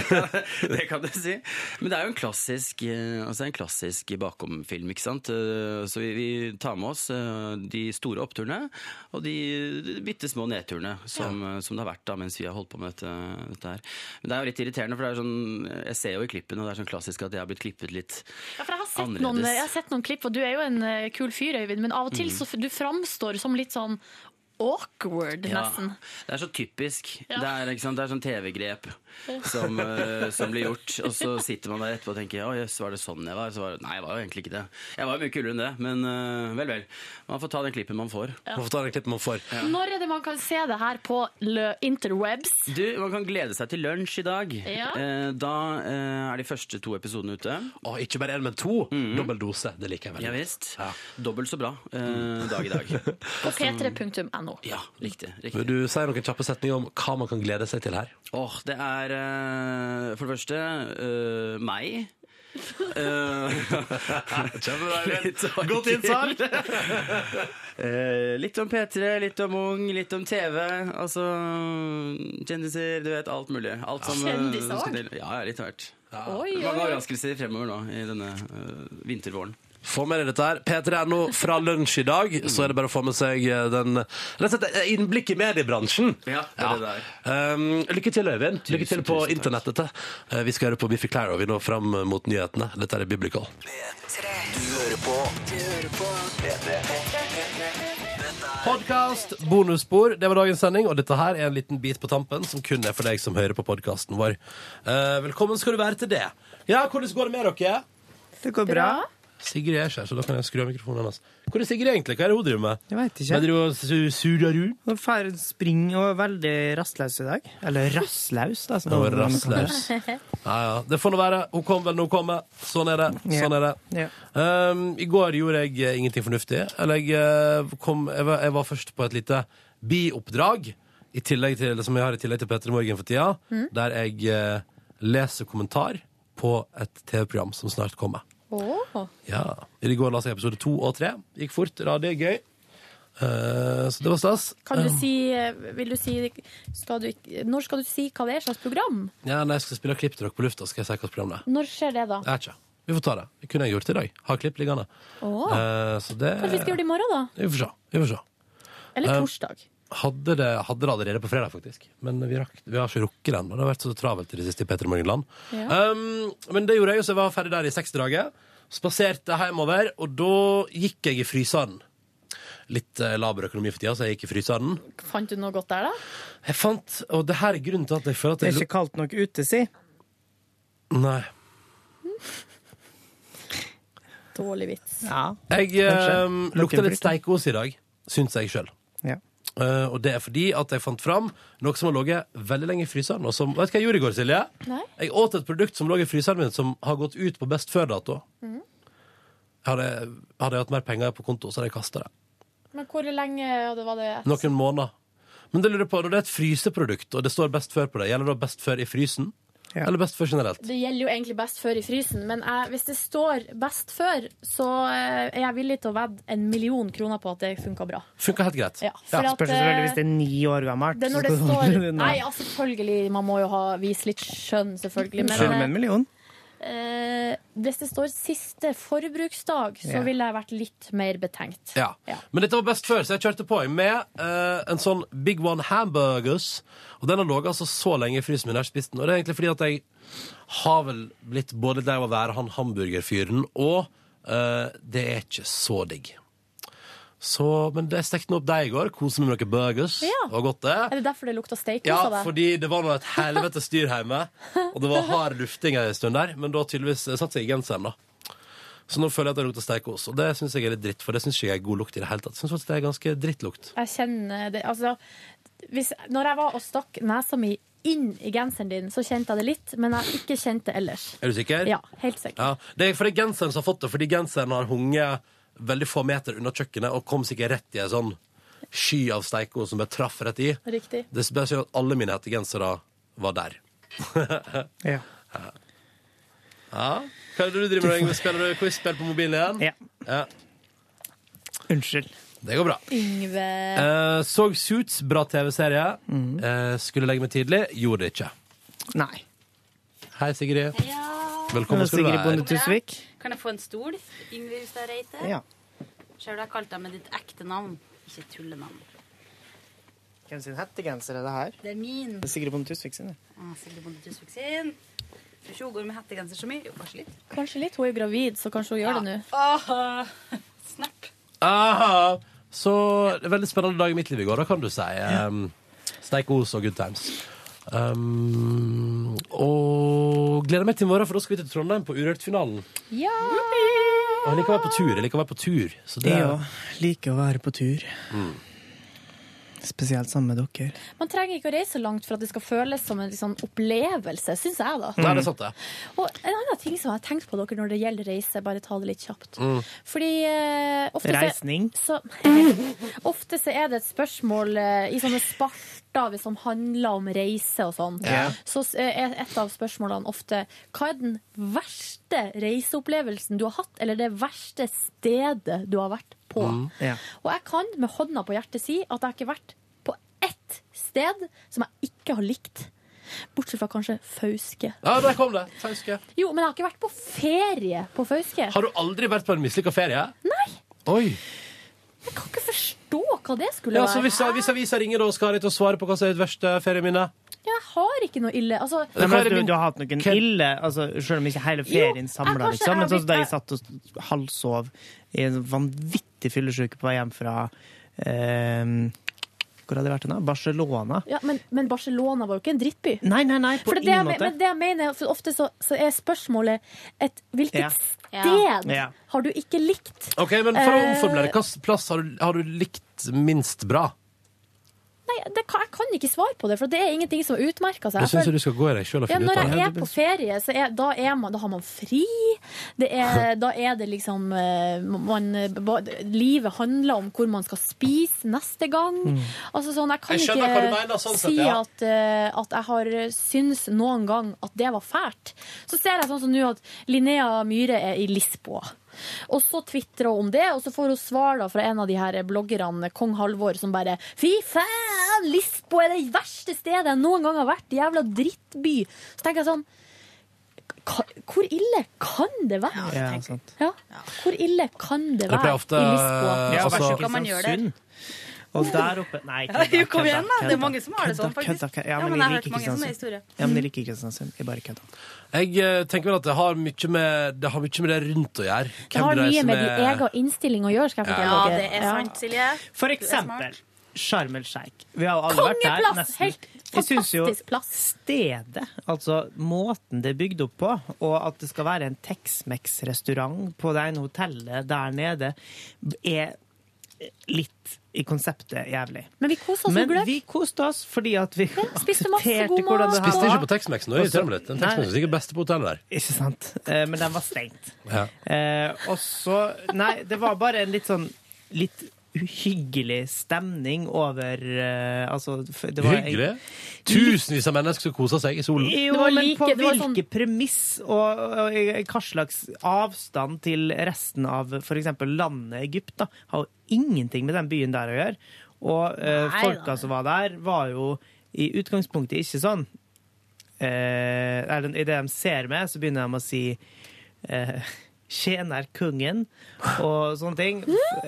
Speaker 3: det kan du si. Men det er jo en klassisk, eh, altså en klassisk bakomfilm, ikke sant? Eh, Så vi, vi tar med oss eh, de store oppturene og de, de bitte små nedturene som, eh, som det har vært da, mens vi har holdt på med dette, dette her. Men det er jo litt irriterende, for det er sånn, jeg ser jo i klippen, og det er sånn klassisk at jeg har blitt klippet litt
Speaker 4: Ja, for jeg har, sett noen, jeg har sett noen klipp, og du er jo en eh, kul fyr, Øyvind, men av og til
Speaker 3: Mm.
Speaker 4: så f- du framstår som litt sånn awkward,
Speaker 3: Ja,
Speaker 4: nesten.
Speaker 3: det er så typisk.
Speaker 4: Ja.
Speaker 3: Det, er, ikke sant? det er sånn TV-grep
Speaker 4: [LAUGHS]
Speaker 3: som, eh, som blir gjort. Og så sitter man der etterpå og tenker Å jøss, var det sånn jeg var? Så var det, nei, jeg var jo egentlig ikke det. Jeg var jo mye kulere enn det, men eh, vel, vel. Man får ta den klippen man får.
Speaker 4: Ja. Man får
Speaker 2: ta den klippen man får.
Speaker 4: Når er det man kan se det her på lø interwebs?
Speaker 3: Du, Man kan glede seg til lunsj i dag.
Speaker 4: Ja.
Speaker 3: Eh, Da eh, er de første to episodene ute.
Speaker 2: Å, ikke bare én, men to.
Speaker 3: Mm.
Speaker 2: Dobbel dose. Det liker jeg veldig
Speaker 3: Ja visst. Dobbelt så bra eh, dag i [LAUGHS] dag.
Speaker 4: På p3.no.
Speaker 3: Ja, riktig. riktig.
Speaker 2: Vil du si noen kjappe setninger om hva man kan glede seg til her?
Speaker 3: Åh, det er eh, for det første eh, meg. Eh, [LAUGHS] Kjempebra,
Speaker 2: Godt
Speaker 3: [LAUGHS]
Speaker 2: innsalt.
Speaker 3: sånn Eh, litt om P3, litt om Ung, litt om TV. Altså kjendiser, du vet. Alt mulig. Alt som, eh,
Speaker 4: Kjendiser
Speaker 3: som skal
Speaker 4: også?
Speaker 3: til. Ja, ja, altså. litt av hvert.
Speaker 4: Oi, oi,
Speaker 3: Mange
Speaker 4: oi.
Speaker 3: overraskelser fremover nå i denne eh, vintervåren.
Speaker 2: Få med deg dette her. P3 er nå fra lunsj i dag, så er det bare å få med seg eh, den Rett og slett eh, innblikk i mediebransjen.
Speaker 3: Ja, det er det der.
Speaker 2: Um, lykke til, Øyvind. Lykke til på internettet. Eh, vi skal høre på Biffy Claro vi nå fram mot nyhetene. Dette er Biblical.
Speaker 11: Du hører på Du hører på P3.
Speaker 12: Podkast, bonusspor. Det var dagens sending, og dette her er en liten bit på tampen som kun er for deg som hører på podkasten vår. Eh, velkommen skal du være til det. Ja, hvordan går det med dere?
Speaker 6: Det går bra.
Speaker 12: Sigrid er ikke her, så da kan jeg skru av mikrofonen hennes. Hvor er Sigrid egentlig? Hva er det hun driver med?
Speaker 6: Jeg vet ikke.
Speaker 12: Hva driver hun su- surrer rundt?
Speaker 6: Nå får jeg springe og er veldig rastløs i dag. Eller rastløs, da. som
Speaker 12: Hun er
Speaker 6: noen kaller det.
Speaker 12: rastløs. Ja, ja. Det får nå være. Hun kom vel når hun kommer. Sånn er det. Sånn er det.
Speaker 6: Ja.
Speaker 12: Um, I går gjorde jeg eh, ingenting fornuftig. Eller jeg, eh, kom, jeg, var, jeg var først på et lite bioppdrag, i tillegg til, som jeg har i tillegg til Petter i Morgen for tida,
Speaker 11: Mm.
Speaker 12: der jeg eh, leser kommentar på et TV-program som snart kommer.
Speaker 11: Åh.
Speaker 12: Ja. I går la jeg episode to og tre. Gikk fort, radig, gøy.
Speaker 2: Eh, så det var stas.
Speaker 4: Kan du
Speaker 2: Eh,
Speaker 4: si, eh, vil du si skal du, ikke- Når skal du si hva det er slags program?
Speaker 2: Ja, nei, jeg skal spille klipp til dere på lufta, skal jeg si hvilket program det er.
Speaker 4: Når skjer det, da?
Speaker 2: Jeg vet ikke. Vi får ta det. Det kunne jeg gjort i dag. Har klipp liggende.
Speaker 4: Åh.
Speaker 2: Eh, så det
Speaker 4: Kanskje vi skal gjøre det i morgen, da?
Speaker 2: Vi får se. Vi får se.
Speaker 4: Eller
Speaker 2: Eh,
Speaker 4: torsdag?
Speaker 2: Hadde det, hadde det allerede på fredag, faktisk. Men vi, rakk, vi har ikke rukket den. og Det har vært så travelt i det siste i Petter Morgenland.
Speaker 4: Ja.
Speaker 2: Um, men det gjorde jeg jo, så jeg var ferdig der i seksdraget. Spaserte hjemover, og da gikk jeg i fryseren. Litt eh, laber økonomi for tida, så jeg gikk i fryseren.
Speaker 4: Fant du noe godt der, da?
Speaker 2: Jeg fant, og det her er grunnen til at jeg føler at
Speaker 9: Det
Speaker 2: jeg
Speaker 9: er ikke kaldt nok ute, si.
Speaker 2: Nei.
Speaker 4: Dårlig vits.
Speaker 2: Jeg eh, lukta litt steikos i dag, syns jeg sjøl.
Speaker 9: Ja.
Speaker 2: Eh, og det er fordi at jeg fant fram noe som har ligget veldig lenge i fryseren. Og som, vet du hva jeg gjorde i går, Silje?
Speaker 4: Nei?
Speaker 2: Jeg åt et produkt som lå i fryseren min, som har gått ut på best før-dato.
Speaker 4: Mhm.
Speaker 2: Hadde, hadde jeg hatt mer penger på konto, så hadde jeg kasta det.
Speaker 4: Men hvor lenge hadde- var det?
Speaker 2: Noen måneder. Men det lurer jeg på, når det er et fryseprodukt, og det står best før på det, gjelder det best før i frysen? Eller best før generelt?
Speaker 4: Det gjelder jo egentlig best før i frysen, men jeg, hvis det står best før, så eh, er jeg villig til å vedde en million kroner på at det funka bra.
Speaker 2: Funka helt greit.
Speaker 4: Ja, for at,
Speaker 9: Spørs selvfølgelig
Speaker 4: eh,
Speaker 9: hvis det er ni år gammelt.
Speaker 4: Det er når det
Speaker 9: så skal
Speaker 4: står
Speaker 9: du- Nei.
Speaker 4: Nei, ja, selvfølgelig, man må jo ha, vise litt skjønn, selvfølgelig.
Speaker 9: Selv med en
Speaker 4: Men
Speaker 9: million.
Speaker 4: eh, hvis det står siste forbruksdag, så
Speaker 2: Ja.
Speaker 4: ville jeg vært litt mer betenkt.
Speaker 2: Ja. Men dette var best før, så jeg kjørte på jeg, med eh, en sånn Big One Hamburgers. Og den har ligget altså så lenge i frysen min. Jeg har ikke spist den. Og det er egentlig fordi at jeg har vel blitt både lei av å være han hamburgerfyren, og eh, det er ikke så digg. Så, men det jeg stekte nå opp deg i går. Koste meg med noen burgers.
Speaker 4: Ja.
Speaker 2: Det var godt, det.
Speaker 4: Er det derfor det lukta steik
Speaker 2: Ja,
Speaker 4: hos deg?
Speaker 2: fordi det var nå et helvete styr hjemme, og det var hard lufting en stund der, men da tydeligvis eh, satt jeg i genseren, da. Så nå føler jeg at det lukter steikos, og det syns jeg er litt dritt, for det syns ikke jeg er god lukt i det hele tatt. Jeg Synes faktisk det er ganske drittlukt.
Speaker 4: Jeg kjenner det Altså, hvis, når jeg var og stakk nesa mi inn i genseren din, så kjente jeg det litt, men jeg har ikke kjent det ellers.
Speaker 2: Er du sikker?
Speaker 4: Ja, helt sikker.
Speaker 2: Ja, det er fordi genseren som har fått det, fordi genseren har hunget veldig få meter unna kjøkkenet, og kom sikkert rett i en sånn sky av steikos som jeg traff rett i.
Speaker 4: Riktig.
Speaker 2: Det er bare at alle mine hettegensere var der.
Speaker 9: Ja.
Speaker 2: [LAUGHS] ja. Hva er det du driver med? Yngve? Spiller du quiz-spill på mobilen igjen? Ja.
Speaker 9: Unnskyld.
Speaker 2: Det går bra.
Speaker 4: Yngve
Speaker 2: Eh, så Suits, bra TV-serie.
Speaker 9: Mm.
Speaker 2: Eh, skulle legge meg tidlig, gjorde det ikke.
Speaker 9: Nei.
Speaker 2: Hei, Sigrid. Velkommen
Speaker 9: Hallo,
Speaker 2: skal du
Speaker 9: Sigrid Bonde
Speaker 2: være.
Speaker 9: Tusvik.
Speaker 13: Kan jeg få en stol? Yngve Hustad Reite.
Speaker 9: Ja.
Speaker 13: Sjøl har jeg kalt deg med ditt ekte navn, ikke tullenavn.
Speaker 9: Hvem sin hettegenser er det her?
Speaker 13: Det er min.
Speaker 9: Det er Sigrid Bonde Tusvik sin. det.
Speaker 13: Ah, Silje Bonde Tusvik sin. Tror ikke hun går med hettegenser så mye. Jo, kanskje litt.
Speaker 4: Kanskje litt. Hun er jo gravid, så kanskje hun gjør det nå.
Speaker 13: Åh, snap.
Speaker 2: Aha. Så det er veldig spennende dag i mitt liv i går, da kan du si. Um, Steikos og good times. Um, og gleder meg til i morgen, for da skal vi til Trondheim på Urørt-finalen.
Speaker 4: Ja!
Speaker 2: Og jeg liker å være på tur. Jeg liker å være på tur. Så det,
Speaker 9: Jeg òg liker å være på tur.
Speaker 2: Mm.
Speaker 9: Spesielt sammen med dere.
Speaker 4: Man trenger ikke å reise langt for at det skal føles som en liksom, opplevelse, syns jeg, da.
Speaker 9: Nei, det er sant,
Speaker 2: det.
Speaker 4: Og en annen ting som jeg har tenkt på dere når det gjelder reise, bare ta det litt kjapt.
Speaker 9: Mm.
Speaker 4: Fordi eh, ofte så-
Speaker 9: Reisning.
Speaker 4: Så, [LAUGHS] ofte så er det et spørsmål eh, i sånne spalter hvis som handler om reise og sånn.
Speaker 13: Ja.
Speaker 4: Så s- er et av spørsmålene ofte hva er den verste reiseopplevelsen du har hatt, eller det verste stedet du har vært på?
Speaker 2: Mm,
Speaker 9: Ja.
Speaker 4: Og jeg kan med hånda på hjertet si at jeg har ikke vært på ett sted som jeg ikke har likt. Bortsett fra kanskje Fauske.
Speaker 2: Ja, der kom det. Fauske.
Speaker 4: Jo, men jeg har ikke vært på ferie på Fauske.
Speaker 2: Har du aldri vært på en mislykka ferie?
Speaker 4: Nei,
Speaker 2: Oi.
Speaker 4: jeg kan ikke forstå hva det skulle
Speaker 2: Ja,
Speaker 4: være.
Speaker 2: så hvis, hvis avisa ringer da og skal ha deg til å svare på hva som er ditt verste ferieminne
Speaker 4: Jeg har ikke noe ille. Altså,
Speaker 9: Nei, men, du, du har hatt noen ille altså, Selv om ikke hele ferien samla,
Speaker 4: kanskje
Speaker 9: liksom. Men
Speaker 4: jeg
Speaker 9: sånn som da
Speaker 4: har
Speaker 9: jeg satt og halvsov i en vanvittig fyllesyke på vei hjem fra eh, Hvor hadde jeg vært da? Barcelona.
Speaker 4: ja, men, men Barcelona var jo ikke en drittby.
Speaker 9: Nei, nei, nei, på
Speaker 4: for det er
Speaker 9: ingen
Speaker 4: det jeg,
Speaker 9: måte.
Speaker 4: men det jeg mener, for ofte så, så er spørsmålet et hvilket
Speaker 2: Ja.
Speaker 4: sted
Speaker 2: Ja.
Speaker 4: har du ikke likt?
Speaker 2: Ok, men For å
Speaker 4: Eh,
Speaker 2: omformulere, hvilken plass har du, har du likt minst bra?
Speaker 4: Nei, det kan, jeg kan ikke svare på det, for det er ingenting som har utmerka seg.
Speaker 2: Det syns
Speaker 4: føler-
Speaker 2: jeg du skal gå i deg sjøl og
Speaker 4: ja,
Speaker 2: finne
Speaker 4: når
Speaker 2: ut av.
Speaker 4: jeg er på ferie, så er, da, er man, da har man fri. Det er, da er det liksom eh, man, ba- Livet handler om hvor man skal spise neste gang.
Speaker 13: Mm.
Speaker 4: Altså sånn, Jeg kan
Speaker 13: Jeg skjønner hva du mener,
Speaker 4: ikke
Speaker 13: sånn sett,
Speaker 4: si
Speaker 13: ja.
Speaker 4: at, eh, at jeg har syns noen gang at det var fælt. Så ser jeg sånn som nå at Linnea Myhre er i Lisboa. Og så tvitrer hun om det, og så får hun svar da fra en av de her bloggerne, kong Halvor, som bare Fy faen, Lisboa er det verste stedet jeg noen gang har vært! Jævla drittby! Så tenker jeg sånn ka- Hvor ille kan det være?
Speaker 9: Ja, tenker- sant.
Speaker 4: Ja. Hvor ille kan det
Speaker 9: Det
Speaker 4: være
Speaker 9: pleier ofte,
Speaker 4: i Lisboa?
Speaker 9: eh, Ja, vær så altså- god, man gjør det.
Speaker 4: Kristiansund.
Speaker 9: Og der oppe Nei,
Speaker 10: Ja, jo, kom igjen, da. Det er mange som har det
Speaker 9: kødda,
Speaker 10: sånn, faktisk.
Speaker 9: kødda, kødda. Ja,
Speaker 10: Ja,
Speaker 9: men
Speaker 10: men
Speaker 9: jeg
Speaker 10: jeg har
Speaker 9: liker
Speaker 10: hørt mange sånne
Speaker 9: Kristiansund.
Speaker 10: historier.
Speaker 9: Ja, men jeg liker Kristiansund. Jeg bare kødda.
Speaker 2: Jeg eh, tenker vel at det har mye med det, har mye med det rundt å gjøre.
Speaker 4: Det har mye med din egen innstilling å gjøre, skal jeg fortelle
Speaker 10: Ja,
Speaker 4: dere.
Speaker 10: det er sant, Silje.
Speaker 9: For
Speaker 10: Du er smart.
Speaker 9: eksempel Sharm el Sheikh. Vi har jo alle vært der.
Speaker 4: Kongeplass!
Speaker 9: nesten.
Speaker 4: Helt
Speaker 9: Jeg synes jo
Speaker 4: fantastisk plass.
Speaker 9: stedet, altså måten det er bygd opp på, og at det skal være en Tex-Mex-restaurant på det ene hotellet der nede, er litt i konseptet jævlig.
Speaker 4: Men vi koste oss
Speaker 9: Men
Speaker 4: og gløgg.
Speaker 9: vi koste oss fordi at vi
Speaker 4: spiste
Speaker 9: [LAUGHS]
Speaker 4: masse god
Speaker 9: aksepterte hvordan det her
Speaker 2: Spiste
Speaker 9: var.
Speaker 2: ikke på Tex-Mex nå, irriterer meg litt. Den Tex-Mex er
Speaker 9: Nei,
Speaker 2: sikkert beste på hotellet der.
Speaker 9: Ikke sant. Eh, Men den var stengt.
Speaker 2: Ja.
Speaker 9: Eh, og så Nei, det var bare en litt sånn litt uhyggelig stemning over eh, Altså, f- det var en-
Speaker 2: Hyggelig. Tusenvis av mennesker som koser seg i solen.
Speaker 9: Jo, men på hvilke
Speaker 14: sånn-
Speaker 9: premiss og, og, og hva slags avstand til resten av f.eks. landet Egypt da, har jo ingenting med den byen der å gjøre. Og eh,
Speaker 14: Nei,
Speaker 9: folka som var der, var jo i utgangspunktet ikke sånn. Eh, eller, I det de ser meg, så begynner de å si eh, [LAUGHS] Tjener kongen og sånne ting.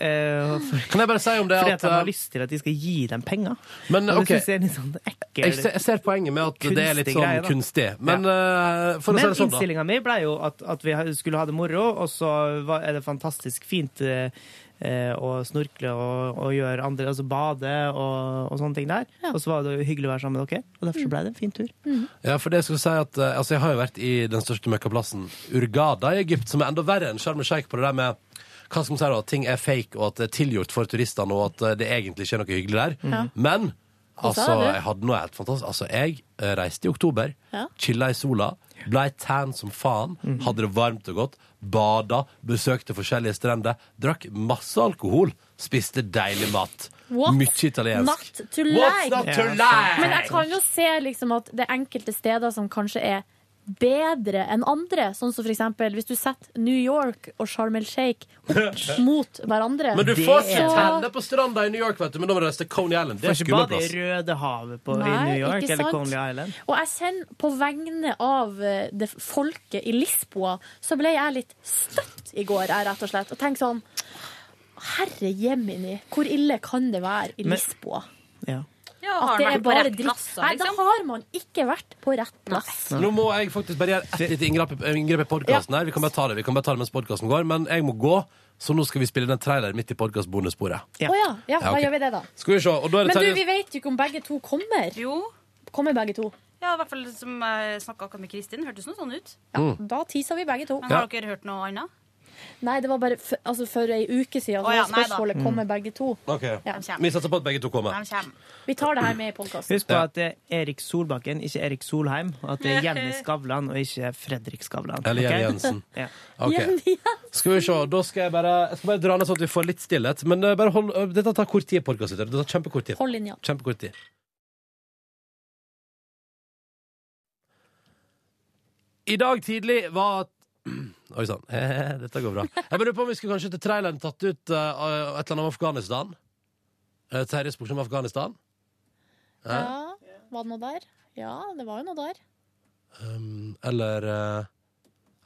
Speaker 9: Eh,
Speaker 2: kan jeg bare si om det
Speaker 9: Fordi
Speaker 2: at,
Speaker 9: at de
Speaker 2: eh,
Speaker 9: har lyst til at de skal gi dem penger.
Speaker 2: Men,
Speaker 9: og
Speaker 2: ok.
Speaker 9: det synes jeg er litt sånn ekkel
Speaker 2: Jeg ser, jeg ser poenget med at det er litt
Speaker 9: kunstig
Speaker 2: sånn
Speaker 9: greie, da.
Speaker 2: kunstig. Men, eh, for å si det
Speaker 9: Men
Speaker 2: sånn, da.
Speaker 9: innstillinga mi ble jo at, at vi skulle ha det moro, og så var, er det fantastisk fint eh, eh, å snorkle og, og gjøre andre Altså bade og, og sånne ting der. Og så var det jo hyggelig å være sammen med dere, og
Speaker 10: Mm.
Speaker 9: derfor så ble det en fin tur.
Speaker 2: Ja, for det jeg skulle si at eh, altså, Jeg har jo vært i den største møkkaplassen, Urgada i Egypt, som er enda verre enn Sharm el Sheikh på det der med hva skal man si da, at ting er fake, og at det er tilgjort for turistene, og at eh, det egentlig ikke er noe hyggelig der.
Speaker 15: Ja.
Speaker 2: Men
Speaker 15: Hvordan
Speaker 2: altså,
Speaker 15: er det?
Speaker 2: jeg hadde noe helt fantastisk. Altså, jeg eh, reiste i oktober,
Speaker 15: Ja. Mhm.
Speaker 2: chilla i sola, blei tan som faen, hadde det varmt og godt, bada, besøkte forskjellige strender, drakk masse alkohol, spiste deilig mat.
Speaker 4: What?
Speaker 2: Mye italiensk.
Speaker 4: Not to
Speaker 2: What's
Speaker 4: like.
Speaker 2: not to like?
Speaker 4: Men jeg kan jo se liksom at det er enkelte steder som kanskje er bedre enn andre. Sånn som for eksempel hvis du setter New York og Sharm el Sheikh opp mot hverandre.
Speaker 2: Men du
Speaker 4: Det
Speaker 2: får
Speaker 4: er-
Speaker 2: ikke tenne på stranda i New York, vet du, men da må du reise til Coney Island. Det
Speaker 9: Får
Speaker 2: er
Speaker 9: ikke
Speaker 2: skummel
Speaker 9: bade i
Speaker 2: plass.
Speaker 9: Røde havet på, i
Speaker 4: Nei,
Speaker 9: New York
Speaker 4: ikke
Speaker 9: eller
Speaker 4: sant?
Speaker 9: Conley Island.
Speaker 4: Og jeg kjenner på vegne av eh, det folket i Lisboa, så ble jeg litt støtt i går, jeg, rett og slett. Og tenkte sånn Herre jemini, hvor ille kan det være i
Speaker 9: Men-
Speaker 4: Lisboa?
Speaker 9: Ja.
Speaker 10: Ja,
Speaker 4: At
Speaker 10: har
Speaker 4: det
Speaker 10: den
Speaker 4: er
Speaker 10: vært på
Speaker 4: bare
Speaker 10: rett
Speaker 4: dritt.
Speaker 10: plass, da,
Speaker 4: Nei, da
Speaker 10: liksom?
Speaker 4: har man ikke vært på rett plass.
Speaker 2: Nå må jeg faktisk bare gjøre ett lite inngrep, inngrep i podkasten her. Vi kan bare ta det vi kan bare ta det mens podkasten går, men jeg må gå, så nå skal vi spille den traileren midt i podkastbonussporet.
Speaker 4: Å ja. ja,
Speaker 2: Ja,
Speaker 4: da
Speaker 2: ok.
Speaker 4: gjør vi det, da.
Speaker 2: Skal vi se, og da er
Speaker 4: Men
Speaker 2: det
Speaker 4: du,
Speaker 2: Terje
Speaker 4: vi vet jo ikke om begge to kommer. Kommer begge to.
Speaker 10: Ja, i hvert fall som jeg snakka akkurat med Kristin. Hørtes noe sånn ut.
Speaker 4: Ja,
Speaker 10: Mm.
Speaker 4: Da tisa vi begge to.
Speaker 10: Men har dere hørt noe annet?
Speaker 4: Nei, det var bare f altså, for ei uke siden.
Speaker 10: Å
Speaker 4: Så
Speaker 10: ja,
Speaker 4: var
Speaker 10: nei da.
Speaker 4: spørsmålet
Speaker 9: Mm.
Speaker 4: kommer begge to.
Speaker 2: Ok.
Speaker 4: Ja.
Speaker 2: Vi satser på at begge to kommer.
Speaker 4: Vi tar det her med i podkasten.
Speaker 9: Husk på at det er Erik Solbakken, ikke Erik Solheim. Og at det er
Speaker 10: [LAUGHS]
Speaker 9: Jenny Skavlan, og ikke Fredrik Skavlan.
Speaker 2: Eller Jenny
Speaker 9: ok?
Speaker 2: Jensen.
Speaker 9: ja.
Speaker 4: [LAUGHS]
Speaker 2: Ok. Skal vi se, da skal jeg bare, jeg skal bare dra ned sånn at vi får litt stillhet. Men eh, bare hold, eh, dette tar kort tid, podkast. Det tar kjempekort tid.
Speaker 4: Hold linja.
Speaker 2: Kjempekort tid. I dag tidlig var Oi sann, [CLEARS THROAT] dette går bra. Jeg lurer på om vi skulle kanskje til traileren tatt ut eh, et eller annet om Afghanistan? Uh, Terje spurte om Afghanistan. Eh,
Speaker 4: Ja, var det noe der? Ja, det var jo noe der.
Speaker 2: Um, eller eh,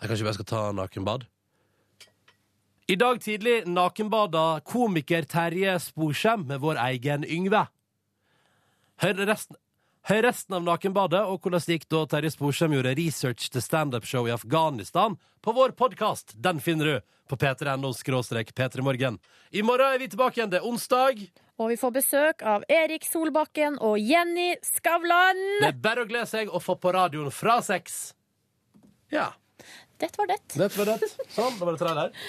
Speaker 2: Jeg Kanskje jeg skal ta nakenbad? I dag tidlig nakenbada komiker Terje Sporsem med vår egen Yngve. Hør resten, hør resten av nakenbadet og hvordan det gikk da Terje Sporsem gjorde research til standup-show i Afghanistan på vår podkast. Den finner du på p3.no skråstrek p3morgen. I morgen er vi tilbake igjen. Det er onsdag.
Speaker 4: Og vi får besøk av Erik Solbakken og Jenny Skavlan.
Speaker 2: Det er bare å glede seg og få på radioen fra seks. Ja.
Speaker 4: Det var det.
Speaker 2: Det var det. Sånn, da var det trailer.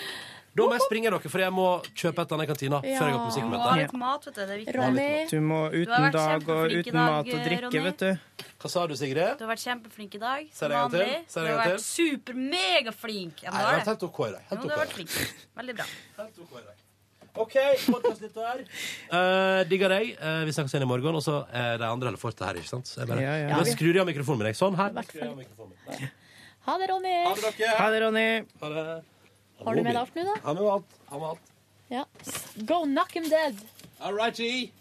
Speaker 2: Da må jeg springe dere, for jeg må kjøpe et eller annet i kantina før jeg går på
Speaker 10: Du må ha litt
Speaker 2: musikkmøte.
Speaker 10: mat, vet du. Det er viktig.
Speaker 9: Du
Speaker 10: Du
Speaker 9: må
Speaker 10: har
Speaker 9: uten
Speaker 10: vært
Speaker 9: dag og
Speaker 10: kjempeflink i
Speaker 9: uten
Speaker 10: dag,
Speaker 9: mat og drikke,
Speaker 10: Ronny.
Speaker 9: vet du.
Speaker 2: Hva sa du, Sigrid?
Speaker 10: Du har vært kjempeflink i dag.
Speaker 2: Ser
Speaker 10: Som
Speaker 2: jeg en til?
Speaker 10: vanlig. Du
Speaker 2: Ser jeg
Speaker 10: har
Speaker 2: en til?
Speaker 10: vært super-megaflink. Ja,
Speaker 2: Nei, jeg
Speaker 10: du har
Speaker 2: har
Speaker 10: det.
Speaker 2: tatt OK i dag.
Speaker 10: Jo,
Speaker 2: Helt
Speaker 10: du
Speaker 2: OK.
Speaker 10: har vært flink. Veldig bra.
Speaker 2: OK, podkastnytt der. Eh, digger deg. Eh, vi snakkes igjen i morgen. Og så er de andre holder fortet her, ikke sant? Så jeg bare,
Speaker 9: Ja, ja.
Speaker 2: Nå skrur jeg av mikrofonen min. jeg. Sånn her.
Speaker 4: Ha det, Ronny.
Speaker 2: Ha det, Ronny. Ha det.
Speaker 4: Har du med deg alt nå, da?
Speaker 16: Ja, med alt. Ja, med alt.
Speaker 4: Ja. Go knock him dead.
Speaker 16: All righty.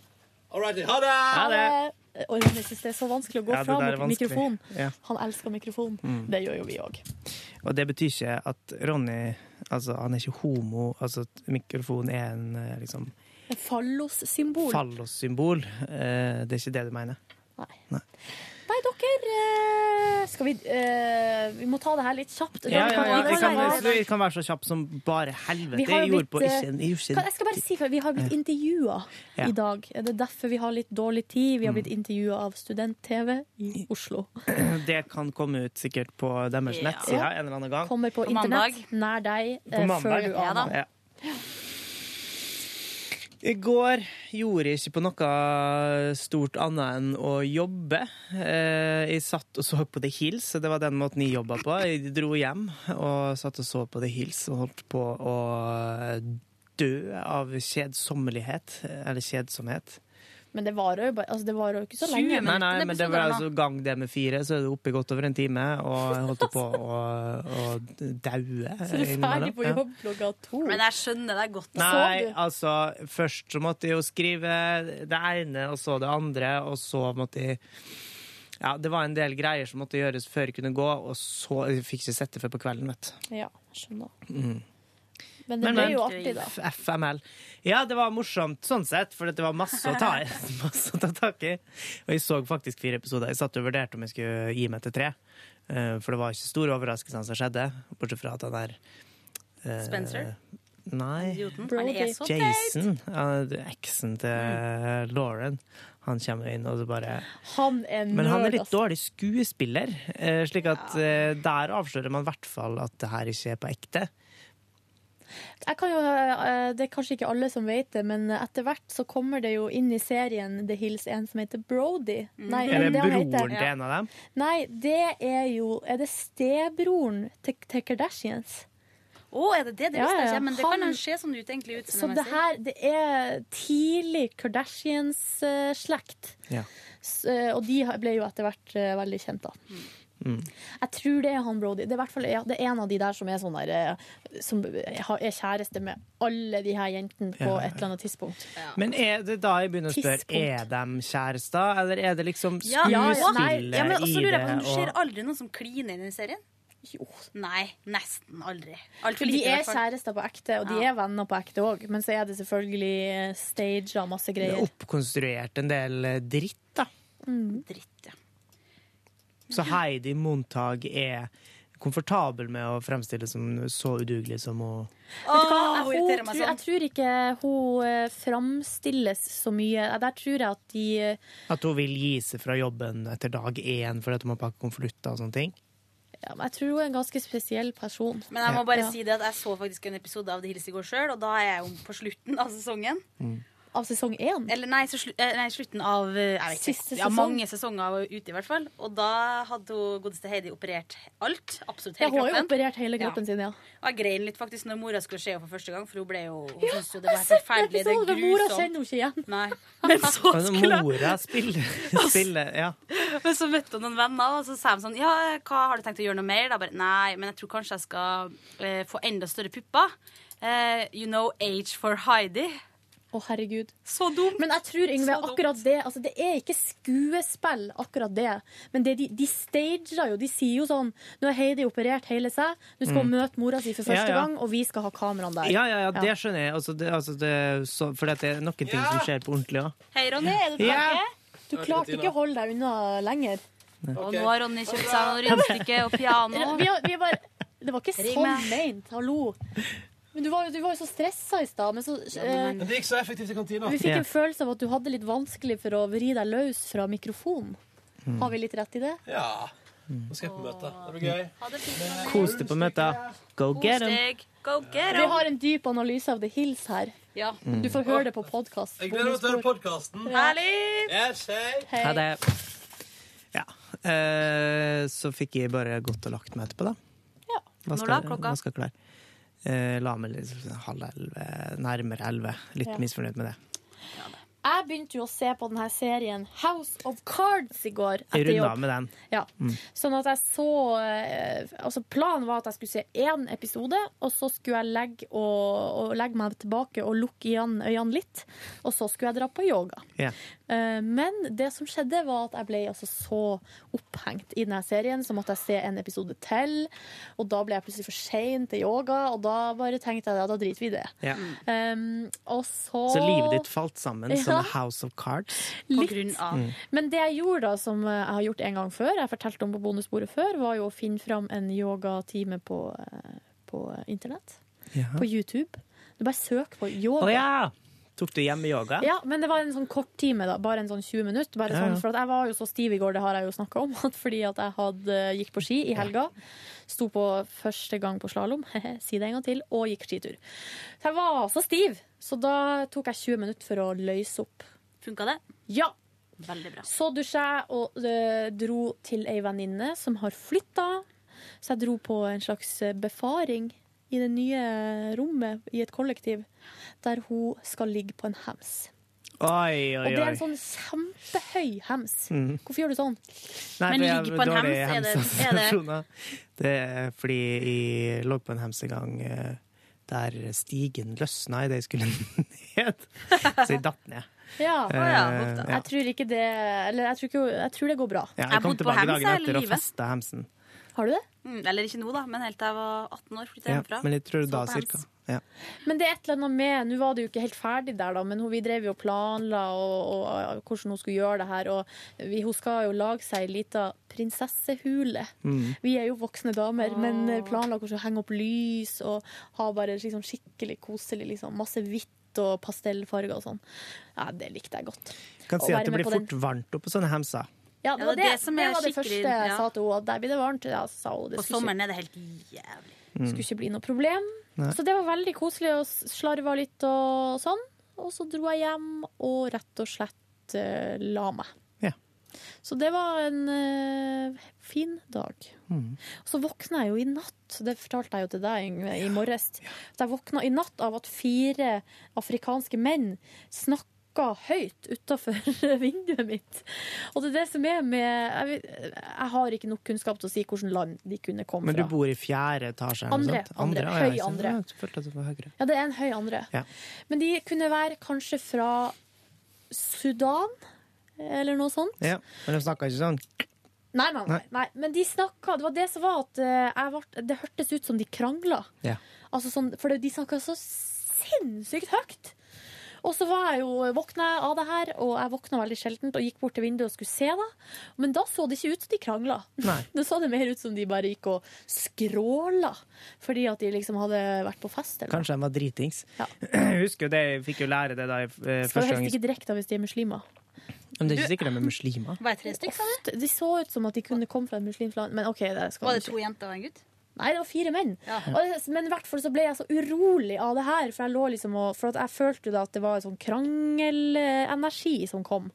Speaker 16: All righty. Ha det!
Speaker 4: det. Eh, Oi, men jeg synes det er så vanskelig å gå
Speaker 9: Ja, det
Speaker 4: fra
Speaker 9: der er
Speaker 4: mik-
Speaker 9: vanskelig.
Speaker 4: mikrofon.
Speaker 9: Ja.
Speaker 4: Han elsker mikrofon.
Speaker 9: Mm.
Speaker 4: Det gjør jo vi òg.
Speaker 9: Og det betyr ikke at Ronny altså, han er ikke homo. Altså, at mikrofon er en eh, liksom,
Speaker 4: Fallossymbol.
Speaker 9: fallossymbol. Eh, det er ikke det du mener.
Speaker 4: Nei, dere eh, Skal vi eh, Vi må ta det her litt kjapt.
Speaker 9: Ja, ja, ja,
Speaker 4: Vi
Speaker 9: vi, kan,
Speaker 4: være-
Speaker 9: vi kan være så kjapp som bare helvete.
Speaker 4: Vi har
Speaker 9: Jeg
Speaker 4: jo
Speaker 9: gjorde
Speaker 4: blitt,
Speaker 9: på
Speaker 4: eh,
Speaker 9: ikke en jeg gjorde
Speaker 4: kan,
Speaker 9: ikke
Speaker 4: Jeg skal bare si før, Vi har blitt intervjua
Speaker 9: Ja.
Speaker 4: i dag. Det er derfor vi har litt dårlig tid. Vi har blitt intervjua av Student-TV i Oslo.
Speaker 9: en- [CLEARS THROAT] Det kan komme ut sikkert på deres
Speaker 4: Ja.
Speaker 9: nettsider en eller annen gang.
Speaker 4: Kommer på,
Speaker 10: På mandag.
Speaker 4: internett nær deg
Speaker 9: På
Speaker 4: eh,
Speaker 9: mandag.
Speaker 4: før du aner.
Speaker 9: Ja. I går gjorde jeg ikke på noe stort annet enn å jobbe. Eh, Jeg satt og så på The Hills, og det var den måten jeg jobba på. Jeg dro hjem og satt og så på The Hills og holdt på å dø av kjedsommelighet. Eller kjedsomhet.
Speaker 4: Men det varer jo, bare- altså, det varer jo ikke så lenge.
Speaker 9: Nei, nei, men det var
Speaker 4: episoden, da.
Speaker 9: altså gang det med fire, så er det oppe i godt over en time, og jeg holdt på å, å
Speaker 4: Så du
Speaker 9: daue.
Speaker 4: er ferdig
Speaker 9: innimellom.
Speaker 4: på
Speaker 9: Ja.
Speaker 4: jobb klokka to.
Speaker 10: Men jeg skjønner deg godt.
Speaker 9: Nei, altså Først så måtte jeg jo skrive det ene, og så det andre, og så måtte jeg Ja, det var en del greier som måtte gjøres før jeg kunne gå, og så jeg fikk ikke sett det før på kvelden, vet du.
Speaker 4: Ja, skjønner.
Speaker 9: Mm.
Speaker 4: Men det ble jo artig, da.
Speaker 9: F- FML. Ja, det var morsomt sånn sett, for det var masse å ta i. [LAUGHS] Masse å ta tak i. Og jeg så faktisk fire episoder. Jeg satt og vurderte om jeg skulle gi meg til tre. eh, For det var ikke store overraskelser som skjedde, bortsett fra at han der eh,
Speaker 10: Spencer?
Speaker 9: Nei.
Speaker 10: Idioten. Han er så teit.
Speaker 9: Jason, ja, det er eksen til Lauren, han kommer inn og så bare
Speaker 4: Han er
Speaker 10: Mm.
Speaker 4: nerd,
Speaker 9: Men han er litt
Speaker 4: altså.
Speaker 9: dårlig skuespiller, eh, slik at eh, der avslører man i hvert fall at det her ikke er på ekte.
Speaker 4: Jeg kan jo, eh, det er kanskje ikke alle som vet det, men etter hvert så kommer det jo inn i serien The Hills en som heter Brody.
Speaker 10: Mm.
Speaker 4: Nei,
Speaker 9: er det,
Speaker 4: det han
Speaker 9: broren
Speaker 4: heter-
Speaker 9: til en av dem?
Speaker 4: Nei, det er jo Er det stebroren til, til Kardashians?
Speaker 10: Å, er det det? Det
Speaker 4: Ja,
Speaker 10: visste jeg
Speaker 4: ja,
Speaker 10: ikke. Men det
Speaker 4: han-
Speaker 10: kan jo se sånn ut, egentlig.
Speaker 4: Så det her det er tidlig Kardashians-slekt. eh,
Speaker 9: Ja.
Speaker 4: Og de har- ble jo etter hvert eh, veldig kjent, da.
Speaker 9: Mm.
Speaker 4: Jeg tror det er han Brody. Det er, i hvert fall, ja, det er en av de der som er, sånn der, eh, som har- er kjæreste med alle de her jentene på
Speaker 9: Ja,
Speaker 4: et eller annet tidspunkt.
Speaker 9: Men er det da jeg begynner å spørre,
Speaker 4: Tidspunkt.
Speaker 9: er de kjærester, eller er det liksom
Speaker 10: Ja, ja, ja.
Speaker 9: skuespillet
Speaker 10: Ja, men også
Speaker 9: i
Speaker 10: lurer
Speaker 9: det?
Speaker 10: jeg på, Du ser
Speaker 9: og-
Speaker 10: aldri noen som kliner i den serien?
Speaker 4: Jo.
Speaker 10: Nei, nesten aldri.
Speaker 4: For
Speaker 10: Altfor
Speaker 4: de
Speaker 10: lite, i
Speaker 4: er
Speaker 10: hvert fall.
Speaker 4: kjærester på ekte, og de er venner på ekte òg. Men så er det selvfølgelig eh, staged og masse
Speaker 9: Det er
Speaker 4: greier.
Speaker 9: oppkonstruert en del eh, dritt.
Speaker 10: Mm.
Speaker 9: Så Heidi Montag er komfortabel med å fremstille som så udugelig som hun
Speaker 4: Vet du hva?
Speaker 10: Åh, hun
Speaker 4: Jeg, hun,
Speaker 10: irriterer meg
Speaker 4: tror- jeg
Speaker 10: sånn.
Speaker 4: tror ikke hun eh, framstilles så mye. Eh, Der tror jeg at de eh,
Speaker 9: At hun vil gi seg fra jobben etter dag én fordi at hun må pakke konvolutter og sånne ting.
Speaker 4: ja, men Jeg tror hun er en ganske spesiell person.
Speaker 10: Men jeg må bare
Speaker 4: Ja.
Speaker 10: si det at jeg så faktisk en episode av The Hills i går sjøl, og da er jeg jo på slutten av sesongen.
Speaker 4: Av sesong én?
Speaker 10: Eller nei, så slu, eh, nei slutten av eh, jeg vet
Speaker 4: Siste
Speaker 10: ikke, ja,
Speaker 4: sesong.
Speaker 10: mange sesonger ute, i hvert fall. Og da hadde hun godeste Heidi operert alt. Absolutt
Speaker 4: Ja, hun
Speaker 10: hele
Speaker 4: har jo
Speaker 10: kroppen.
Speaker 4: operert hele kroppen sin, ja.
Speaker 10: Og jeg grein litt faktisk når mora skulle se henne for første gang, for hun ble jo Hun
Speaker 4: Ja,
Speaker 10: syntes jo det
Speaker 4: jeg
Speaker 10: var
Speaker 4: har
Speaker 10: helt
Speaker 4: sett den
Speaker 10: forferdelig. Det
Speaker 4: episoden,
Speaker 10: er
Speaker 4: men mora kjenner
Speaker 10: grusomt.
Speaker 4: henne ikke igjen.
Speaker 10: Nei. [LAUGHS] Men så
Speaker 9: Men
Speaker 10: skulle
Speaker 9: Altså, Mora spiller, spiller ja.
Speaker 10: Men så møtte hun noen venner, og så sa de sånn Ja, hva har du tenkt å gjøre noe mer? Da bare Nei, men jeg tror kanskje jeg skal eh, få enda større pupper. Eh, you know age for Heidi.
Speaker 4: Å, herregud.
Speaker 10: Så dumt.
Speaker 4: Men jeg tror, Yngve, akkurat det altså, Det er ikke skuespill, akkurat det. Men det, de, de stager jo. De sier jo sånn Nå har Heidi operert hele seg. Nå skal hun
Speaker 9: Mm.
Speaker 4: møte mora si for
Speaker 9: Ja,
Speaker 4: første
Speaker 9: ja.
Speaker 4: gang, og vi skal ha kameraene der.
Speaker 9: Ja, ja, ja, det skjønner jeg. Altså, det, altså, det, så, for det er noen ting som skjer på ordentlig òg.
Speaker 10: Hei, Ronny, er du
Speaker 9: Ja.
Speaker 10: tilbake?
Speaker 4: Du klarte ikke å holde deg unna lenger.
Speaker 10: Og nå har Ronny kjøpt seg noen rundstykker og [LAUGHS] piano.
Speaker 4: Vi, har- vi bare, det var ikke
Speaker 10: Ring
Speaker 4: sånn
Speaker 10: meg.
Speaker 4: meint. Hallo. Men du var, jo- du var jo så stressa i stad. Men så eh,
Speaker 2: Men det gikk så effektivt i kantina.
Speaker 4: Vi fikk en følelse av at du hadde litt vanskelig for å vri deg løs fra mikrofonen.
Speaker 9: Mm.
Speaker 4: Har vi litt rett i det?
Speaker 2: Ja. Nå skal jeg på møte. Det blir gøy.
Speaker 9: Kos deg på møtet. Go get 'em!
Speaker 10: Go get 'em.
Speaker 4: Vi har en dyp analyse av The Hills her.
Speaker 10: Ja.
Speaker 9: Mm.
Speaker 4: Du får høre det på podkast.
Speaker 2: Jeg gleder meg til å høre podkasten.
Speaker 10: Herlig!
Speaker 2: Yes, hei.
Speaker 9: Ha det. Ja. eh, så fikk jeg bare gått og lagt meg etterpå, da. Hva
Speaker 10: Når
Speaker 9: skal,
Speaker 10: da, klokka?
Speaker 9: Hva skal jeg klare? Eh, la meg litt halv liksom elleve, nærmere elleve. Litt
Speaker 4: Ja.
Speaker 9: misfornøyd med det.
Speaker 4: Jeg jeg begynte jo å se på denne serien House of Cards i går. etter
Speaker 9: Jeg runda
Speaker 4: jobb.
Speaker 9: med den.
Speaker 4: Ja.
Speaker 9: Mm.
Speaker 4: Sånn at jeg så eh, Altså Planen var at jeg skulle se én episode, og så skulle jeg legge, og, og legge meg tilbake og lukke igjen øynene litt. Og så skulle jeg dra på yoga.
Speaker 9: Ja.
Speaker 4: Eh, Men det som skjedde, var at jeg ble altså så opphengt i denne serien, så måtte jeg se en episode til. Og da ble jeg plutselig for sein til yoga, og da bare tenkte jeg at da driter vi i det.
Speaker 9: Ja.
Speaker 4: Um, og så
Speaker 9: Så livet ditt falt sammen som
Speaker 4: Ja.
Speaker 9: a House of Cards.
Speaker 4: Litt.
Speaker 9: Mm.
Speaker 4: Men det jeg gjorde da, som eh, jeg har gjort en gang før, jeg fortalte om på bonusbordet før, var jo å finne fram en yogatime på, eh, på internett.
Speaker 9: Ja.
Speaker 4: På YouTube. Du bare søk på yoga.
Speaker 9: Å ja! Tok du hjemmeyoga?
Speaker 4: Ja, men det var en sånn kort time, da. Bare en sånn 20 minutter. Bare
Speaker 9: Ja,
Speaker 4: sånn,
Speaker 9: ja.
Speaker 4: For at jeg var jo så stiv i går, det har jeg jo snakka om. [LAUGHS] At fordi at jeg hadde, eh, gikk på ski i helga. Sto på første gang på slalåm, [LAUGHS] si det en gang til, og gikk skitur. Så jeg var så stiv. Så da tok jeg 20 minutter for å løse opp.
Speaker 10: Funka det?
Speaker 4: Ja.
Speaker 10: Veldig bra.
Speaker 4: Så dusja jeg og eh, dro til ei venninne som har flytta. Så jeg dro på en slags eh, befaring i det nye rommet i et kollektiv, der hun skal ligge på en hems.
Speaker 9: Oi,
Speaker 4: Og
Speaker 9: oi,
Speaker 4: det er
Speaker 9: oi.
Speaker 4: en sånn kjempehøy hems.
Speaker 9: Mhm.
Speaker 4: Hvorfor gjør du sånn?
Speaker 9: Nei, for jeg har dårlige hemsassosiasjoner. Det er fordi jeg lå på en hems en gang eh, der stigen løsna idet jeg skulle [LAUGHS] ned. Så jeg datt ned.
Speaker 4: Ja.
Speaker 9: Å Eh, ja, huff da.
Speaker 4: Jeg tror ikke det Eller jeg tror, ikke, jeg tror det går bra.
Speaker 9: Ja, jeg kom tilbake dagen etter og festa hemsen.
Speaker 4: Har du det?
Speaker 10: Mm, eller ikke nå, da, men helt til jeg var 18 år. Flytta
Speaker 9: Ja,
Speaker 10: hjemmefra.
Speaker 9: men jeg tror
Speaker 10: Så
Speaker 9: da
Speaker 10: på hems.
Speaker 9: cirka. Ja.
Speaker 4: Men det er et eller annet med Nå var det jo ikke helt ferdig der, da, men hun- vi drev jo og planla og, og, og, hvordan hun skulle gjøre det her. Og vi, hun skal jo lage seg ei lita prinsessehule.
Speaker 9: Mm.
Speaker 4: Vi er jo voksne damer, men planla hvordan hun henge opp lys og ha bare liksom skikkelig koselig. Liksom, masse hvitt og pastellfarger og sånn. Ja, det likte jeg godt.
Speaker 9: Kan
Speaker 4: Å
Speaker 9: si
Speaker 4: være
Speaker 9: at det
Speaker 4: med
Speaker 9: blir
Speaker 4: på den.
Speaker 9: fort varmt oppå sånne hemser.
Speaker 4: Ja, det var
Speaker 10: Ja, det er
Speaker 4: det,
Speaker 10: det som
Speaker 4: det,
Speaker 10: er
Speaker 4: var det
Speaker 10: skikkelig-
Speaker 4: første jeg
Speaker 10: ja.
Speaker 4: sa til henne. at Der blir det varmt. Ja, så sa hun, det
Speaker 10: På
Speaker 4: skulle ikke-
Speaker 10: sommeren er det helt jævlig.
Speaker 9: Mm.
Speaker 4: skulle ikke bli noe problem.
Speaker 10: Nei.
Speaker 4: Så det var veldig koselig å slarve litt og sånn. Og så dro jeg hjem og rett og slett eh, la meg.
Speaker 9: Ja.
Speaker 4: Så det var en eh, fin dag.
Speaker 9: Mm.
Speaker 4: Og så våkna jeg jo i natt, det fortalte jeg jo til deg Yngve, i morges, at jeg våkna i natt av at fire afrikanske menn snakka høyt utafor [LAUGHS] vinduet mitt. Og det er det som er med Jeg, vet- jeg har ikke nok kunnskap til å si hvilket land de kunne komme
Speaker 9: Men
Speaker 4: fra.
Speaker 9: du bor i fjerde etasje? eller noe
Speaker 4: Andre,
Speaker 9: sånt?
Speaker 4: andre,
Speaker 9: Å, ja,
Speaker 4: høy
Speaker 9: ikke sant.
Speaker 4: andre.
Speaker 9: Ja, jeg følte at det var høyere.
Speaker 4: Ja, det er en høy andre.
Speaker 9: Ja.
Speaker 4: Men de kunne være kanskje fra Sudan, eller noe sånt.
Speaker 9: Ja. Men de snakka ikke sånn?
Speaker 4: Nei, nei, nei.
Speaker 9: Nei.
Speaker 4: nei. Men de snakka Det var det som var at eh, jeg vart- det hørtes ut som de krangla.
Speaker 9: Ja.
Speaker 4: Altså sånn, for de snakka så sinnssykt høyt. Og så var jeg jo, våkna jeg av det her, og jeg våkna veldig sjeldent og gikk bort til vinduet og skulle se det. Men da så det ikke ut som de krangla. [LAUGHS]
Speaker 9: Nei.
Speaker 4: Det så det mer ut som de bare gikk og skråla fordi at de liksom hadde vært på fest. Eller. noe.
Speaker 9: Kanskje de var dritings. Jeg [CLEARS THROAT] husker jo det, jeg fikk jo lære det da jeg
Speaker 4: Skal
Speaker 9: eh, første
Speaker 4: jo
Speaker 9: gang
Speaker 4: helst ikke drikke da hvis de er muslimer.
Speaker 9: Men det er ikke sikkert de er muslimer.
Speaker 10: Var det tre stykker, sa du?
Speaker 4: Ofte- De så ut som at de kunne komme fra et muslimsk land, men OK, det skal
Speaker 10: Var det
Speaker 4: de
Speaker 10: to jenter og en gutt?
Speaker 4: Nei, det var fire menn.
Speaker 10: Ja.
Speaker 4: Og, men i hvert fall så ble jeg så urolig av det her, for jeg, lå liksom og, for at jeg følte jo da at det var en sånn krangelenergi som kom.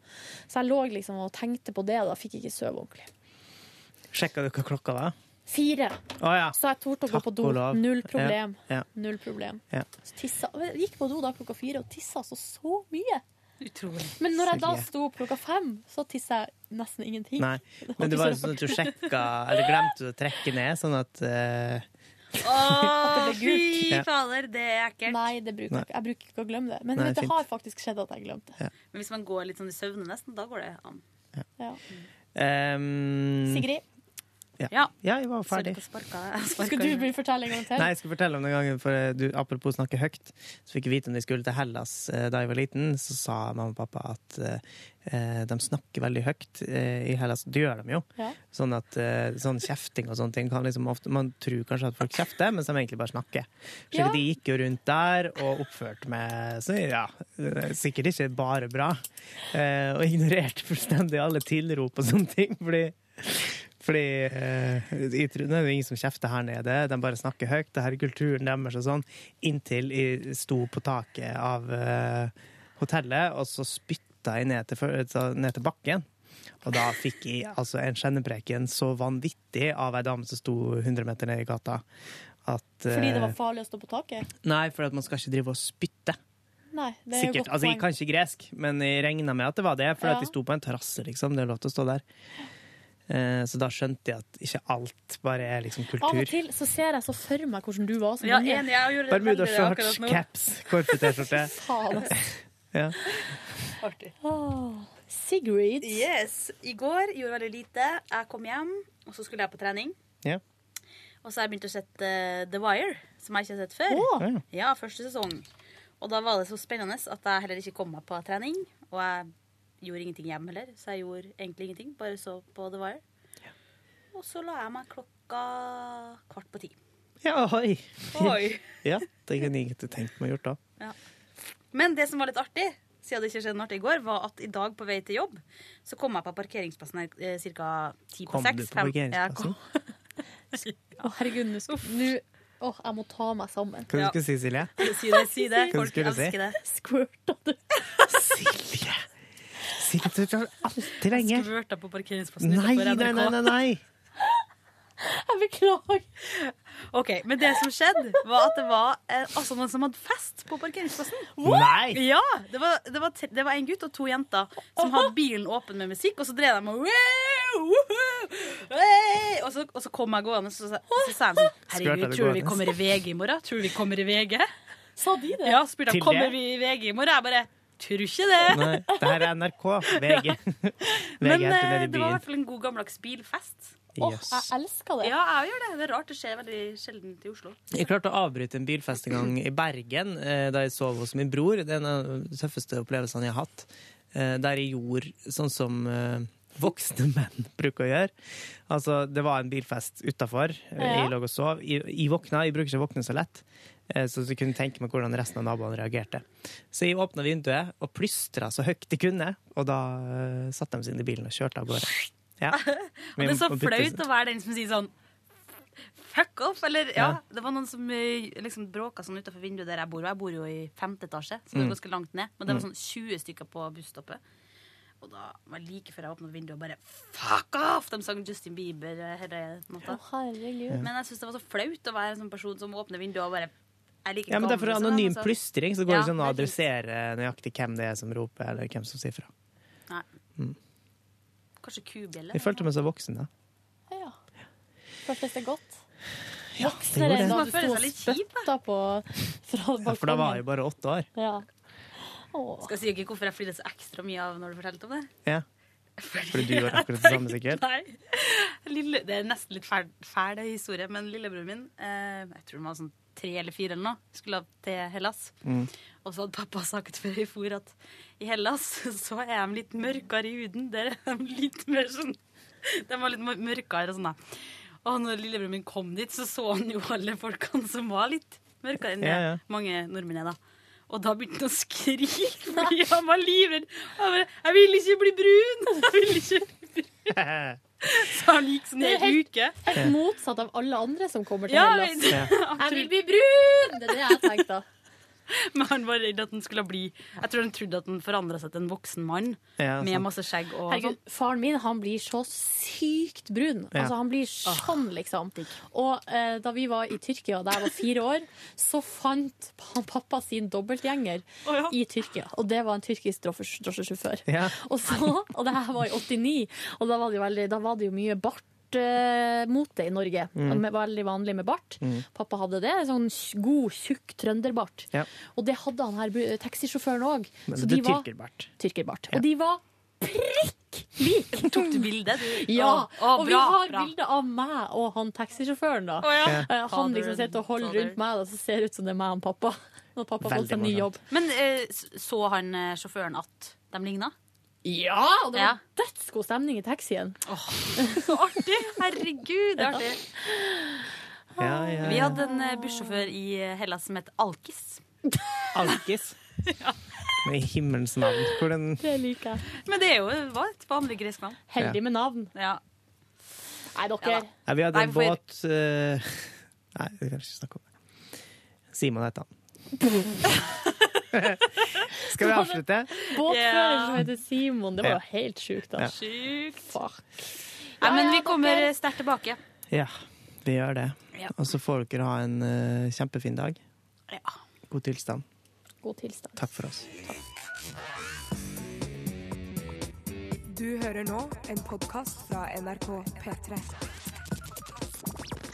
Speaker 4: Så jeg lå liksom og tenkte på det, og da fikk jeg ikke sove ordentlig.
Speaker 9: Sjekka du hva klokka var?
Speaker 4: Fire.
Speaker 9: Å ja.
Speaker 4: Så jeg torde å gå på do.
Speaker 9: og lov.
Speaker 4: Null problem.
Speaker 9: Ja, ja.
Speaker 4: Null problem.
Speaker 9: Ja.
Speaker 4: Så tissa, jeg gikk på do da klokka fire og tissa altså så mye.
Speaker 10: Utrolig.
Speaker 4: Men når jeg da
Speaker 9: Silje.
Speaker 4: sto opp klokka fem, så tissa jeg nesten ingenting.
Speaker 9: Nei. Men det var jo sånn at du sjekka Eller glemte å trekke ned, sånn at eh,
Speaker 10: Å,
Speaker 4: At det ble gult.
Speaker 10: fy
Speaker 9: Ja.
Speaker 10: fader, det er ekkelt.
Speaker 4: Nei, det bruker
Speaker 9: Nei.
Speaker 4: jeg ikke. Jeg bruker ikke å glemme det. Men
Speaker 9: Nei,
Speaker 4: vet, det
Speaker 9: fint.
Speaker 4: har faktisk skjedd at jeg glemte det.
Speaker 10: Men hvis man går litt sånn i søvne nesten, da går det an.
Speaker 4: Ja.
Speaker 9: ehm,
Speaker 4: Sigrid,
Speaker 9: Ja. ja, jeg var ferdig.
Speaker 4: skal du bli fortelle en gang til?
Speaker 9: Nei, jeg skal fortelle om den gangen for eh, du, Apropos snakke høyt, så fikk jeg vite om de skulle til Hellas eh, da jeg var liten. Så sa mamma og pappa at eh, de snakker veldig høyt eh, i Hellas. Det gjør de jo.
Speaker 4: Ja.
Speaker 9: Sånn at eh, sånn kjefting og sånne ting kan liksom ofte Man tror kanskje at folk kjefter, mens de egentlig bare snakker. Så
Speaker 4: Ja.
Speaker 9: de gikk jo rundt der og oppførte meg så ja, eh, sikkert ikke bare bra. Eh, og ignorerte fullstendig alle tilrop og sånne ting. Fordi fordi eh, jeg tror, det er jo ingen som kjefter her nede. De bare snakker høyt. Det her er kulturen deres og sånn. Inntil jeg sto på taket av eh, hotellet, og så spytta jeg ned til, fø- så- ned til bakken. Og da fikk jeg altså en kjennepreken så vanvittig av ei dame som sto 100 meter ned i gata, at
Speaker 4: Fordi det
Speaker 9: eh,
Speaker 4: var farlig å stå på taket?
Speaker 9: Nei, for at man skal ikke drive og spytte.
Speaker 4: Nei, det er jo
Speaker 9: Sikkert.
Speaker 4: godt
Speaker 9: Altså, jeg
Speaker 4: poeng.
Speaker 9: kan ikke gresk, men jeg regna med at det var det, for
Speaker 4: Ja.
Speaker 9: at de sto på en terrasse, liksom. Det er lov til å stå der. Eh, Så da skjønte jeg at ikke alt bare er liksom
Speaker 4: Av og
Speaker 9: kultur.
Speaker 4: til så ser jeg så for meg hvordan du var som
Speaker 10: Ja,
Speaker 4: unge.
Speaker 10: enig, jeg gjorde det
Speaker 9: Bermuda
Speaker 10: veldig det
Speaker 9: shorts,
Speaker 10: akkurat nå.
Speaker 9: caps, korpe-T-skjorte.
Speaker 4: [LAUGHS] Faen, ass.
Speaker 9: Ja.
Speaker 4: Åh, Sigrid.
Speaker 10: Yes. I går gjorde veldig lite. Jeg kom hjem, og så skulle jeg på trening.
Speaker 9: Ja.
Speaker 10: Og så har jeg begynt å sette The Wire, som jeg ikke har sett før.
Speaker 9: Åh.
Speaker 10: Ja, første sesong. Og da var det så spennende at jeg heller ikke kom meg på trening. Og jeg gjorde ingenting hjem heller, så jeg gjorde egentlig ingenting. Bare så på The Wire. Og så la jeg meg klokka kvart på ti.
Speaker 9: Ja, oi.
Speaker 10: Oi.
Speaker 9: [LAUGHS] ja, det kunne jeg ikke tenkt meg gjort da.
Speaker 10: Ja. Men det som var litt artig, siden det ikke skjedde noe artig i går, var at i dag på vei til jobb, så kom jeg på parkeringsplassen her eh, ca. ti på
Speaker 9: Kom du
Speaker 10: seks.
Speaker 9: på parkeringsplassen?
Speaker 4: Å, herregud, nå skal- nå Åh, jeg må ta meg sammen.
Speaker 9: Hva du skulle si, Silje?
Speaker 10: Si det, si det.
Speaker 9: Hva du
Speaker 10: Folk
Speaker 9: skulle si?
Speaker 10: elsker det.
Speaker 4: Squirta du?
Speaker 9: Silje, du tar alltid lenge.
Speaker 10: Skvørta på parkeringsplassen
Speaker 9: Nei,
Speaker 10: utenfor
Speaker 9: nei,
Speaker 10: NRK.
Speaker 9: nei, nei, nei.
Speaker 4: Jeg beklager.
Speaker 10: OK. Men det som skjedde, var at det var eh, altså noen som hadde fest på parkeringsplassen.
Speaker 9: What? Nei.
Speaker 10: Ja, det var, det, var, tre- det var en gutt og to jenter som hadde bilen åpen med musikk, og så drev de og «Wow, woohoo, hey!» og så, og så kom jeg gående, og så, sa- så sa de sånn
Speaker 4: Skvørta
Speaker 10: Herregud,
Speaker 4: det
Speaker 10: tror du vi
Speaker 4: gående.
Speaker 10: kommer i VG i morgen? Tror du vi kommer i VG?
Speaker 4: Sa de det?
Speaker 10: Ja, spurte
Speaker 9: Til
Speaker 10: de kommer
Speaker 9: det?
Speaker 10: vi i VG i morgen. Jeg bare tror ikke det.
Speaker 9: Nei, det her er NRK,
Speaker 10: [LAUGHS]
Speaker 9: VG. VG
Speaker 10: Men eh,
Speaker 9: er ikke nede i
Speaker 10: det var i
Speaker 9: byen.
Speaker 10: hvert fall en god gammeldags bilfest.
Speaker 9: Åh, Yes. jeg
Speaker 4: elsker
Speaker 10: det. Ja, jeg gjør det. Det er rart. Det skjer veldig sjelden i Oslo.
Speaker 9: Jeg klarte å avbryte en bilfest en gang i Bergen, eh, da jeg sov hos min bror. Det er en av de tøffeste opplevelsene jeg har hatt. Eh, Der jeg gjorde sånn som eh, voksne [LAUGHS] menn bruker å gjøre. Altså, det var en bilfest utafor.
Speaker 4: Ja.
Speaker 9: Jeg lå og sov. Jeg, jeg våkna, jeg bruker ikke å våkne så lett. eh, Så jeg kunne tenke meg hvordan resten av naboene reagerte. Så jeg åpna vinduet og plystra så høyt de kunne, og da eh, satte de seg inn i bilen og kjørte av gårde. Ja.
Speaker 10: [LAUGHS] Og det er så
Speaker 9: Vi må bytte-
Speaker 10: flaut å være den som sier sånn Fuck off! Eller ja,
Speaker 9: Ja.
Speaker 10: det var noen som eh, liksom bråka sånn utenfor vinduet der jeg bor. Og jeg bor jo i femte etasje, så det
Speaker 9: Mm.
Speaker 10: er ganske langt ned. Men det var
Speaker 9: Mm.
Speaker 10: sånn 20 stykker på busstoppet. Og da var det like før jeg åpna vinduet og bare fuck off! De sang Justin Bieber eh, hele natta.
Speaker 4: herregud.
Speaker 10: Men jeg syns det var så flaut å være en sånn person som åpner vinduet og bare jeg liker
Speaker 9: Ja, men det er for
Speaker 10: gamle,
Speaker 9: anonym
Speaker 10: sånn, altså.
Speaker 9: plystring, så det går
Speaker 10: Ja,
Speaker 9: ikke an å
Speaker 10: det er fint.
Speaker 9: adressere nøyaktig hvem det er som roper, eller hvem som sier fra.
Speaker 10: Nei.
Speaker 9: Mm.
Speaker 10: Kanskje kubjelle?
Speaker 9: Jeg følte meg så voksen, da.
Speaker 4: Ja. Føltes det godt?
Speaker 9: det
Speaker 4: Voksnere
Speaker 9: gjorde
Speaker 4: enn da
Speaker 9: det.
Speaker 4: du sto og spytta på fra
Speaker 9: Ja, for da
Speaker 4: balkongen.
Speaker 9: var jeg bare åtte år.
Speaker 4: Ja.
Speaker 10: Skal si ikke hvorfor jeg flirte så ekstra mye av når du fortalte om det?
Speaker 9: Ja. Fordi du gjør akkurat det samme, sikkert.
Speaker 10: Nei. Lille, det er nesten litt fæl, fæl historie, men lillebroren min, eh, jeg tror han var sånn tre eller fire eller noe, skulle av til Hellas.
Speaker 17: Mm.
Speaker 10: Og så hadde pappa sagt før jeg for at i Hellas så er de litt mørkere i huden. Der er de litt mer sånn De var litt mør- mørkere og sånn, da. Og når lillebroren min kom dit, så så han jo alle folkene som var litt mørkere enn det
Speaker 17: Ja, ja.
Speaker 10: mange nordmenn er, da. Og da begynte han å skrike fordi han var livredd. Han bare 'Jeg vil ikke bli
Speaker 9: [LAUGHS]
Speaker 10: brun!' [LAUGHS] Jeg vil ikke bli brun. Så han gikk sånn
Speaker 4: Det er
Speaker 10: en hel uke.
Speaker 4: Helt motsatt av alle andre som kommer til
Speaker 10: Ja,
Speaker 4: Hellas.
Speaker 10: men- Ja.
Speaker 4: Jeg vil bli brun! Det er det jeg tenkte.
Speaker 10: [LAUGHS] Men han var redd at han skulle bli Jeg tror han trodde at han forandra seg til en voksen mann
Speaker 4: Ja,
Speaker 9: sånn.
Speaker 10: med
Speaker 4: sant.
Speaker 10: masse skjegg og
Speaker 4: Herregud, faren min han blir så sykt brun.
Speaker 10: Ja.
Speaker 4: Altså, han blir
Speaker 10: Ah.
Speaker 4: sånn, liksom. Og eh, da vi var i Tyrkia, da jeg var fire år, så fant han pappa sin dobbeltgjenger i Tyrkia. Og det var en tyrkisk drosje- drosjesjåfør.
Speaker 17: Ja.
Speaker 4: Og så, [LAUGHS] og det her var i 89, og da var det jo, veldig, da var det jo mye bart. eh, Mote i Norge.
Speaker 17: Mm.
Speaker 4: Med, veldig vanlig med bart.
Speaker 17: Mm.
Speaker 4: Pappa hadde det. Sånn god, tjukk trønderbart.
Speaker 9: Ja.
Speaker 4: Og det hadde han her bru- taxisjåføren òg.
Speaker 9: Men det er tyrkerbart.
Speaker 4: Tyrkerbart. Og de var prikk like!
Speaker 10: Tok du bilde?
Speaker 4: Ja.
Speaker 10: Å, å,
Speaker 4: og vi
Speaker 10: bra,
Speaker 4: har
Speaker 10: bra.
Speaker 4: bilde av meg og han taxisjåføren, da.
Speaker 10: Å, ja.
Speaker 4: [LAUGHS] Eh, Han
Speaker 10: Fader,
Speaker 4: liksom sitter og holder
Speaker 10: fader.
Speaker 4: rundt meg, da, så ser det ut som det er meg og pappa. [LAUGHS] Når pappa har fått
Speaker 10: Veldig
Speaker 4: seg ny
Speaker 10: morsomt.
Speaker 4: jobb.
Speaker 10: Men eh, s- så han eh, sjåføren at de ligna?
Speaker 4: Ja! Og det var dødsgod stemning i taxien.
Speaker 10: Så artig! Herregud, det er artig.
Speaker 9: Ja, ja,
Speaker 10: Vi
Speaker 9: ja.
Speaker 10: hadde en eh, bussjåfør i eh, Hellas som het Alkis.
Speaker 9: [LAUGHS] Alkis.
Speaker 10: [LAUGHS]
Speaker 9: Men i himmelens navn, hvordan
Speaker 4: Det liker jeg.
Speaker 10: Men det er jo var et vanlig gresk navn.
Speaker 9: Heldig
Speaker 4: med navn.
Speaker 10: Ja.
Speaker 4: Nei, dere.
Speaker 9: Nei, vi hadde
Speaker 10: Nei,
Speaker 9: en
Speaker 10: hvorfor-
Speaker 9: båt eh, [LAUGHS] Nei, vi kan ikke snakke om det. Simon
Speaker 10: [LAUGHS]
Speaker 9: heter han. Skal vi avslutte?
Speaker 4: Båtfører som heter Simon. Det var
Speaker 9: Ja.
Speaker 4: jo helt sjukt.
Speaker 9: Ja.
Speaker 4: Altså. Fuck.
Speaker 10: Nei, men
Speaker 4: Ja, ja,
Speaker 10: vi kommer
Speaker 4: dere.
Speaker 10: sterkt tilbake.
Speaker 9: Ja, vi gjør det.
Speaker 10: Ja.
Speaker 9: Og så får dere ha en eh, kjempefin dag.
Speaker 10: Ja.
Speaker 9: God tilstand.
Speaker 18: god tilstand.
Speaker 9: Takk for oss.
Speaker 1: Du hører nå en podkast fra NRK P3.